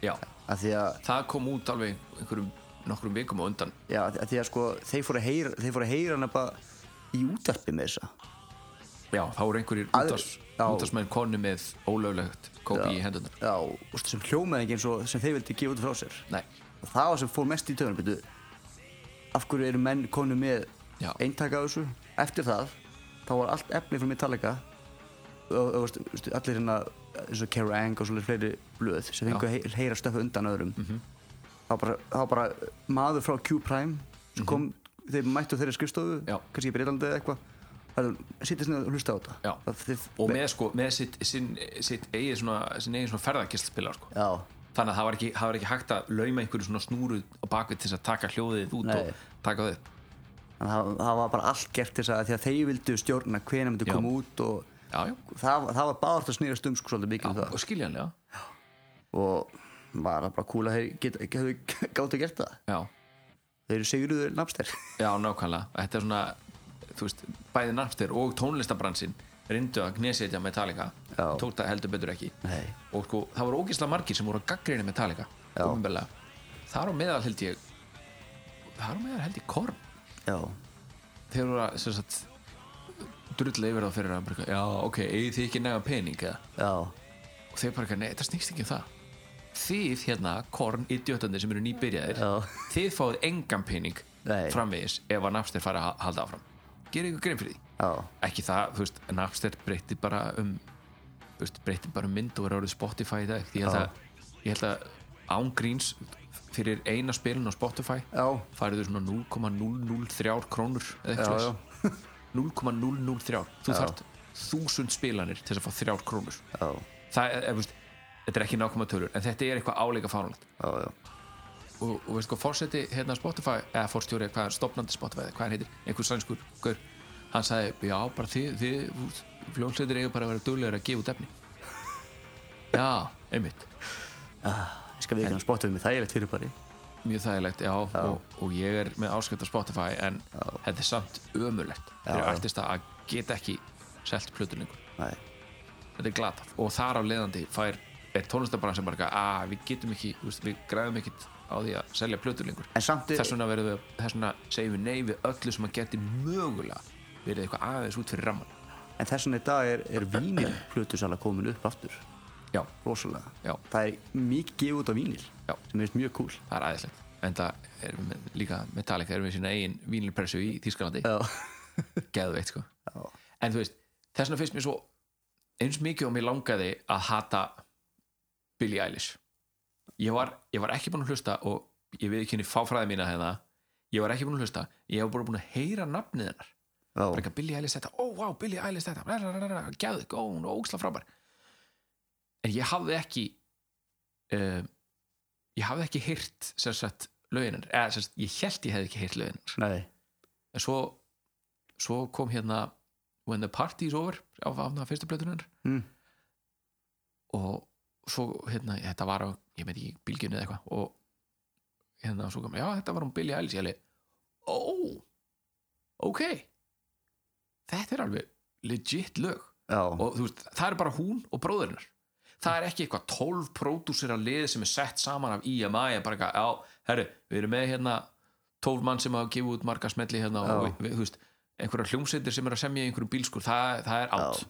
[SPEAKER 8] já,
[SPEAKER 7] Af því að,
[SPEAKER 8] það kom út alveg einhverjum nokkrum vikum á undan
[SPEAKER 7] já, af því að sko Þeir fóru að heyra, þeir fóru að heyra hana bara Í útarpi með þessa
[SPEAKER 8] já, þá eru einhverjir
[SPEAKER 7] Að-
[SPEAKER 8] útars,
[SPEAKER 7] já.
[SPEAKER 8] útarsmenn konu með ólöglegt kópi í hendunar
[SPEAKER 7] Já, úst, sem hljómaði ekki eins og sem þeir vildi gefa út frá sér
[SPEAKER 8] Nei.
[SPEAKER 7] og það var sem fór mest í töðunum betu, af hverju eru menn konu með
[SPEAKER 8] Já.
[SPEAKER 7] eintaka á þessu eftir það, þá var allt efni frá Metallica og, og veist, veist, allir hérna, eins og Kerrang Ang og svolítið fleiri blöð sem fengu að hey- heyra stöfu undan öðrum mm
[SPEAKER 8] Mhm.
[SPEAKER 7] -hmm. þá, bara, þá bara maður frá Q-Prime sem kom, þeir mættu á þeirri skrifstofu
[SPEAKER 8] Mhm. Já.
[SPEAKER 7] kannski í Breitlandi eða eitthvað sittist niður og hlusta á þetta
[SPEAKER 8] Já.
[SPEAKER 7] Það- þeir-
[SPEAKER 8] og með, sko, með sitt, sinn, sitt eigið svona, sinn eigið svona ferðarkistspila sko.
[SPEAKER 7] Já,
[SPEAKER 8] þannig að það var ekki, það var ekki hægt að lauma einhverju svona snúru á bakvið til þess að taka hljóðið út
[SPEAKER 7] Nei.
[SPEAKER 8] og taka það upp
[SPEAKER 7] Þannig að það, það var bara allt gert til þess að því að þeir vildu stjórna hvena myndi
[SPEAKER 8] Já.
[SPEAKER 7] koma út og
[SPEAKER 8] já, já,
[SPEAKER 7] það, var- það var báðart að snýra stum sko svolítið mikið um
[SPEAKER 8] og skiljanlega
[SPEAKER 7] það og var það bara cool að þeir get- hefðu gátt að gert það
[SPEAKER 8] já,
[SPEAKER 7] þeir eru sigruður nafnstær
[SPEAKER 8] já, nákvæmlega þetta er svona, þú veist, bæði narfstir og tónlistabransin reyndu að gnesetja Metallica
[SPEAKER 7] Já.
[SPEAKER 8] tók það heldur betur ekki
[SPEAKER 7] Nei.
[SPEAKER 8] og sko, það voru ógislega margir sem voru að gaggrinni Metallica
[SPEAKER 7] Já.
[SPEAKER 8] opinberlega. þar á meðal held ég þar á meðal held ég Korn
[SPEAKER 7] já,
[SPEAKER 8] þeir voru að sem sagt, drulla yfir þá fyrir að bara, eitthvað, já, ok, eigið þið ekki nega pening eða?
[SPEAKER 7] já,
[SPEAKER 8] og þeir bara, eitthvað, nei, þetta snýst ekki um það þið hérna, korn idiotandi sem eru nýbyrjaðir
[SPEAKER 7] Já.
[SPEAKER 8] þið fáið engan pening
[SPEAKER 7] Nei.
[SPEAKER 8] framvegis ef að Napster fari að halda áfram gerir ykkur grein fyrir því
[SPEAKER 7] já,
[SPEAKER 8] ekki það, þú veist, Napster breytti bara um þú veist, breytti bara um mynd og er árið Spotify í dag því ég held
[SPEAKER 7] Já.
[SPEAKER 8] að, ég held að ángríns fyrir eina spilun á Spotify
[SPEAKER 7] já,
[SPEAKER 8] færið þau svona 0,003 krónur eða eitthvað
[SPEAKER 7] Já,
[SPEAKER 8] svoleiðis. 0,003 þú þarft þúsund spilanir til þess að fá þrjár krónur
[SPEAKER 7] já,
[SPEAKER 8] það er, er, veist, þetta er ekki nákvæma tölur en þetta er eitthvað áleika fánulegt
[SPEAKER 7] já, já.
[SPEAKER 8] og, og veist hvað, fórseti hérna Spotify eða fórstjóri, hvað er stopnandi Spotify eða hvað hann heitir, einhver sænskur gaur, hann sagði, já, bara þið, þið fljónsleitir eiga bara að vera duglegur að gefa út efni já, einmitt
[SPEAKER 7] ég skal við ekki hann spotta við mig þægilegt fyrir bara
[SPEAKER 8] mjög þægilegt, já, Og, og ég er með áskrift á Spotify en þetta er samt ömurlegt fyrir
[SPEAKER 7] Já.
[SPEAKER 8] artista að geta ekki selt plötur lengur,
[SPEAKER 7] Nei.
[SPEAKER 8] þetta er glatað og þar á leiðandi fær, er tónlistabransin bara eitthvað, að við getum ekki, þú veist, við græðum ekkit á því að selja plötur lengur
[SPEAKER 7] en samt
[SPEAKER 8] þess vegna verðum við, þess vegna segjum við nei við öllu sem að geti mögulega verið eitthvað aðeins út fyrir ramman
[SPEAKER 7] En þess vegna í dag er, er vínil plötusala komin upp aftur,
[SPEAKER 8] já,
[SPEAKER 7] rosalega.
[SPEAKER 8] Já.
[SPEAKER 7] Það er mikið gefið út á vínil,
[SPEAKER 8] Já.
[SPEAKER 7] sem er mjög cool.
[SPEAKER 8] það er aðeinslegt en það erum við með- líka Metallica erum við sína eigin vínilpressu í Þýskalandi
[SPEAKER 7] Já,
[SPEAKER 8] geðveikt sko en þú veist, þess vegna finnst mér svo eins mikið og mér langaði að hata Billie Eilish ég var, ég var ekki búin að hlusta og ég við ekki henni fáfræði mína hérna ég var ekki búin að hlusta, ég hef bara búin að heyra nafnið hennar
[SPEAKER 7] já,
[SPEAKER 8] bara eitthvað Billie Eilish þetta, ó, vá, Billie Eilish þetta gæðu, ó, hún er óksla frábær en ég hafði ekki um, ég hafði ekki heyrt sem sagt löginar, eða sem sagt, ég held ég hefði ekki heyrt löginar,
[SPEAKER 7] nei,
[SPEAKER 8] en svo svo kom hérna When the Party is Over á afna fyrstu blöðunar
[SPEAKER 7] Mm.
[SPEAKER 8] og svo hérna, þetta var á, ég veit ekki, bílgjunni eða eitthvað og hérna svo kom, já, þetta var um Billie Eilish, ég hefði ó, ok þetta er alveg legit lög
[SPEAKER 7] já,
[SPEAKER 8] og þú veist, það er bara hún og bróðurinnar það er ekki eitthvað 12 pródúsir að liði sem er sett saman af IMI en bara eitthvað, já, herru, við erum með hérna 12 mann sem hafa gefið út marga smelli hérna og
[SPEAKER 7] Já.
[SPEAKER 8] við, við, þú veist, einhverjar hljómsveitir sem er að semja í einhverjum bílskur, það, það er átt
[SPEAKER 7] Já.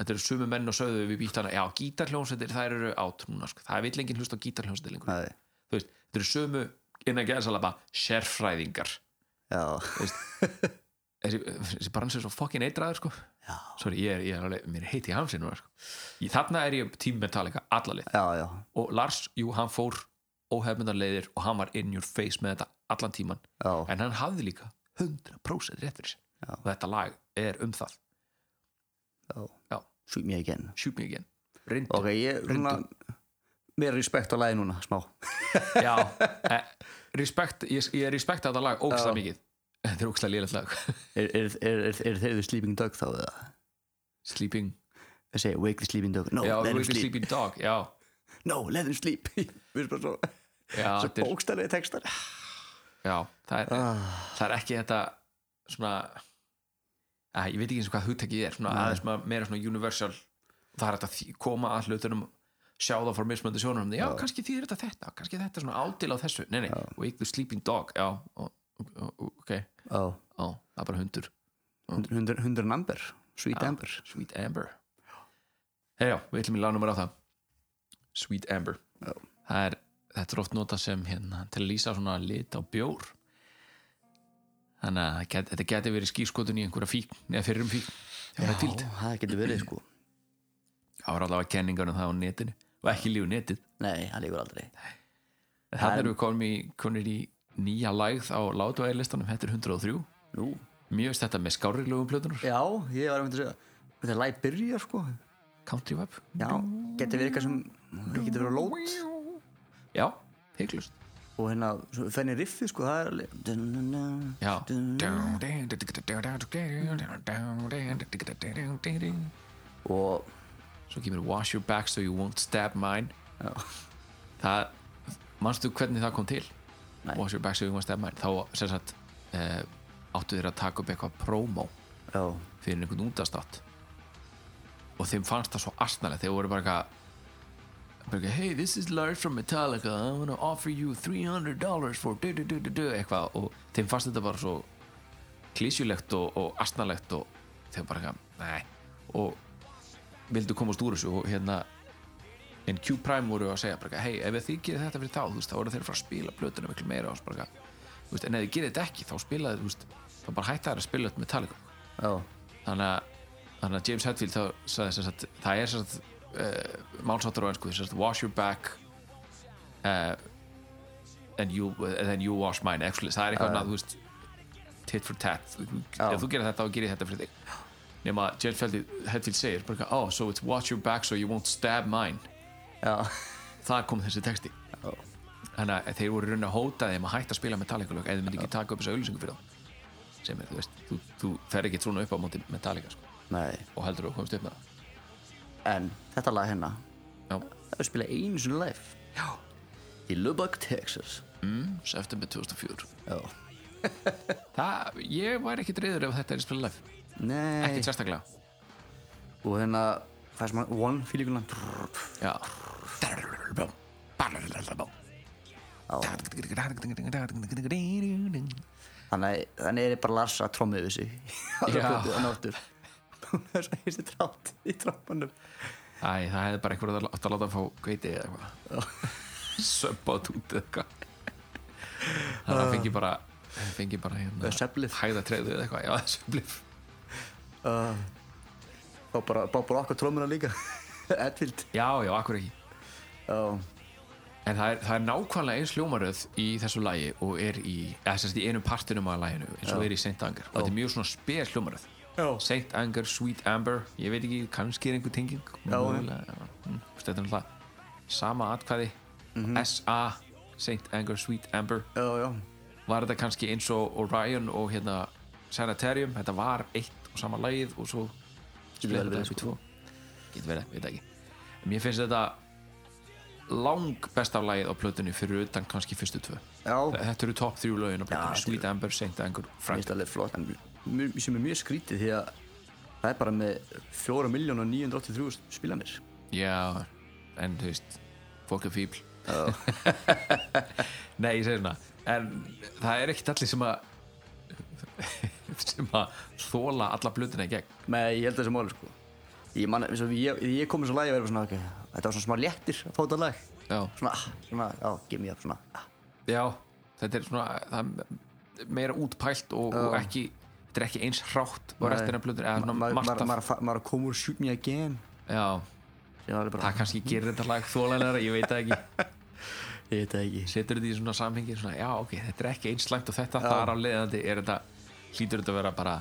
[SPEAKER 8] þetta eru sumu menn og sögðu við býtt hana já, gítarhljómsveitir, það eru átt núna sko. það vil enginn hlusta á gítarhljómsveitir lengur
[SPEAKER 7] nei,
[SPEAKER 8] þú veist, þetta eru sumu innan geðsalaba, sérfræðingar
[SPEAKER 7] já,
[SPEAKER 8] þessi, þessi brans er svo fokkin eitraður sko.
[SPEAKER 7] Já.
[SPEAKER 8] Sorry, ég er, ég er alveg, mér er heiti í hamsi núna sko. Í- þarna er ég tím Metallica allalið
[SPEAKER 7] já, já,
[SPEAKER 8] og Lars, jú, hann fór óhefmyndar leiðir og hann var in your face með þetta allan tíman
[SPEAKER 7] já,
[SPEAKER 8] en hann hafði líka 100% rétt fyrir sér
[SPEAKER 7] Já.
[SPEAKER 8] og þetta lag er um það
[SPEAKER 7] já.
[SPEAKER 8] Já.
[SPEAKER 7] Shoot me again.
[SPEAKER 8] shoot me again, reyndu
[SPEAKER 7] Ok, ég, svona, meira respekt á lagi núna, smá.
[SPEAKER 8] Já, eh, respekt, ég, ég respekta þetta lag ógstlega
[SPEAKER 7] Já.
[SPEAKER 8] mikið þetta er ógstlega liðlega lag
[SPEAKER 7] Er, er, er, er, er þeir þið sleeping dog þá eða?
[SPEAKER 8] Sleeping,
[SPEAKER 7] Ég segi, wake the sleeping dog. No,
[SPEAKER 8] já,
[SPEAKER 7] let him
[SPEAKER 8] Wake the
[SPEAKER 7] sleep.
[SPEAKER 8] Sleeping Dog já,
[SPEAKER 7] No, let him sleep. Við erum bara svo,
[SPEAKER 8] já,
[SPEAKER 7] svo
[SPEAKER 8] Ah, þetta er-
[SPEAKER 7] bókstælega textar.
[SPEAKER 8] Já, það er, það er ekki þetta svona að, ég veit ekki eins og hvað hugtækið er svona aðeins ma- meira svona universal það er hægt að þý- koma að hlutunum sjá það frá mismöndu sjónum já, kannski þýðir þetta þetta, kannski þetta er svona ádil á þessu nei, nei, wake the sleeping dog já, ó, ó, ok, já,
[SPEAKER 7] Já,
[SPEAKER 8] það er bara hundur
[SPEAKER 7] hundur, hundur number, sweet
[SPEAKER 8] Já,
[SPEAKER 7] number.
[SPEAKER 8] Sweet Amber Hei já, við ætlum í lagnumar á það Sweet Amber það er, Þetta er oft notað sem hérna, til að lýsa svona lit á bjór Þannig að það get, þetta geti verið skýrskotun í einhverja fík eða fyrrum fík Já,
[SPEAKER 7] Já, það getur verið sko
[SPEAKER 8] Það var allavega kenningar um það á netinu og ekki lífu netið
[SPEAKER 7] Nei, það líkur aldrei
[SPEAKER 8] En Þannig erum við komin í, komin í nýja lægð á látvæðilistanum Þetta er 103
[SPEAKER 7] Nú.
[SPEAKER 8] Mjög veist þetta með skárri lögum plötunar
[SPEAKER 7] Já, ég var að mynda að segja Þetta er læg byrja sko
[SPEAKER 8] Country Web
[SPEAKER 7] Já, getur verið eitthvað sem Það getur verið lót
[SPEAKER 8] já, heiklust
[SPEAKER 7] og hérna, svo fenni riffið sko, það er alveg
[SPEAKER 8] já
[SPEAKER 7] og
[SPEAKER 8] svo kemur wash your back so you won't stab mine
[SPEAKER 7] já,
[SPEAKER 8] það, manstu hvernig það kom til
[SPEAKER 7] Nei.
[SPEAKER 8] wash your back so you won't stab mine þá sem sagt uh, áttu þeir að taka upp eitthvað promo
[SPEAKER 7] já,
[SPEAKER 8] fyrir einhvern útastátt og þeim fannst það svo astnalegt þeir voru bara eitthvað bara eitthvað, hey this is Lars from Metallica I wanna offer you $300 for du, du, du, du, du, eitthvað og þeim fannst þetta bara svo klísjulegt og, og astnalegt og þeim bara eitthvað, nei og vildu komast úr þessu og hérna en Q-Prime voru að segja bara eitthvað, hey ef þið gerir þetta fyrir þá þú veist, þá voru þeir að fara að spila blötuna miklu meira og svo bara eitthvað, þú veist, en ef þið gerir þetta ekki þá spilaði, þú veist, þá bara hætta þær að spila þetta Metallica
[SPEAKER 7] já,
[SPEAKER 8] þannig að, þannig að James Hetfield þá sagði sem sagt, það er sem sagt uh, málsáttur á ennsku, sem sagt wash your back uh, and you and then you wash mine, actually það er eitthvað uh, þú veist tit for tat, Þú-
[SPEAKER 7] Já.
[SPEAKER 8] ef þú gerir þetta þá gerir þetta fyrir þig nema að James Hetfield, Hetfield segir bara, oh, so it's wash your back so you won't stab mine
[SPEAKER 7] já
[SPEAKER 8] það kom þessi texti þannig að þeir voru raun að hóta þeim að hætta að spila Metallica lög eða þau myndi ekki taka upp þessa auðlýsingu fyrir þá sem er, þú veist, þú, þú fer ekki svona upp á móti Metallica sko,
[SPEAKER 7] nei,
[SPEAKER 8] og heldur þú að komast upp með það
[SPEAKER 7] en þetta lag hérna
[SPEAKER 8] Já,
[SPEAKER 7] það er spilað einu sinni live já, í Lubbock, Texas
[SPEAKER 8] mm, september 2004
[SPEAKER 7] já,
[SPEAKER 8] Það, ég væri ekki reyður ef þetta er spilað live
[SPEAKER 7] nei
[SPEAKER 8] Ekkert sérstaklega
[SPEAKER 7] og hérna, fæst maður one fílíkunan
[SPEAKER 8] Já
[SPEAKER 7] þannig, þannig er bara Lars að tromma yfir sig
[SPEAKER 8] Já.
[SPEAKER 7] hann áttur hún er svo hýrst í trátt í trápanum
[SPEAKER 8] Æ, það hefði bara einhverjum átt að láta að fá kveiti eða eitthvað Söppátt út eða eitthvað Þannig að hann fengi bara hann fengi bara hérna
[SPEAKER 7] Svefnlyf.
[SPEAKER 8] hægðatreðu eða eitthvað, já, söflif
[SPEAKER 7] Bá bara, bá bara okkar trómuna líka Edfield
[SPEAKER 8] Já, já, akkur ekki
[SPEAKER 7] Já,
[SPEAKER 8] En það er, það er nákvæmlega eins hljómaröð í þessu lagi og er í, eða sérst í einu partinum af laginu eins og er í Saint Anger og þetta er mjög svona spes hljómaröð
[SPEAKER 7] Já.
[SPEAKER 8] Saint Anger, Sweet Amber, ég veit ekki, kannski er einhver tenging
[SPEAKER 7] Já,
[SPEAKER 8] mögulega, já. Mm, þú veist, þetta er náttúrulega sama atkvæði
[SPEAKER 7] Mhm.
[SPEAKER 8] SA, Saint Anger, Sweet Amber
[SPEAKER 7] já, já
[SPEAKER 8] var þetta kannski eins og Orion og hérna Sanitarium, þetta var eitt og sama lagið og svo
[SPEAKER 7] vel
[SPEAKER 8] spilaði
[SPEAKER 7] verið, sko.
[SPEAKER 8] þetta upp í tvo getur verið, veit það ekki en mér finnst þetta lang besta lagið á plötunni fyrir utan kannski fyrstu tvö
[SPEAKER 7] Já,
[SPEAKER 8] þetta eru topp þrjú lögin á
[SPEAKER 7] þetta
[SPEAKER 8] plötunni
[SPEAKER 7] eru-
[SPEAKER 8] Sweet Amber, Saint Anger, Frank
[SPEAKER 7] þetta er alveg flott en mjög- sem er mjög skrítið því að það er bara með 4.983.000 spilanir
[SPEAKER 8] já, en þú veist fólk er fíbl nei, ég segi svona en það er ekkit allir sem að sem að þóla alla plötunni í gegn
[SPEAKER 7] Með ég held þessi máli sko Ég, man, eins og ég, þegar ég kom eins og lagi og verið svona okay, Þetta var svona smá léttir að fá þetta lag
[SPEAKER 8] já
[SPEAKER 7] Svona, ah, svona, já, give me up svona ah.
[SPEAKER 8] Já, þetta er svona það er meira útpælt og, og ekki þetta er ekki eins hrátt og restina blöður eða svona
[SPEAKER 7] Maður
[SPEAKER 8] margt
[SPEAKER 7] ma, ma,
[SPEAKER 8] af
[SPEAKER 7] ma, ma, kom úr shoot me again
[SPEAKER 8] Já,
[SPEAKER 7] Ég var alveg
[SPEAKER 8] það
[SPEAKER 7] bara,
[SPEAKER 8] kannski gerir þetta lag þólanlega, ég veit það ekki
[SPEAKER 7] ég veit það ekki
[SPEAKER 8] setur þetta í svona samhengi svona, já, ok, þetta er ekki eins slæmt og þetta þar af leiðandi er þetta, hlýtur þetta að vera bara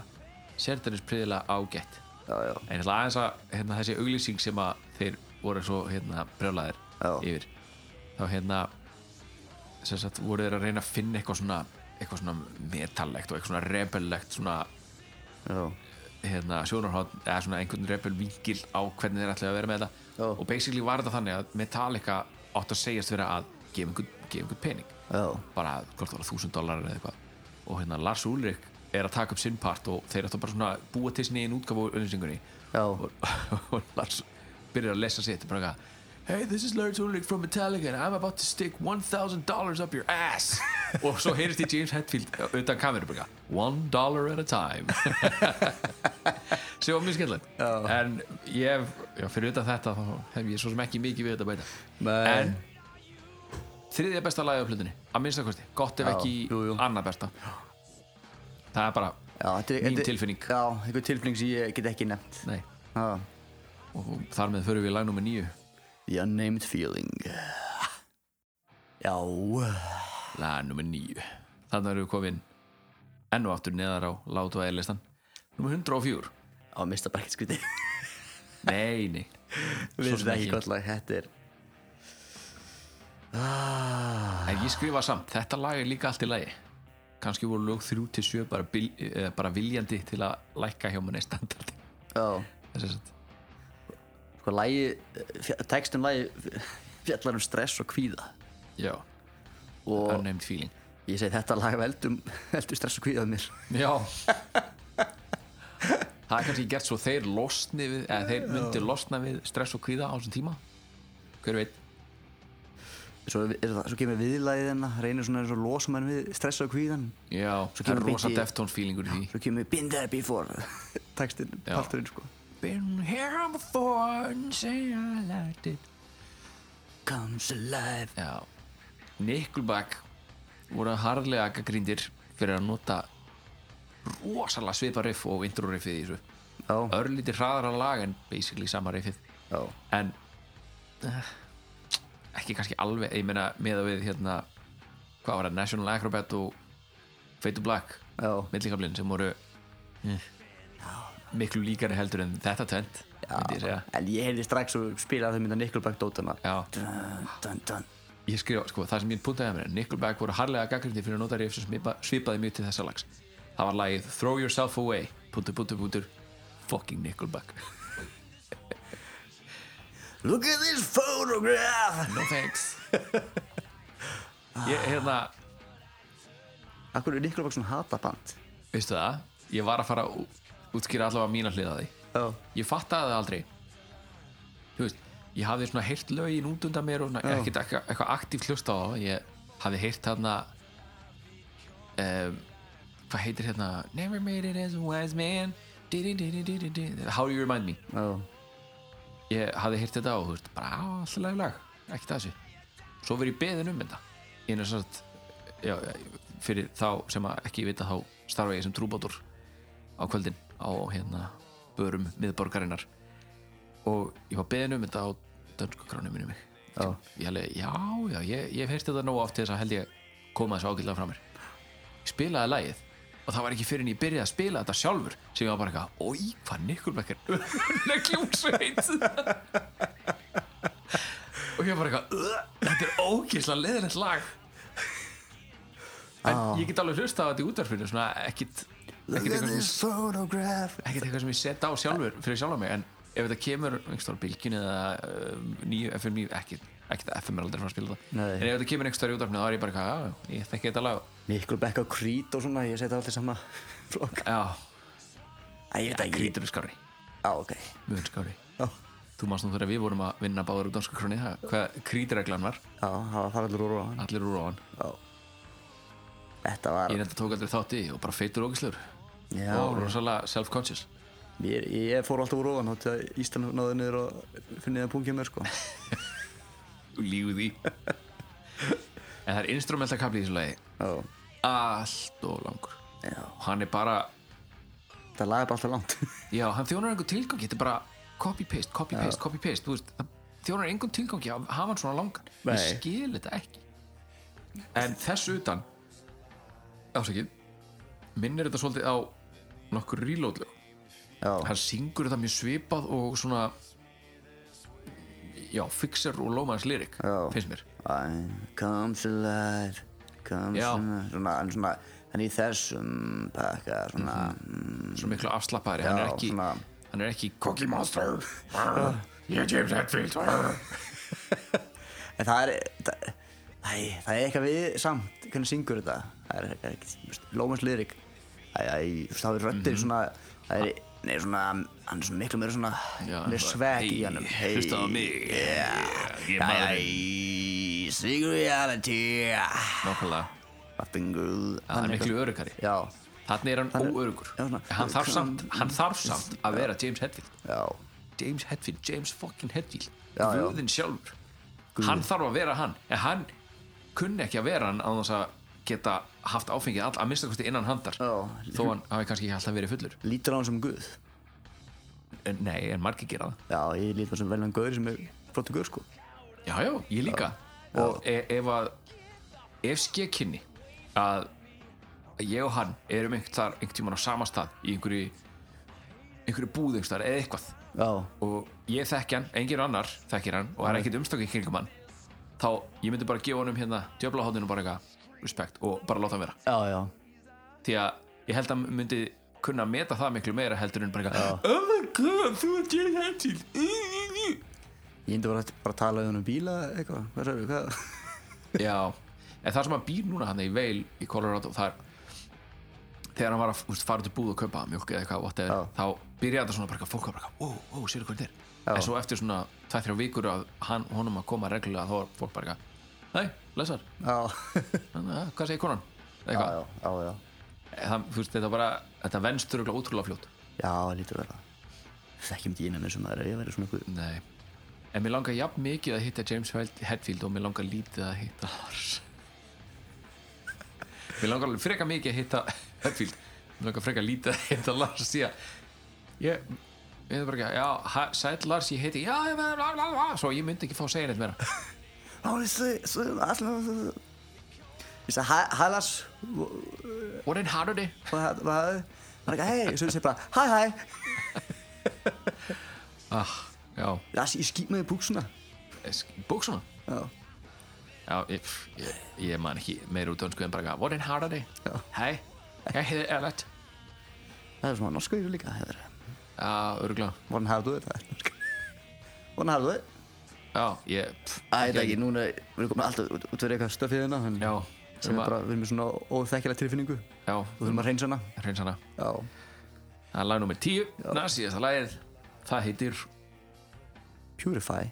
[SPEAKER 8] sérðanins priðilega ágætt
[SPEAKER 7] Já, já,
[SPEAKER 8] en ég ætla aðeins að hérna, þessi auglýsing sem að þeir voru svo hérna, brjólaðir
[SPEAKER 7] Já.
[SPEAKER 8] yfir þá hérna sem sagt, voru þeir að reyna að finna eitthvað svona eitthvað svona metallegt og eitthvað svona rebellegt svona
[SPEAKER 7] já,
[SPEAKER 8] hérna, sjónarhótt eða svona einhvern rebel vinkil á hvernig þeir ætlaði að vera með þetta
[SPEAKER 7] Já.
[SPEAKER 8] og basically var þetta þannig að Metallica átt að segjast vera að gefa einhvern, gefa einhvern pening
[SPEAKER 7] já,
[SPEAKER 8] bara hvort það var þúsund dólarar eða eitthvað og hérna Lars Ulrik er að taka upp sinn part og þeir ætla bara svona að búa til sinni einn útgafu og unnsingunni
[SPEAKER 7] Já.
[SPEAKER 8] og, og Lars byrjar að lesa sitt bara eitthvað Hey, this is Lars Ulrik from Metallica and I'm about to stick $1,000 up your ass og svo heyrist í James Hetfield utan kameru bara eitthvað, One dollar at a time sem var mjög skemmtilegt en ég hef, já, fyrir utan þetta þá hef ég svo sem ekki mikið við þetta að bæta
[SPEAKER 7] Nei.
[SPEAKER 8] en þriðja besta lagi á plötunni, að minnsta kosti gott ef
[SPEAKER 7] Já,
[SPEAKER 8] ekki
[SPEAKER 7] jú, jú.
[SPEAKER 8] annað besta það er bara
[SPEAKER 7] já þetta er-
[SPEAKER 8] Mín
[SPEAKER 7] þetta er-
[SPEAKER 8] tilfinning.
[SPEAKER 7] Já, einhver tilfinning sem ég get ekki nefnt
[SPEAKER 8] nei,
[SPEAKER 7] Já,
[SPEAKER 8] og þar með förum við í lag nummer nýju
[SPEAKER 7] The Unnamed Feeling Já
[SPEAKER 8] lag nummer nýju þannig erum við komin enn og aftur neðar á látu að eðlistan nummer 104,
[SPEAKER 7] Á mista bara ekkert skrítið
[SPEAKER 8] nei, nei
[SPEAKER 7] Við
[SPEAKER 8] Svo sem
[SPEAKER 7] erum ekki
[SPEAKER 8] ekki.
[SPEAKER 7] gott lag, þetta er Ah,
[SPEAKER 8] en ég skrifa samt, þetta lag er líka allt í lagi kannski voru lög 3-7 bara, bil- eh, bara viljandi til að lækka hjá manni standardi
[SPEAKER 7] Já,
[SPEAKER 8] Þess að-
[SPEAKER 7] sko lægi textin lægi fjallar um stress og kvíða
[SPEAKER 8] já,
[SPEAKER 7] og
[SPEAKER 8] unnamed feeling
[SPEAKER 7] ég segi þetta lag veldur, veldur stress og kvíða um mér
[SPEAKER 8] já það er kannski gert svo þeir losni við, eða þeir myndi losna við stress og kvíða á þessum tíma hver veit,
[SPEAKER 7] svo, er, það, svo kemur viðlagið hennar reynir svona eins og losum henn við stress og kvíðan
[SPEAKER 8] já,
[SPEAKER 7] Svo
[SPEAKER 8] það er
[SPEAKER 7] kemur
[SPEAKER 8] rosa
[SPEAKER 7] beint í-
[SPEAKER 8] deftón feelingur í því
[SPEAKER 7] svo kemur been there before textin,
[SPEAKER 8] Já.
[SPEAKER 7] parturinn sko
[SPEAKER 8] been here before and say I liked it
[SPEAKER 7] comes alive
[SPEAKER 8] Já Nickelback voru harðlega gaggrindir fyrir að nota rosalega svipa riff og intro riffið í þessu
[SPEAKER 7] já,
[SPEAKER 8] örlítið hraðara lag en basically sama riffið
[SPEAKER 7] já,
[SPEAKER 8] en eh, ekki kannski alveg ég meina með að við hérna hvað var það, National Acrobat og Fade to Black,
[SPEAKER 7] já,
[SPEAKER 8] millikablin sem voru eh, miklu líkari heldur en þetta tönt myndi ég segja
[SPEAKER 7] en ég heyrði strax og spilaði þau mynda Nickelback dótana
[SPEAKER 8] Já,
[SPEAKER 7] dun, dun, dun.
[SPEAKER 8] ég skrifa, sko, það sem ég puntaði að mér er Nickelback voru harlega gaggrindi fyrir að nota riff sem svipa, svipaði mjög til þessa lags það var lagið Throw Yourself Away punktur, punktur, punktur, fucking Nickelback
[SPEAKER 7] look at this photograph
[SPEAKER 8] no thanks ég, hérna,
[SPEAKER 7] akkur er Nickelback svona hataband
[SPEAKER 8] veistu það ég var að fara að ú- útskýra allavega mína hlið að því
[SPEAKER 7] já,
[SPEAKER 8] ég fattaði það aldrei þú veist, ég hafði svona heyrt lögin út undan mér og svona,
[SPEAKER 7] Já.
[SPEAKER 8] ekkert eitthvað, eitthvað aktíft hlust á það ég hafði heyrt þarna um, hvað heitir hérna Never made it as a wise man Di-di-di-di-di-di-di. How do you remind me
[SPEAKER 7] já,
[SPEAKER 8] ég hafði heyrt þetta og þú veist, bara á, alltaf lag lag, ekki það þessu svo verið ég beðin um þetta ég er satt, já, fyrir þá sem að ekki vita þá starfa ég sem trúbátur á kvöldin á hérna börum miðborgarinnar og ég var beðin um þetta á dönskakránu mínu mig
[SPEAKER 7] já,
[SPEAKER 8] ég held já, já, ég, ég hef heyrt þetta nóg oft til þess að held ég koma þessu ágætlega frá mér ég spilaði lagið og það var ekki fyrir en ég byrjaði að spila þetta sjálfur sem ég var bara eitthvað, oi, hvað Nickelback er nekljómsveit og ég var bara eitthvað "Ugh, þetta er ógeðslega leðilegt lag en ég get alveg hlusta á þetta í útvarfinu svona ekkit
[SPEAKER 7] look at
[SPEAKER 8] ekkit eitthvað sem
[SPEAKER 7] this photograph
[SPEAKER 8] ekkert eitthvað sem ég set á sjálfur fyrir sjálfa mig en ef þetta kemur einhverstaðar bylgin eða uh, nýju FM nýju ekki, ekki það FM er aldrei frá að spila það
[SPEAKER 7] Nei.
[SPEAKER 8] en ef þetta kemur einhverstaðar í útvarpinu þá er ég bara eitthvað, já, ég þekki þetta lag
[SPEAKER 7] Nickelback og Creed og svona, ég seti alltaf sama flokk
[SPEAKER 8] já,
[SPEAKER 7] Æ, ég veit ekki
[SPEAKER 8] grítur er skári,
[SPEAKER 7] Já, ok
[SPEAKER 8] mjög skári
[SPEAKER 7] Já,
[SPEAKER 8] þú manst nú þegar við vorum að vinna báður úr danska króni það- hvað krítreglan var,
[SPEAKER 7] já það var það allir úr á hann
[SPEAKER 8] allir úr ofan
[SPEAKER 7] Já Þetta var
[SPEAKER 8] ég nefndi tók aldrei þátt í og bara feitur ógislur
[SPEAKER 7] Já,
[SPEAKER 8] og rosalega self-conscious
[SPEAKER 7] ég, ég fór alltaf úr ofan þá til að Ísland náði niður og finnið að pungi mér sko
[SPEAKER 8] lífið í en það er instrumentakabli í þessu lagi
[SPEAKER 7] Já,
[SPEAKER 8] allt og langur
[SPEAKER 7] já
[SPEAKER 8] hann er bara
[SPEAKER 7] Það lagði bara alltaf langt
[SPEAKER 8] Já, hann þjónar einhver tilgangi, þetta er bara copy-paste, copy-paste, copy-paste, þú veist, það þjónar einhver tilgangi að hafa hann svona langan.
[SPEAKER 7] Nei.
[SPEAKER 8] Ég skil þetta ekki. En þess utan, ásakið, minnir þetta svolítið á nokkur reloadlu.
[SPEAKER 7] Já,
[SPEAKER 8] Hann syngur þetta mjög svipað og svona, já, fixer og lómaðans lyrik,
[SPEAKER 7] Já.
[SPEAKER 8] finnst mér.
[SPEAKER 7] I comes alive Comes
[SPEAKER 8] Já.
[SPEAKER 7] alive Svona, en svona En í þessum pakka svona Mhm. mm,
[SPEAKER 8] Svona miklu afslappaðri, hann
[SPEAKER 7] Já,
[SPEAKER 8] er ekki,
[SPEAKER 7] svona-
[SPEAKER 8] hann er ekki Cookie Monster, ég er James Hetfield,
[SPEAKER 7] En það er það, Æ, það er eitthvað við samt hvernig syngur þetta það er ekkert Lómas Lyrik Æ, æ, þú veist, þá er
[SPEAKER 8] Mhm.
[SPEAKER 7] röddin svona það er, nei, svona hann er svona miklu meira svona meira
[SPEAKER 8] Já, bara,
[SPEAKER 7] sveg í
[SPEAKER 8] hey,
[SPEAKER 7] hannum
[SPEAKER 8] hlustaðu á mig. Ég er
[SPEAKER 7] Æ, æ,
[SPEAKER 8] maðurinn.
[SPEAKER 7] sig reality
[SPEAKER 8] nákvæmlega,
[SPEAKER 7] Nothing good
[SPEAKER 8] hann er
[SPEAKER 7] Þannig
[SPEAKER 8] miklu
[SPEAKER 7] eitthvað-
[SPEAKER 8] örugari.
[SPEAKER 7] Já,
[SPEAKER 8] Þannig er hann
[SPEAKER 7] Hann er-
[SPEAKER 8] óörugur
[SPEAKER 7] Já, svona-
[SPEAKER 8] Hann þarf samt, hann þarf samt að vera James Hetfield
[SPEAKER 7] já,
[SPEAKER 8] James Hetfield, James fucking Hetfield
[SPEAKER 7] Já, já.
[SPEAKER 8] Guðinn sjálfur Hann þarf að vera hann En hann kunni ekki að vera hann á þess að geta haft áfengið all, að minnsta kosti innan handar
[SPEAKER 7] Já.
[SPEAKER 8] Þó hann hafi kannski ekki alltaf verið fullur
[SPEAKER 7] lítur á hann sem guð
[SPEAKER 8] en, Nei, en margir gera það
[SPEAKER 7] Já, ég lítur á hann sem velvæm guður sem er flottu guður sko
[SPEAKER 8] Já, já, ég líka Og e ef að ef skekkinni að ég og hann erum einhvern þar einhvern tímann á sama stað í einhverju einhverju búð einhvers staðar eða eitthvað
[SPEAKER 7] Já,
[SPEAKER 8] og ég þekki hann, engin annar þekkir hann og það er ekkert umstakki kringum hann þá ég myndi bara gefa honum hérna djöflahóttinu bara eitthvað respekt og bara láta hann vera
[SPEAKER 7] já, já,
[SPEAKER 8] því að ég held að hann myndi kunna að meta það miklu meira heldur en bara eitthvað oh my god, þú ert ég hér til
[SPEAKER 7] ég indi bara, bara að tala um bíla eitthvað, hvað sagði, hvað
[SPEAKER 8] já, en það sem hann býr núna hann í veil í Colorado það er þegar hann var að úst, fara út í búð og kaupa mjölk eða eitthvað, whatever,
[SPEAKER 7] Já.
[SPEAKER 8] þá byrjaði þetta svona bara eitthvað, fólk var bara eitthvað, wow, wow, sér hvernig þetta er en svo eftir svona 2-3 vikur að hann, honum að koma reglulega þá var fólk bara eitthvað hei, lesar,
[SPEAKER 7] já,
[SPEAKER 8] eh, hvað segir konan Eða
[SPEAKER 7] já,
[SPEAKER 8] eitthvað,
[SPEAKER 7] já, já, já
[SPEAKER 8] það, þú veist, þetta bara þetta venst þurruglega ótrúlega fljótt
[SPEAKER 7] já, það lítur að vera það ekki myndi ég nefnir sem maður ef ég verið svona guð
[SPEAKER 8] Nei. en mér langar jafn mikið að hitta James Held- Hetfield og mér langar lítið að hitta Lars mér langar alveg freka mikið að hitta Hetfield mér langar freka lítið að hitta Lars því að ég ég veit bara ekki að, já, ha- sæll Lars ég heiti, já, já, já, já, já, svo ég myndi ekki fá að segja neitt meira
[SPEAKER 7] Áli, svo, allan Ég sagði, hæ, hæ Lars Hvað
[SPEAKER 8] what in hardy
[SPEAKER 7] hvað hafði? Hann ekki, hei, svo ég segi bara, hæ, hæ
[SPEAKER 8] ah, já,
[SPEAKER 7] Lars, ég skýt mig í buksuna
[SPEAKER 8] bóksuna
[SPEAKER 7] Já,
[SPEAKER 8] já, ég, ég, ég man ekki meira út önsku en bara eitthvað, what in hardy
[SPEAKER 7] Já.
[SPEAKER 8] hei, ég heiti Erlet
[SPEAKER 7] það er svona norsku yfir líka hefur.
[SPEAKER 8] já, örgulega
[SPEAKER 7] Hvordan har du det? það er norska. Hvordan har du det?
[SPEAKER 8] Já, ég pff,
[SPEAKER 7] Æ, þetta ekki, núna er- við erum komin alltaf út, út fyrir eitthvað stöfiðina
[SPEAKER 8] Já,
[SPEAKER 7] sem
[SPEAKER 8] sem
[SPEAKER 7] er
[SPEAKER 8] að-
[SPEAKER 7] bara, við erum með svona óþekkilega tilfinningu og
[SPEAKER 8] Já,
[SPEAKER 7] við erum að reynsa hana
[SPEAKER 8] hreins hana
[SPEAKER 7] Já,
[SPEAKER 8] Það er lag nummer 10, næstíðasta lagið Það heitir
[SPEAKER 7] Purify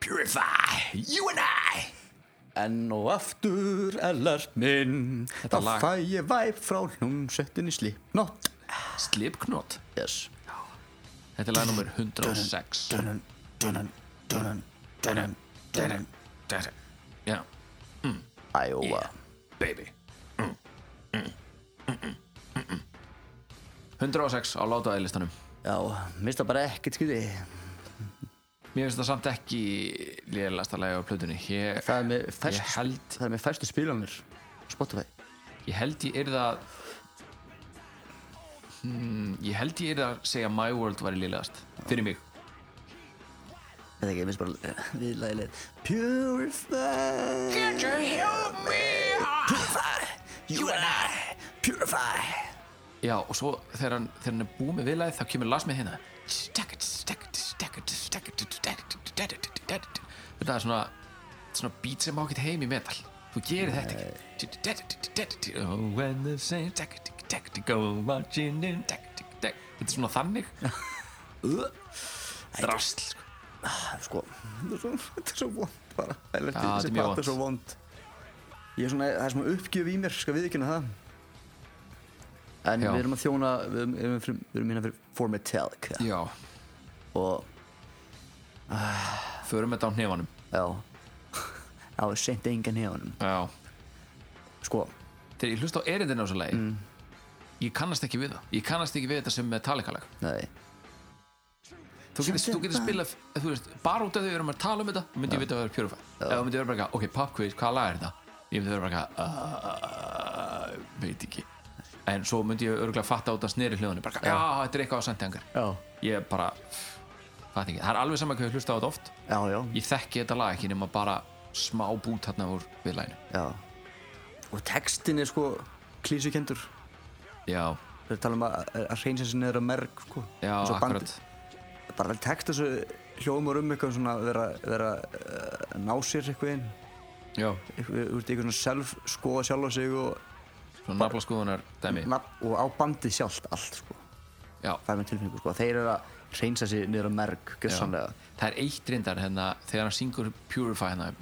[SPEAKER 8] Purify, you and I
[SPEAKER 7] Enn og aftur ellert minn
[SPEAKER 8] Þetta
[SPEAKER 7] Þá
[SPEAKER 8] lag.
[SPEAKER 7] fæ ég væp frá hljómsettinni Slipknot
[SPEAKER 8] Slipknot
[SPEAKER 7] Yes
[SPEAKER 8] Þetta er lag nummer 106
[SPEAKER 7] Dun, dun, dun, dun, dun,
[SPEAKER 8] Já,
[SPEAKER 7] Iowa
[SPEAKER 8] baby Mm, mm, mm, mm, mm, mm. 106 á látaði listanum
[SPEAKER 7] Já, mista bara ekkert skriði
[SPEAKER 8] Mér finnst það samt ekki lélægasta lagi á plötunni ég,
[SPEAKER 7] Það er með
[SPEAKER 8] ég,
[SPEAKER 7] fæstu,
[SPEAKER 8] held,
[SPEAKER 7] það er með fæstu spilanir Spotify
[SPEAKER 8] ég held ég yrði að hmm, Ég held ég yrði að segja My World var lélægast Fyrir mig
[SPEAKER 7] Þetta ekki, ég minnst bara eh, viðlægileg Purify Can you help me? Purify You and I Purify
[SPEAKER 8] Já, og svo þegar hann, þegar hann er búið með viðlæðið þá kemur Lars með hérna Þetta er svona svona beat sem má ekkert heim í metal Þú gerir þetta ekki Oh, when the same go marching in Þetta er svona þannig
[SPEAKER 7] Uh.
[SPEAKER 8] Drasl sko.
[SPEAKER 7] Það er Sko, þetta er svo, þetta er svo vond bara Það er
[SPEAKER 8] Já, þetta er mjög
[SPEAKER 7] Þetta er svo vond Ég er svona, það er svona uppgjöf í mér, skal við ekki það En
[SPEAKER 8] Já.
[SPEAKER 7] við erum að þjóna, við erum, við erum, fyrir, við erum hérna fyrir For Metallica
[SPEAKER 8] Já,
[SPEAKER 7] Og,
[SPEAKER 8] förum þetta á hnefanum
[SPEAKER 7] já Það var seint engan hefanum
[SPEAKER 8] Já,
[SPEAKER 7] Sko,
[SPEAKER 8] þegar ég hlusta á erindinu á þessu lagi Ég kannast ekki við það Ég kannast ekki við þetta sem Metallica-lag
[SPEAKER 7] nei
[SPEAKER 8] þú getur, þú getur spilað þú veist, bara út af því við erum að tala um þetta myndi ég vita að það er Purify eða myndi ég vera bara eitthvað, ok, pop quiz, hvaða lag er þetta ég myndi vera bara eitthvað uh, veit ekki en svo myndi ég örgulega fatta út að sneri hljóðunni bara, eitthvað, já, þetta er eitthvað á sendjangar
[SPEAKER 7] Já.
[SPEAKER 8] ég bara, fatt ekki það er alveg saman hvað ég hlusta á þetta oft
[SPEAKER 7] Já, já,
[SPEAKER 8] ég þekki þetta lag ekki nema bara smá bút hérna úr viðlæginu
[SPEAKER 7] já Og textin er sko klísukendur
[SPEAKER 8] já,
[SPEAKER 7] Við tala um að, að reynsa sér neður að merg sko.
[SPEAKER 8] já,
[SPEAKER 7] Eins og bandið.
[SPEAKER 8] akkurat
[SPEAKER 7] Bara text þessu hljóðum og um eitthvað svona að vera, vera uh, ná sér eitthvað inn
[SPEAKER 8] já,
[SPEAKER 7] Eitthvað, Þú ert í eitthvað svona self skoða sjálf á sig og,
[SPEAKER 8] svona nafla skoðunar dæmi
[SPEAKER 7] nafn- og á bandið sjálft allt sko.
[SPEAKER 8] já,
[SPEAKER 7] Það er með tilfinningu sko. Þeir eru að reynsa sér niður að merg Gjössanlega
[SPEAKER 8] það er eitt reyndar hérna þegar hann syngur Purify hérna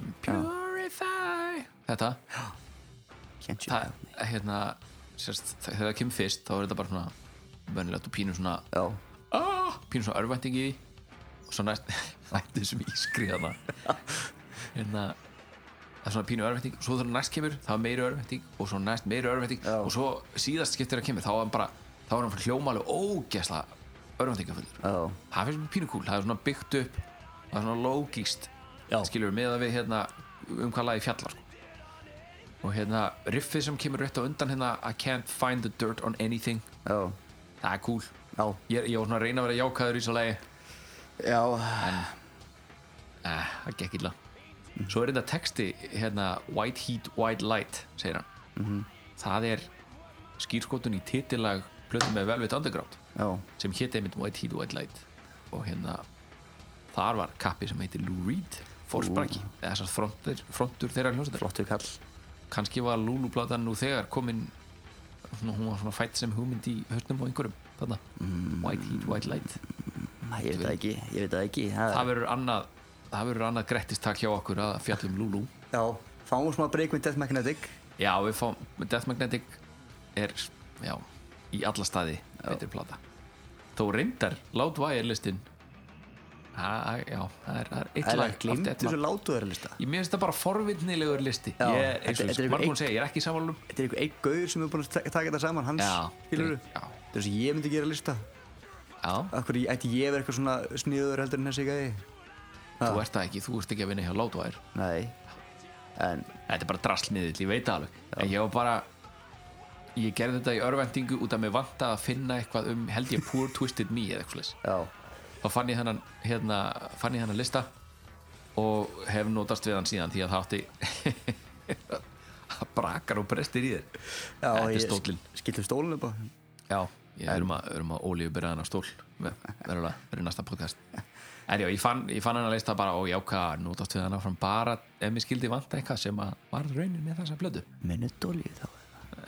[SPEAKER 8] Purify þetta,
[SPEAKER 7] Can't you
[SPEAKER 8] það, hérna sérst, þe- þegar það kemur fyrst þá er þetta bara svona vönilegt og pínu svona
[SPEAKER 7] Já,
[SPEAKER 8] ah, pínu svona örvæntingi og svo næst nættu sem ískri þarna hérna það er svona pínu örvænting svo þegar næst kemur þá er meiri örvænting og svo næst meiri örvænting og svo síðast skiptir að kemur þá er hann bara þá er hann fyrir hljómalega ógesla örvæntingafullur
[SPEAKER 7] já,
[SPEAKER 8] það finnst mér pínu kúl, það er svona byggt upp það er svona logíst skilur við með að við hérna um hvað lagi fjallar sko. og hérna riffið sem kemur rétt á undan hérna I can't find the dirt on anything
[SPEAKER 7] já,
[SPEAKER 8] það er kúl,
[SPEAKER 7] já,
[SPEAKER 8] ég, ég var svona að reyna að vera jákaður í svo lagi
[SPEAKER 7] já.
[SPEAKER 8] eh, það gekk illa svo er þetta texti hérna White Heat, White Light segir hann það er skýrskotun í titilag plötu með Velvet Underground
[SPEAKER 7] já,
[SPEAKER 8] sem hétt einmitt White Heat, White Light og hérna þar var kappi sem heitir Lou Reed Forsbraki, eða þessar frontur, frontur þeirra hljómsveitar
[SPEAKER 7] flottu kall
[SPEAKER 8] kannski var Lulu platan nú þegar komin svona, hún var svona fætt sem hugmynd í höstnum og einhverjum þarna, White Heat, White Light
[SPEAKER 7] Nei, ég veit það ekki, ég veit það ekki það,
[SPEAKER 8] það verður annað það verður annað grettistak hjá okkur að fjallum Lulu
[SPEAKER 7] Já, fáum smá breyk með Death Magnetic
[SPEAKER 8] já við fáum Death Magnetic er já í alla staði þetta er plata þó reyndar Loudwire listin ha, já það er, það er eitt
[SPEAKER 7] Það er
[SPEAKER 8] lag
[SPEAKER 7] að glimta
[SPEAKER 8] eftir-
[SPEAKER 7] þessu látuðar lista
[SPEAKER 8] ég mér finnst það bara forvitnilegur listi
[SPEAKER 7] Já,
[SPEAKER 8] ég, eins
[SPEAKER 7] þetta-
[SPEAKER 8] og
[SPEAKER 7] þetta er
[SPEAKER 8] margum
[SPEAKER 7] einhver-
[SPEAKER 8] segir, ég er ekki samanlum
[SPEAKER 7] Þetta er einhver einn gaur sem er búin að ta- taka þetta saman hans
[SPEAKER 8] Já,
[SPEAKER 7] skilurðu?
[SPEAKER 8] já.
[SPEAKER 7] Þetta er þess að ég myndi gera lista
[SPEAKER 8] já
[SPEAKER 7] Af hverju ætti ég verið eitthvað svona sniður heldur en þessi gæði
[SPEAKER 8] þú ert það ekki, þú ert ekki að vinna hjá Loudwire
[SPEAKER 7] Nei En
[SPEAKER 8] þetta er bara draslmiðill, ég veit það alveg en ég var bara ég gerði þetta í örvendingu út af mig vanta að finna eitthvað um held ég Poor Twisted Me eða eitthvað slags
[SPEAKER 7] já,
[SPEAKER 8] þá fann ég hennan hérna, fann ég hennan lista og hef notast við hann síðan því að það átti það brakar og brestir í þér
[SPEAKER 7] já
[SPEAKER 8] Þetta er
[SPEAKER 7] ég
[SPEAKER 8] stóllinn.
[SPEAKER 7] Skiltu stólinn upp á
[SPEAKER 8] já, ég erum að, erum að ólíu byrjaðan á stól verulega, verið næsta podcast en já, ég fann, ég fann hennan lista bara og ég ákvað að notast við hann áfram bara ef mér skildi vanta eitthvað sem að var raunin með þessa blödu
[SPEAKER 7] Minutolíu þá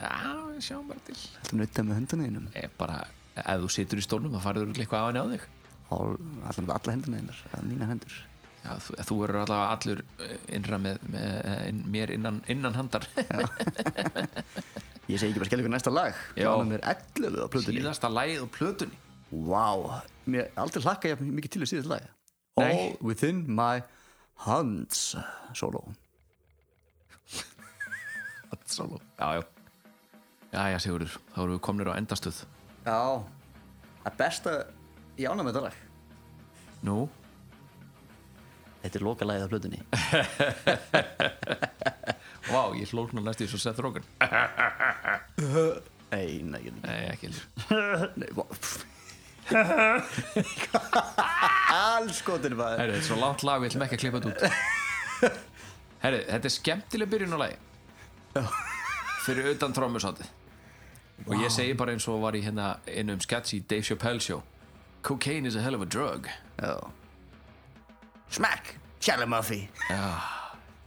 [SPEAKER 8] já, við sjáum bara til
[SPEAKER 7] Þetta nutta með höndunniðinum
[SPEAKER 8] er bara, ef þú situr í stólnum þá farður þú eitthvað af henni á þig
[SPEAKER 7] Allar alla henduninnar, mína hendur
[SPEAKER 8] Já, þú, þú verður allavega allur eh, innra með, með eh, inn, mér innan, innan handar
[SPEAKER 7] Ég segi ekki bara skella ykkur næsta lag
[SPEAKER 8] Já.
[SPEAKER 7] Lánum er 11 á plötunni
[SPEAKER 8] síðasta lagið og plötunni
[SPEAKER 7] Vá, mér aldrei hlakka ég mikið til að síðast laga
[SPEAKER 8] Nei.
[SPEAKER 7] All within my hands Solo
[SPEAKER 8] Solo. já, já já, já, Sigurður, þá erum við komnir á endastöð
[SPEAKER 7] Já, það besta Ég ána með þetta lag
[SPEAKER 8] nú,
[SPEAKER 7] Þetta er loka lagið á plötunni
[SPEAKER 8] vá, ég hlóknar næst í svo Seth Rogen
[SPEAKER 7] Nei, nei, ég-
[SPEAKER 8] nei, ekki heldur
[SPEAKER 7] nei vá, pff. Alls gotur maður
[SPEAKER 8] herru, þetta er svo langt lag, við ætlum ekki að klippa þetta út herru, þetta er skemmtileg byrjun á lagi fyrir utan trómusáttið og ég segi bara eins og var í hérna innum sketch í Dave Chappelle show cocaine is a hell of a drug
[SPEAKER 7] Já. Smack, Charlie Murphy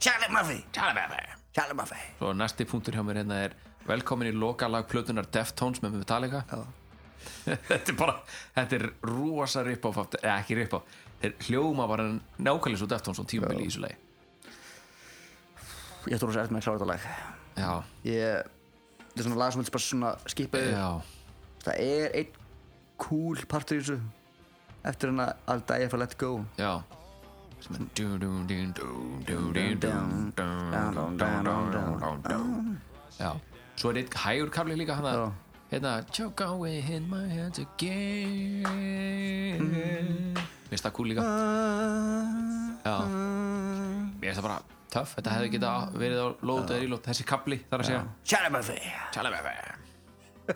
[SPEAKER 7] Charlie Murphy
[SPEAKER 8] Tala með mér
[SPEAKER 7] Charlie Murphy
[SPEAKER 8] Svo næsti punktur hjá mér hérna er Velkomin í lokalag plötunar Deftones með Metallica
[SPEAKER 7] Já.
[SPEAKER 8] Þetta er bara, þetta er rosa rip-off af- eða ekki rip-off Þeir hljóma bara nákvæmlega svo Deftones og tímabili í þessu lagi
[SPEAKER 7] Ég trúi þess að eftir með að klára þetta lag
[SPEAKER 8] Já,
[SPEAKER 7] Ég, þetta er svona lag sem helst bara svona skipa yfir.
[SPEAKER 8] já,
[SPEAKER 7] það er einn cool partur í þessu eftir hann að I'll die if I let go
[SPEAKER 8] já Sem er dú, dú, dú, dú, dú, dú, dú, dú, dú, dú, dú, dú, dú. Já, svo er eitt hægur kafli líka hann að
[SPEAKER 7] Já.
[SPEAKER 8] Hérna, choke away in my hands again Veist það kúl líka? Já Mér finnst það bara töff Þetta hefði geta verið á lót eða ílót Þessi kapli þar að segja
[SPEAKER 7] Shut up my
[SPEAKER 8] Tell him ever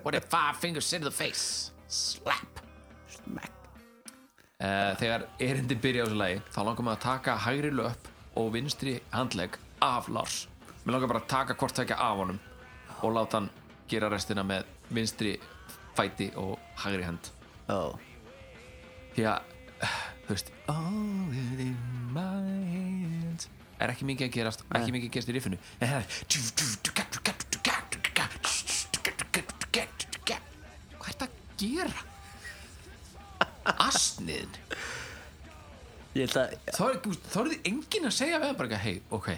[SPEAKER 8] What if five fingers sit in the face Slap
[SPEAKER 7] Smack
[SPEAKER 8] uh, Þegar erindi byrja á þessu lagi Þá langar maður að taka hægri löp og vinstri handlegg af Lars Mér langar bara að taka hvort tækja af honum og láta hann gera restina með vinstri fæti og hægri hand
[SPEAKER 7] oh.
[SPEAKER 8] því að þú veist All in my hands er ekki mikið að gerast ekki mikið að gerast í riffinu en það er hvað er þetta að gera asniðin
[SPEAKER 7] Ég ætla að
[SPEAKER 8] þá er þá er þið enginn að segja við hann bara eitthvað, hei, ok,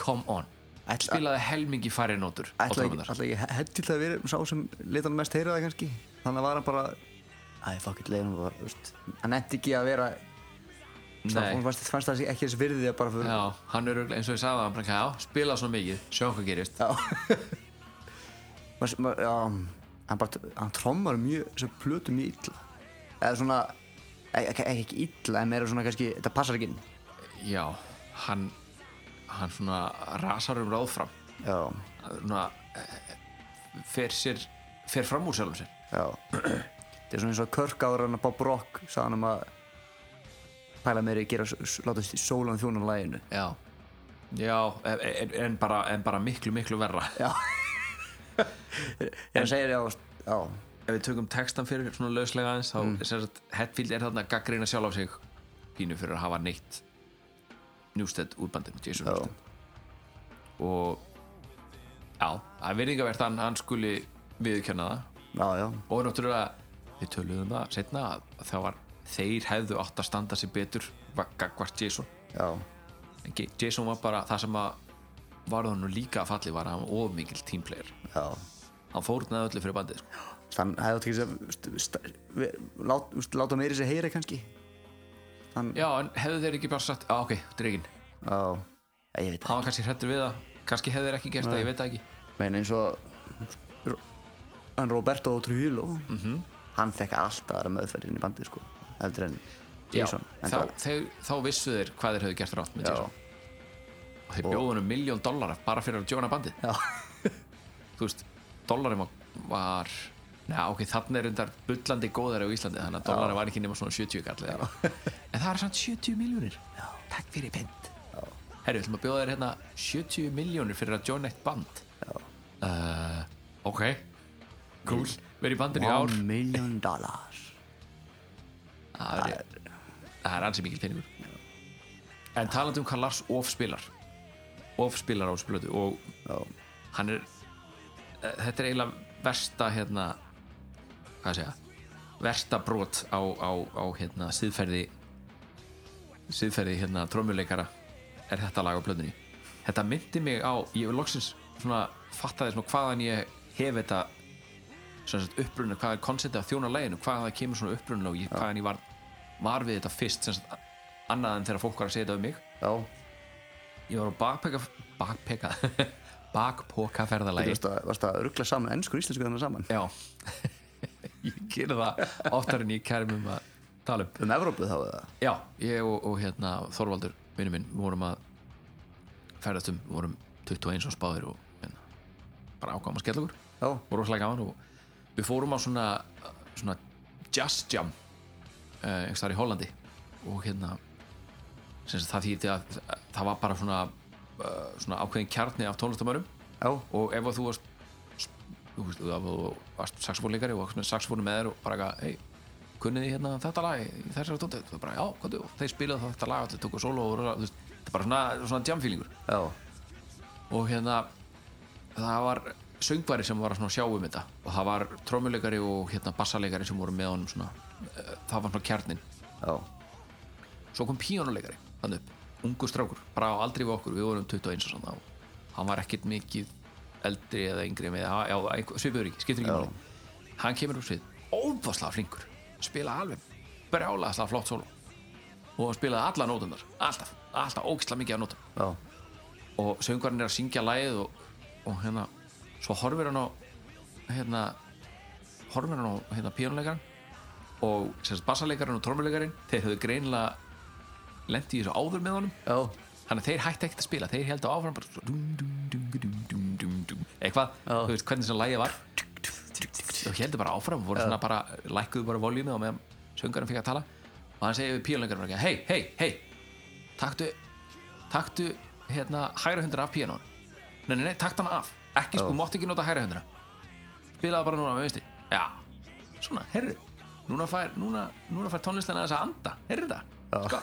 [SPEAKER 8] come on
[SPEAKER 7] Ætla-
[SPEAKER 8] spilaði helmingi færri nótur á
[SPEAKER 7] ætla ekki,
[SPEAKER 8] trómurnar.
[SPEAKER 7] ætla ekki hætti til að vera sá sem leta hann mest heyra það kannski þannig að var hann bara Æ, fuck it, leiðum bara, veist Hann endi ekki að vera svona,
[SPEAKER 8] Nei.
[SPEAKER 7] Hún fannst, fannst það ekki þess virði að bara fyrir
[SPEAKER 8] Já, hann er örugglega- eins og ég sagði það, hann bara, eitthvað, já, spilaði svona mikið, sjáum hvað gerist
[SPEAKER 7] Mas, ma, já, hann bara, hann trommar mjög þessar plötu mjög illa eða svona, e- ekki, ekki, ekki illa en meira svona kannski, þetta passar ekki inn
[SPEAKER 8] Já, hann hann svona rasar um ráð fram
[SPEAKER 7] já,
[SPEAKER 8] svona eh, fer sér fer fram úr sjálfum sér
[SPEAKER 7] já þetta er svona eins og Körk ára hann að Bob Rock sagði hann um að pæla meiri að gera, s- s- láta sólan þjónan læginu
[SPEAKER 8] Já, Já, en, en, bara, en bara miklu, miklu verra
[SPEAKER 7] Ég er að segja þér, já, veist, já,
[SPEAKER 8] Ef við tökum textan fyrir svona lauslega aðeins þá mm. sagt, Hetfield er þarna að gaggreina sjálf á sig pínu fyrir að hafa neitt Newstead úr bandinu Jason Newstead og já, það er virðingavert að hann, hann skuli viðurkenna það
[SPEAKER 7] já, já,
[SPEAKER 8] og náttúrulega við töluðum það setna að það var þeir hefðu átt að standa sig betur gagvart Jason
[SPEAKER 7] já,
[SPEAKER 8] En Ge- Jason var bara það sem að var hann nú líka að falli var að hann var of mikill teamplayer
[SPEAKER 7] já.
[SPEAKER 8] hann fórnaði öllu fyrir bandið sko.
[SPEAKER 7] Þann hefði átt ekki sem, veist, sta- við- lát- veist, láta meiri sér heyra kannski.
[SPEAKER 8] já, en hefðu þeir ekki bara sagt, á ok, dregin
[SPEAKER 7] Já, ég veit það.
[SPEAKER 8] hann var kannski hrettur við það, kannski hefðu þeir ekki gert það, ég veit það ekki
[SPEAKER 7] meina eins og Ro- hann Roberto Trujillo hann fekk alltaf aðra meðferð inn í bandið sko heldur en
[SPEAKER 8] já,
[SPEAKER 7] Jason en
[SPEAKER 8] þá,
[SPEAKER 7] það-
[SPEAKER 8] þeir, þá vissu þeir hvað þeir hefðu gert rátt með
[SPEAKER 7] Já.
[SPEAKER 8] Jason og þeir bjóðu hann um miljón dollara bara fyrir að djóna bandið
[SPEAKER 7] já,
[SPEAKER 8] þú veist, dollari var, var neða ok, þannig er undar bullandi góðari á Íslandi, þannig að dollari var ekki nema svona 70 kall eða eitthvað. en það er samt 70 miljónir takk fyrir pent herru, við ætlum að bjóða þér hérna 70 miljónir fyrir að joina eitt band uh, ok cool, verið í bandinu í ár
[SPEAKER 7] one million dollars
[SPEAKER 8] það er, það er ansi mikil peningur en talandi um hvað Lars Of spilar Of spilar á splötu og
[SPEAKER 7] Já.
[SPEAKER 8] hann er eh, þetta er eiginlega versta hérna hvað segja versta brot á, á, á hérna síðferði síðferði hérna trommuleikara er þetta lag á plötunni þetta myndi mig á, ég vil loksins svona fattaði svona hvaðan ég hef þetta svona sagt upprunna hvað er konceptið að þjóna læginu, hvaðan það kemur svona upprunna og ég, hvaðan ég var, var við þetta fyrst sem sagt, annað en þegar fólk var að segja þetta um mig
[SPEAKER 7] já,
[SPEAKER 8] ég var á bakpeka bakpeka bakpoka
[SPEAKER 7] þú
[SPEAKER 8] ferðalagi
[SPEAKER 7] veist að, varst að ruggla saman ennsku og íslensku þannig saman
[SPEAKER 8] já ég gerði það oftar en ég kærum um að tala um
[SPEAKER 7] um Evrópu þá eða
[SPEAKER 8] já, ég og, og hérna Þorvaldur vinnu minn vorum að ferðast um, vorum 21 og spáðir og hérna, bara ákvæm að skella okkur
[SPEAKER 7] já,
[SPEAKER 8] og rosalega gaman og við fórum á svona, svona jazz jam uh, einhvers þar í Hollandi og hérna sem sagt, það þýtti að það var bara svona, uh, svona ákveðin kjarni af tónlistamörum
[SPEAKER 7] já,
[SPEAKER 8] og ef að þú varst þú veist, ef þú varst saxofónleikari og varst með saxofónu með þér og bara eitthvað, hei, kunnið þið hérna þetta lag í þessari tóndu, þú bara, já, hvað og þeir spilaðu þetta lag, allir tóku solo og þú veist, þetta er bara svona, svona jamfílingur
[SPEAKER 7] já,
[SPEAKER 8] og hérna það var söngvari sem var að svona sjá um þetta og það var trommuleikari og hérna bassaleikari sem voru með honum svona eh, það var svona kjarnin
[SPEAKER 7] já,
[SPEAKER 8] svo kom píónuleikari þannig upp ungu strákur, bara á aldrei við okkur við vorum 21 og svona og hann var ekkert mikið eldri eða yngri með, já, einhver- svipaður ekki, skiptir ekki máli hann kemur upp svið, óbáslega flinkur spila alveg brjálaðslega flott solo og hann spilaði alla nótunar alltaf, alltaf ógislega mikið af nótum
[SPEAKER 7] já,
[SPEAKER 8] og söngvarinn er að syngja lægið og, og hérna svo horfir hann á hérna horfir hann á hérna píónuleikaran og sérst bassaleikaran og trommuleikarin þeir höfðu greinilega lent í þessu áður með honum
[SPEAKER 7] já,
[SPEAKER 8] þannig að þeir hætti ekkert að spila þeir held að áfram bara svo dum, dum, dum, dum, dum, dum, dum, eitthvað, þú veist hvernig sem lægið var og heldur bara áfram voru svona bara, lækkuðu bara voljumið og meðan söngarinn fikk að tala og hann segir við píónuleikarinn hei, hei, hei, taktu taktu hérna hægra hundra af píanón nei, nei, nei, takt hann af ekki sko, mátt ekki nota hægra hundra spilaðu bara núna með vinstri já, svona, herru núna fær, núna, núna fær tónlistin aðeins að anda herru þetta sko,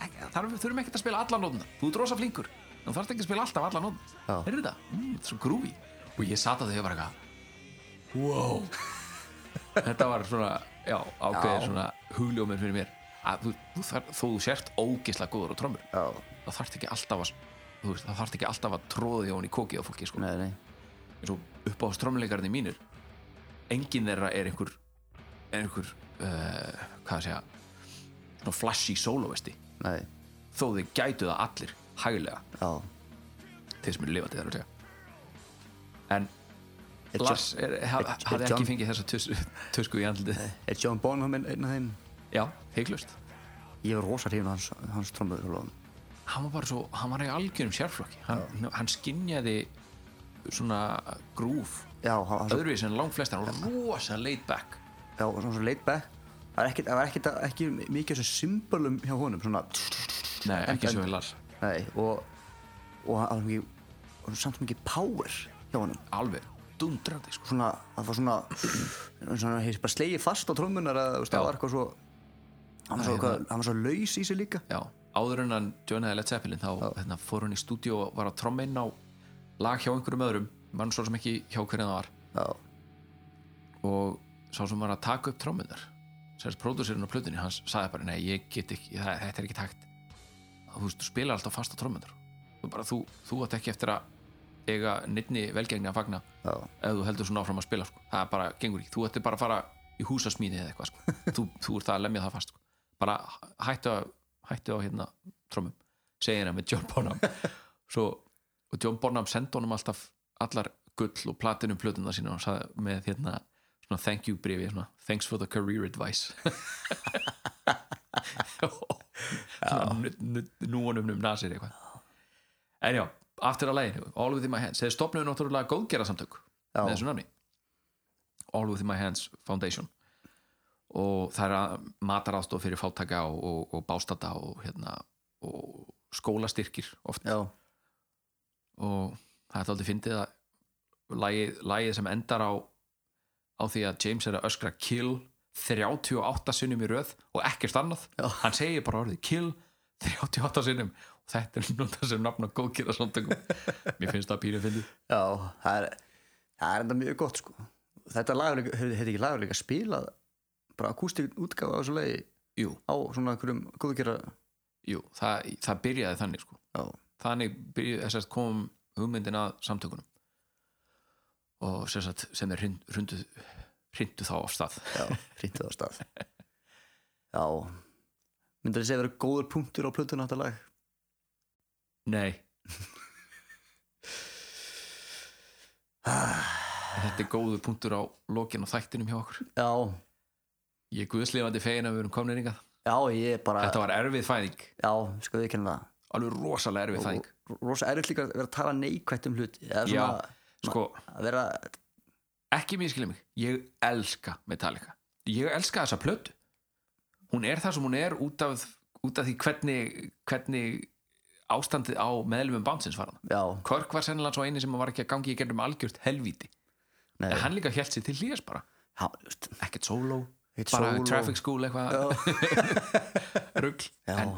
[SPEAKER 8] ekki- þarf, þurfum ekkert að spila alla nótuna þú ert rosa flinkur, þú þarfst ekki að spila alltaf alla nótuna
[SPEAKER 7] Já.
[SPEAKER 8] herru þetta, mm, þetta er svo grúfi og ég sat að þau bara eitthvað wow þetta var svona, já, ákveðin
[SPEAKER 7] Já.
[SPEAKER 8] svona hugljóminn fyrir mér að þú, þú, þar, þú sért ógisla góður á trömmur
[SPEAKER 7] já
[SPEAKER 8] það þarf ekki alltaf að þú veist, það þarf ekki alltaf að tróða því á hún í kokið á fólki sko.
[SPEAKER 7] nei, nei,
[SPEAKER 8] eins og upp á strömmleikarni mínir engin þeirra er einhver er einhver, uh, hvað að segja svona flashy solovisti
[SPEAKER 7] nei,
[SPEAKER 8] þó þið gætu það allir hægulega
[SPEAKER 7] já
[SPEAKER 8] þeir sem eru lifandi þar að segja en
[SPEAKER 7] Er
[SPEAKER 8] Lars
[SPEAKER 7] John-
[SPEAKER 8] er, ha,
[SPEAKER 7] er- er
[SPEAKER 8] hafði
[SPEAKER 7] John-
[SPEAKER 8] ekki fengið þessa tus- tusku í andlitið
[SPEAKER 7] er John Bonham einn einn af þeim
[SPEAKER 8] já, heiklust
[SPEAKER 7] ég var rosa hrifin hans, hans trommur
[SPEAKER 8] hann var bara svo, hann var í algjörum sérflokki hann, hann skinjaði svona grúf
[SPEAKER 7] já, hann var svo
[SPEAKER 8] öðruvísi en langt flestir, hann var rosa laid back
[SPEAKER 7] já, og svona svo laid back það var ekkert, það var ekkert, ekki mikið af þessum symbolum hjá honum, svona
[SPEAKER 8] nei,
[SPEAKER 7] En-
[SPEAKER 8] ekki
[SPEAKER 7] en-
[SPEAKER 8] svo vel Lars
[SPEAKER 7] Nei, og og hann- hann var mikið- hann var samt mikið power hjá honum
[SPEAKER 8] alveg dundrandi sko.
[SPEAKER 7] svona, það var svona eins og hann hefði bara slegið fast á trommunar að þú veist, það
[SPEAKER 8] Já.
[SPEAKER 7] var eitthvað svo hann var svo,
[SPEAKER 8] Nei,
[SPEAKER 7] hvað, hann var svo laus í sig líka
[SPEAKER 8] Já, áður en hann joinaði Led Zeppelin þá hérna, fór hann í stúdíu og var að tromma inn á lag hjá einhverjum öðrum mann svo sem ekki hjá hverjum það var
[SPEAKER 7] já,
[SPEAKER 8] og sá sem var að taka upp trommunar sérst pródúsirinn á plötunni, hann sagði bara nei, ég get ekki, það, þetta er ekki takt þú veist, þú spilar alltaf fasta trommunar þú bara, þú, þú átt ekki eftir að eiga neittni velgengni að fagna
[SPEAKER 7] já,
[SPEAKER 8] ef þú heldur svona áfram að spila sko. það er bara gengur ekki, þú ætti bara að fara í húsasmíði eða eitthvað, sko. þú, þú ert að lemja það fast sko. bara hættu að hættu á hérna trómum segir hann með John Bonham Svo, og John Bonham sendi honum alltaf allar gull og platinum plötuna sína og sagði með hérna svona thank you brefi, svona thanks for the career advice svona nu- nu- núanum um nasir eitthvað en já, aftur að læginu All Within My Hands, þeir stopnuðu náttúrulega góðgera samtök
[SPEAKER 7] Já.
[SPEAKER 8] með þessu nafni All Within My Hands Foundation og það er að mataráðstof fyrir fátaka og, og, og bástata og, hérna, og skólastyrkir oft
[SPEAKER 7] já,
[SPEAKER 8] og það er aldrei fyndið að lagið, lagið sem endar á á því að James er að öskra kill 38 sinnum í röð og ekkert annað,
[SPEAKER 7] Já.
[SPEAKER 8] hann segir bara orðið kill 38 sinnum og þetta er núna sem nafn á góðkýra mér finnst það pínu fyndið
[SPEAKER 7] já það er það er enda mjög gott sko þetta lagurleika, hefði ekki lagurleika spilað bara akústik útgáfa á þessu lagi
[SPEAKER 8] jú,
[SPEAKER 7] á svona einhverjum góðgerra
[SPEAKER 8] jú, það, það byrjaði þannig sko
[SPEAKER 7] já,
[SPEAKER 8] þannig byrjuð, sem sagt, kom hugmyndin að samtökunum og sem, sagt, sem er hrundu, hrundu þá af stað
[SPEAKER 7] já, hrýttu það á stað já myndir þessi að vera góður punktur á plötuna þetta lag
[SPEAKER 8] Nei Þetta er góður punktur á lokin og þættinum hjá okkur
[SPEAKER 7] já,
[SPEAKER 8] Ég er guðslefandi fegin að við erum komnir yngað
[SPEAKER 7] já, ég er bara
[SPEAKER 8] Þetta var erfið fæðing,
[SPEAKER 7] já, sko við kynna það
[SPEAKER 8] alveg rosalega erfið fæðing
[SPEAKER 7] og rosa erfitt líka að vera að tala neikvætt um hluti eða
[SPEAKER 8] Já,
[SPEAKER 7] svona
[SPEAKER 8] sko,
[SPEAKER 7] að vera
[SPEAKER 8] ekki mér skilja mig Ég elska Metallica Ég elska þessa plötu Hún er það sem hún er út af, út af því hvernig, hvernig ástandið á meðlumum bánsins var hann
[SPEAKER 7] já,
[SPEAKER 8] Körk var sennilega svo eini sem var ekki að gangi í gerðum algjört helvíti
[SPEAKER 7] nei,
[SPEAKER 8] En hann líka hélt sér til hlýðis bara
[SPEAKER 7] já, veist,
[SPEAKER 8] ekkert sóló
[SPEAKER 7] Ekkert
[SPEAKER 8] bara
[SPEAKER 7] sóló.
[SPEAKER 8] traffic school eitthvað rugl
[SPEAKER 7] Já.
[SPEAKER 8] en,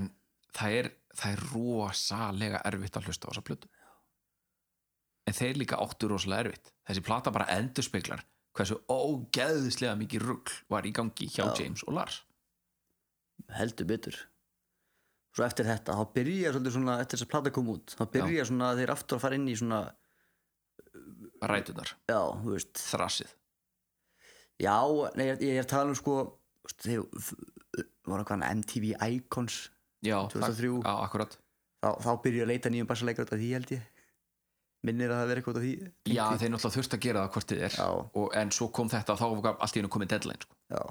[SPEAKER 8] en það er það er rosalega erfitt að hlusta á þessa plötu en þeir líka áttu rosalega erfitt þessi plata bara endurspeglar hversu ógeðislega mikið rugl var í gangi hjá James og Lars
[SPEAKER 7] heldur betur svo eftir þetta, þá byrja svolítið svona eftir þess að plata kom út, þá byrja svona þeir aftur að fara inn í svona,
[SPEAKER 8] rætunar,
[SPEAKER 7] já, þú veist
[SPEAKER 8] þrassið
[SPEAKER 7] já, nei, ég, ég er að tala um sko þú veist, þegar voru eitthvað MTV Icons
[SPEAKER 8] já,
[SPEAKER 7] 2003.
[SPEAKER 8] það, á, akkurat
[SPEAKER 7] þá, þá byrja ég að leita nýjum bassaleikar út af því held ég minnir að það vera eitthvað út af því
[SPEAKER 8] já, þeir náttúrulega þurft að gera það hvort þið er
[SPEAKER 7] Já.
[SPEAKER 8] og, en svo kom þetta og þá var allt í hennu komið deadline sko.
[SPEAKER 7] Já,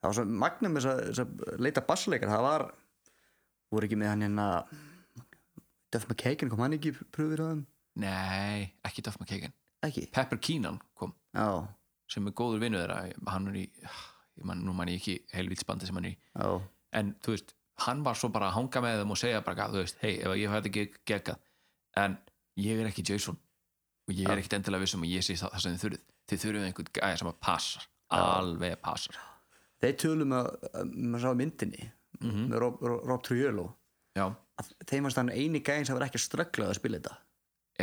[SPEAKER 7] það var svo magnum þess að, þess að leita bassleikar, það var voru ekki með hann hérna Duff McKagan, kom hann ekki í pröfur á þeim?
[SPEAKER 8] nei, ekki Duff McKagan
[SPEAKER 7] Ekki?
[SPEAKER 8] Pepper Keenan kom
[SPEAKER 7] Já,
[SPEAKER 8] sem er góður vinnu þeirra hann er í, ég man, nú man ég ekki helvítsbandi sem hann er í,
[SPEAKER 7] já,
[SPEAKER 8] en þú veist hann var svo bara að hanga með þeim og segja bara eitthvað, þú veist, hei, ef ég fætti ekki gegga en ég er ekki Jason og ég er ekkit endilega viss um að ég sé það, það sem þið þurfið, þið þurfið einhvern gæja sem að passar, alveg passar
[SPEAKER 7] þeir tölum að maður sá í myndinni
[SPEAKER 8] Mhm.
[SPEAKER 7] með Rob, Rob, Rob Trujillo
[SPEAKER 8] já,
[SPEAKER 7] að þeim varst hann eini gæðin sem var ekki að ströggla að spila þetta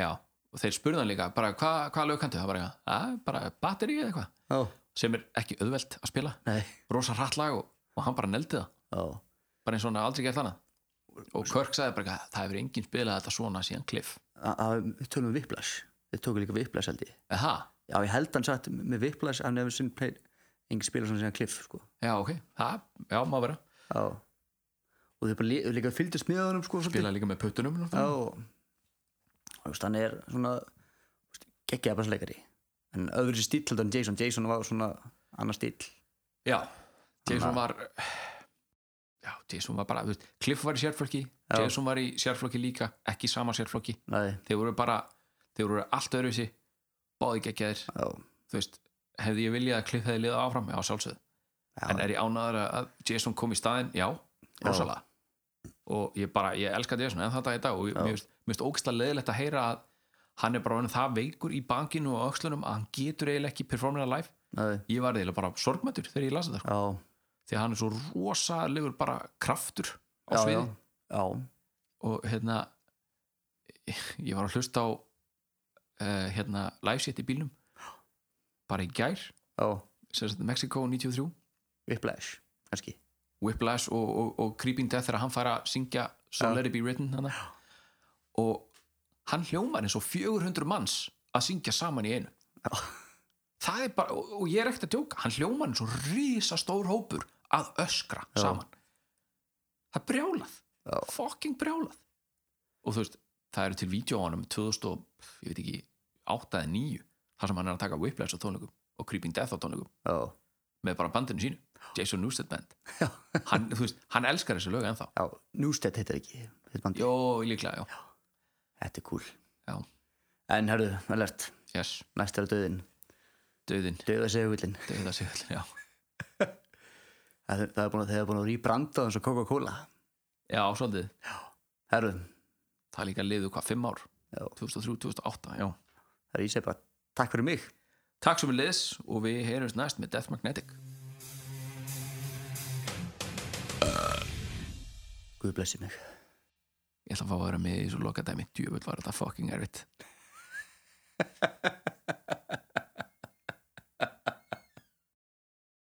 [SPEAKER 8] já, og þeir spurðu hann líka bara, hva, hvað lög kanntu, það var eitthvað "Ah, bara batteri eða eitthvað,
[SPEAKER 7] Já,
[SPEAKER 8] sem er ekki auðvelt að spila,
[SPEAKER 7] nei,
[SPEAKER 8] rosa hratt lag og, og hann bara neldi það
[SPEAKER 7] já,
[SPEAKER 8] bara eins og hann hafði aldrei gert annað og Kirk sagði bara eitthvað, það hefur enginn spilað þetta svona síðan Cliff,
[SPEAKER 7] að að- tölum við Whiplash, þeir tóku líka Whiplash held ég
[SPEAKER 8] eða það?
[SPEAKER 7] Já, ég held hann satt með Whiplash, hann hefur sinn play, engin spila svona sem kliff, sko
[SPEAKER 8] já ok, það, já má vera
[SPEAKER 7] Já, og þeir bara lí- líka fylgdist með honum, sko, svolítið.
[SPEAKER 8] spilað líka með puttunum
[SPEAKER 7] Já
[SPEAKER 8] náttúrulega.
[SPEAKER 7] og þú veist, hann er svona geggjaða bassleikari en öðru sér stíl heldur en Jason Jason var svona annar stíl
[SPEAKER 8] já, Jason var já, Jason var bara, þú veist Cliff var í sérflokki, Jason var í sérflokki líka ekki í sama sérflokki,
[SPEAKER 7] Nei,
[SPEAKER 8] þeir voru bara þeir voru allt öðruvísi, báði geggjaðir
[SPEAKER 7] já,
[SPEAKER 8] þú veist, hefði ég viljað að Cliff hefði liðað áfram, já sjálfsögð
[SPEAKER 7] já,
[SPEAKER 8] en er ég ánaður að Jason kom í staðinn, já, rosalega og ég bara, ég elska Jason en þetta í dag og ég- mér finnst- mér finnst ógstlega leðilegt að heyra að hann er bara orðinn það veikur í bankinu og öxlunum að hann getur eiginlega ekki performina live
[SPEAKER 7] Nei.
[SPEAKER 8] ég var eiginlega bara sorgmættur þegar ég las þetta sko.
[SPEAKER 7] já,
[SPEAKER 8] því að hann er svo rosalegur bara kraftur á
[SPEAKER 7] já, já,
[SPEAKER 8] sviði
[SPEAKER 7] já,
[SPEAKER 8] og hérna ég var að hlusta á uh, hérna livesitt í bílnum bara í gær
[SPEAKER 7] já,
[SPEAKER 8] sem sagt Mexico 93
[SPEAKER 7] Whiplash, kannski
[SPEAKER 8] Whiplash og, og, og Creeping Death þegar hann fær að syngja So
[SPEAKER 7] Já.
[SPEAKER 8] Let It Be Written hana. og hann hljómar eins og 400 manns að syngja saman í einu það er bara, og, og ég er ekkert að djóka hann hljómar eins og rísa stór hópur að öskra saman það er brjálað
[SPEAKER 7] Já.
[SPEAKER 8] fucking brjálað og þú veist, það eru til vídjóanum 2000 og, ég veit ekki 8 eða 9, þar sem hann er að taka Whiplash á tónleikum og Creeping Death á tónleikum
[SPEAKER 7] já,
[SPEAKER 8] með bara bandinu sínu Jason Newsted Band
[SPEAKER 7] Já.
[SPEAKER 8] hann, þú veist, hann elskar þessu lög ennþá
[SPEAKER 7] já, Newstead heitir ekki þetta band.
[SPEAKER 8] Jó, líklega, já,
[SPEAKER 7] þetta er cool
[SPEAKER 8] já,
[SPEAKER 7] en herðu, alert,
[SPEAKER 8] yes,
[SPEAKER 7] næst er að döðin
[SPEAKER 8] döðin
[SPEAKER 7] döða segullin,
[SPEAKER 8] döða sig öll, já
[SPEAKER 7] það, það er búin að þegar búin að rýbranda eins og Coca-Cola
[SPEAKER 8] Já, svolítið,
[SPEAKER 7] herðu,
[SPEAKER 8] það er líka liðu hvað, fimm ár
[SPEAKER 7] Já.
[SPEAKER 8] 2003, 2008, já
[SPEAKER 7] það er ég segi bara takk fyrir mig
[SPEAKER 8] Takk svo við liðs og við heyrjumst næst með Death Magnetic
[SPEAKER 7] Guð blessi mig
[SPEAKER 8] Ég ætla að fá að vera með í svo loka dæmi djöfull var þetta fucking erfitt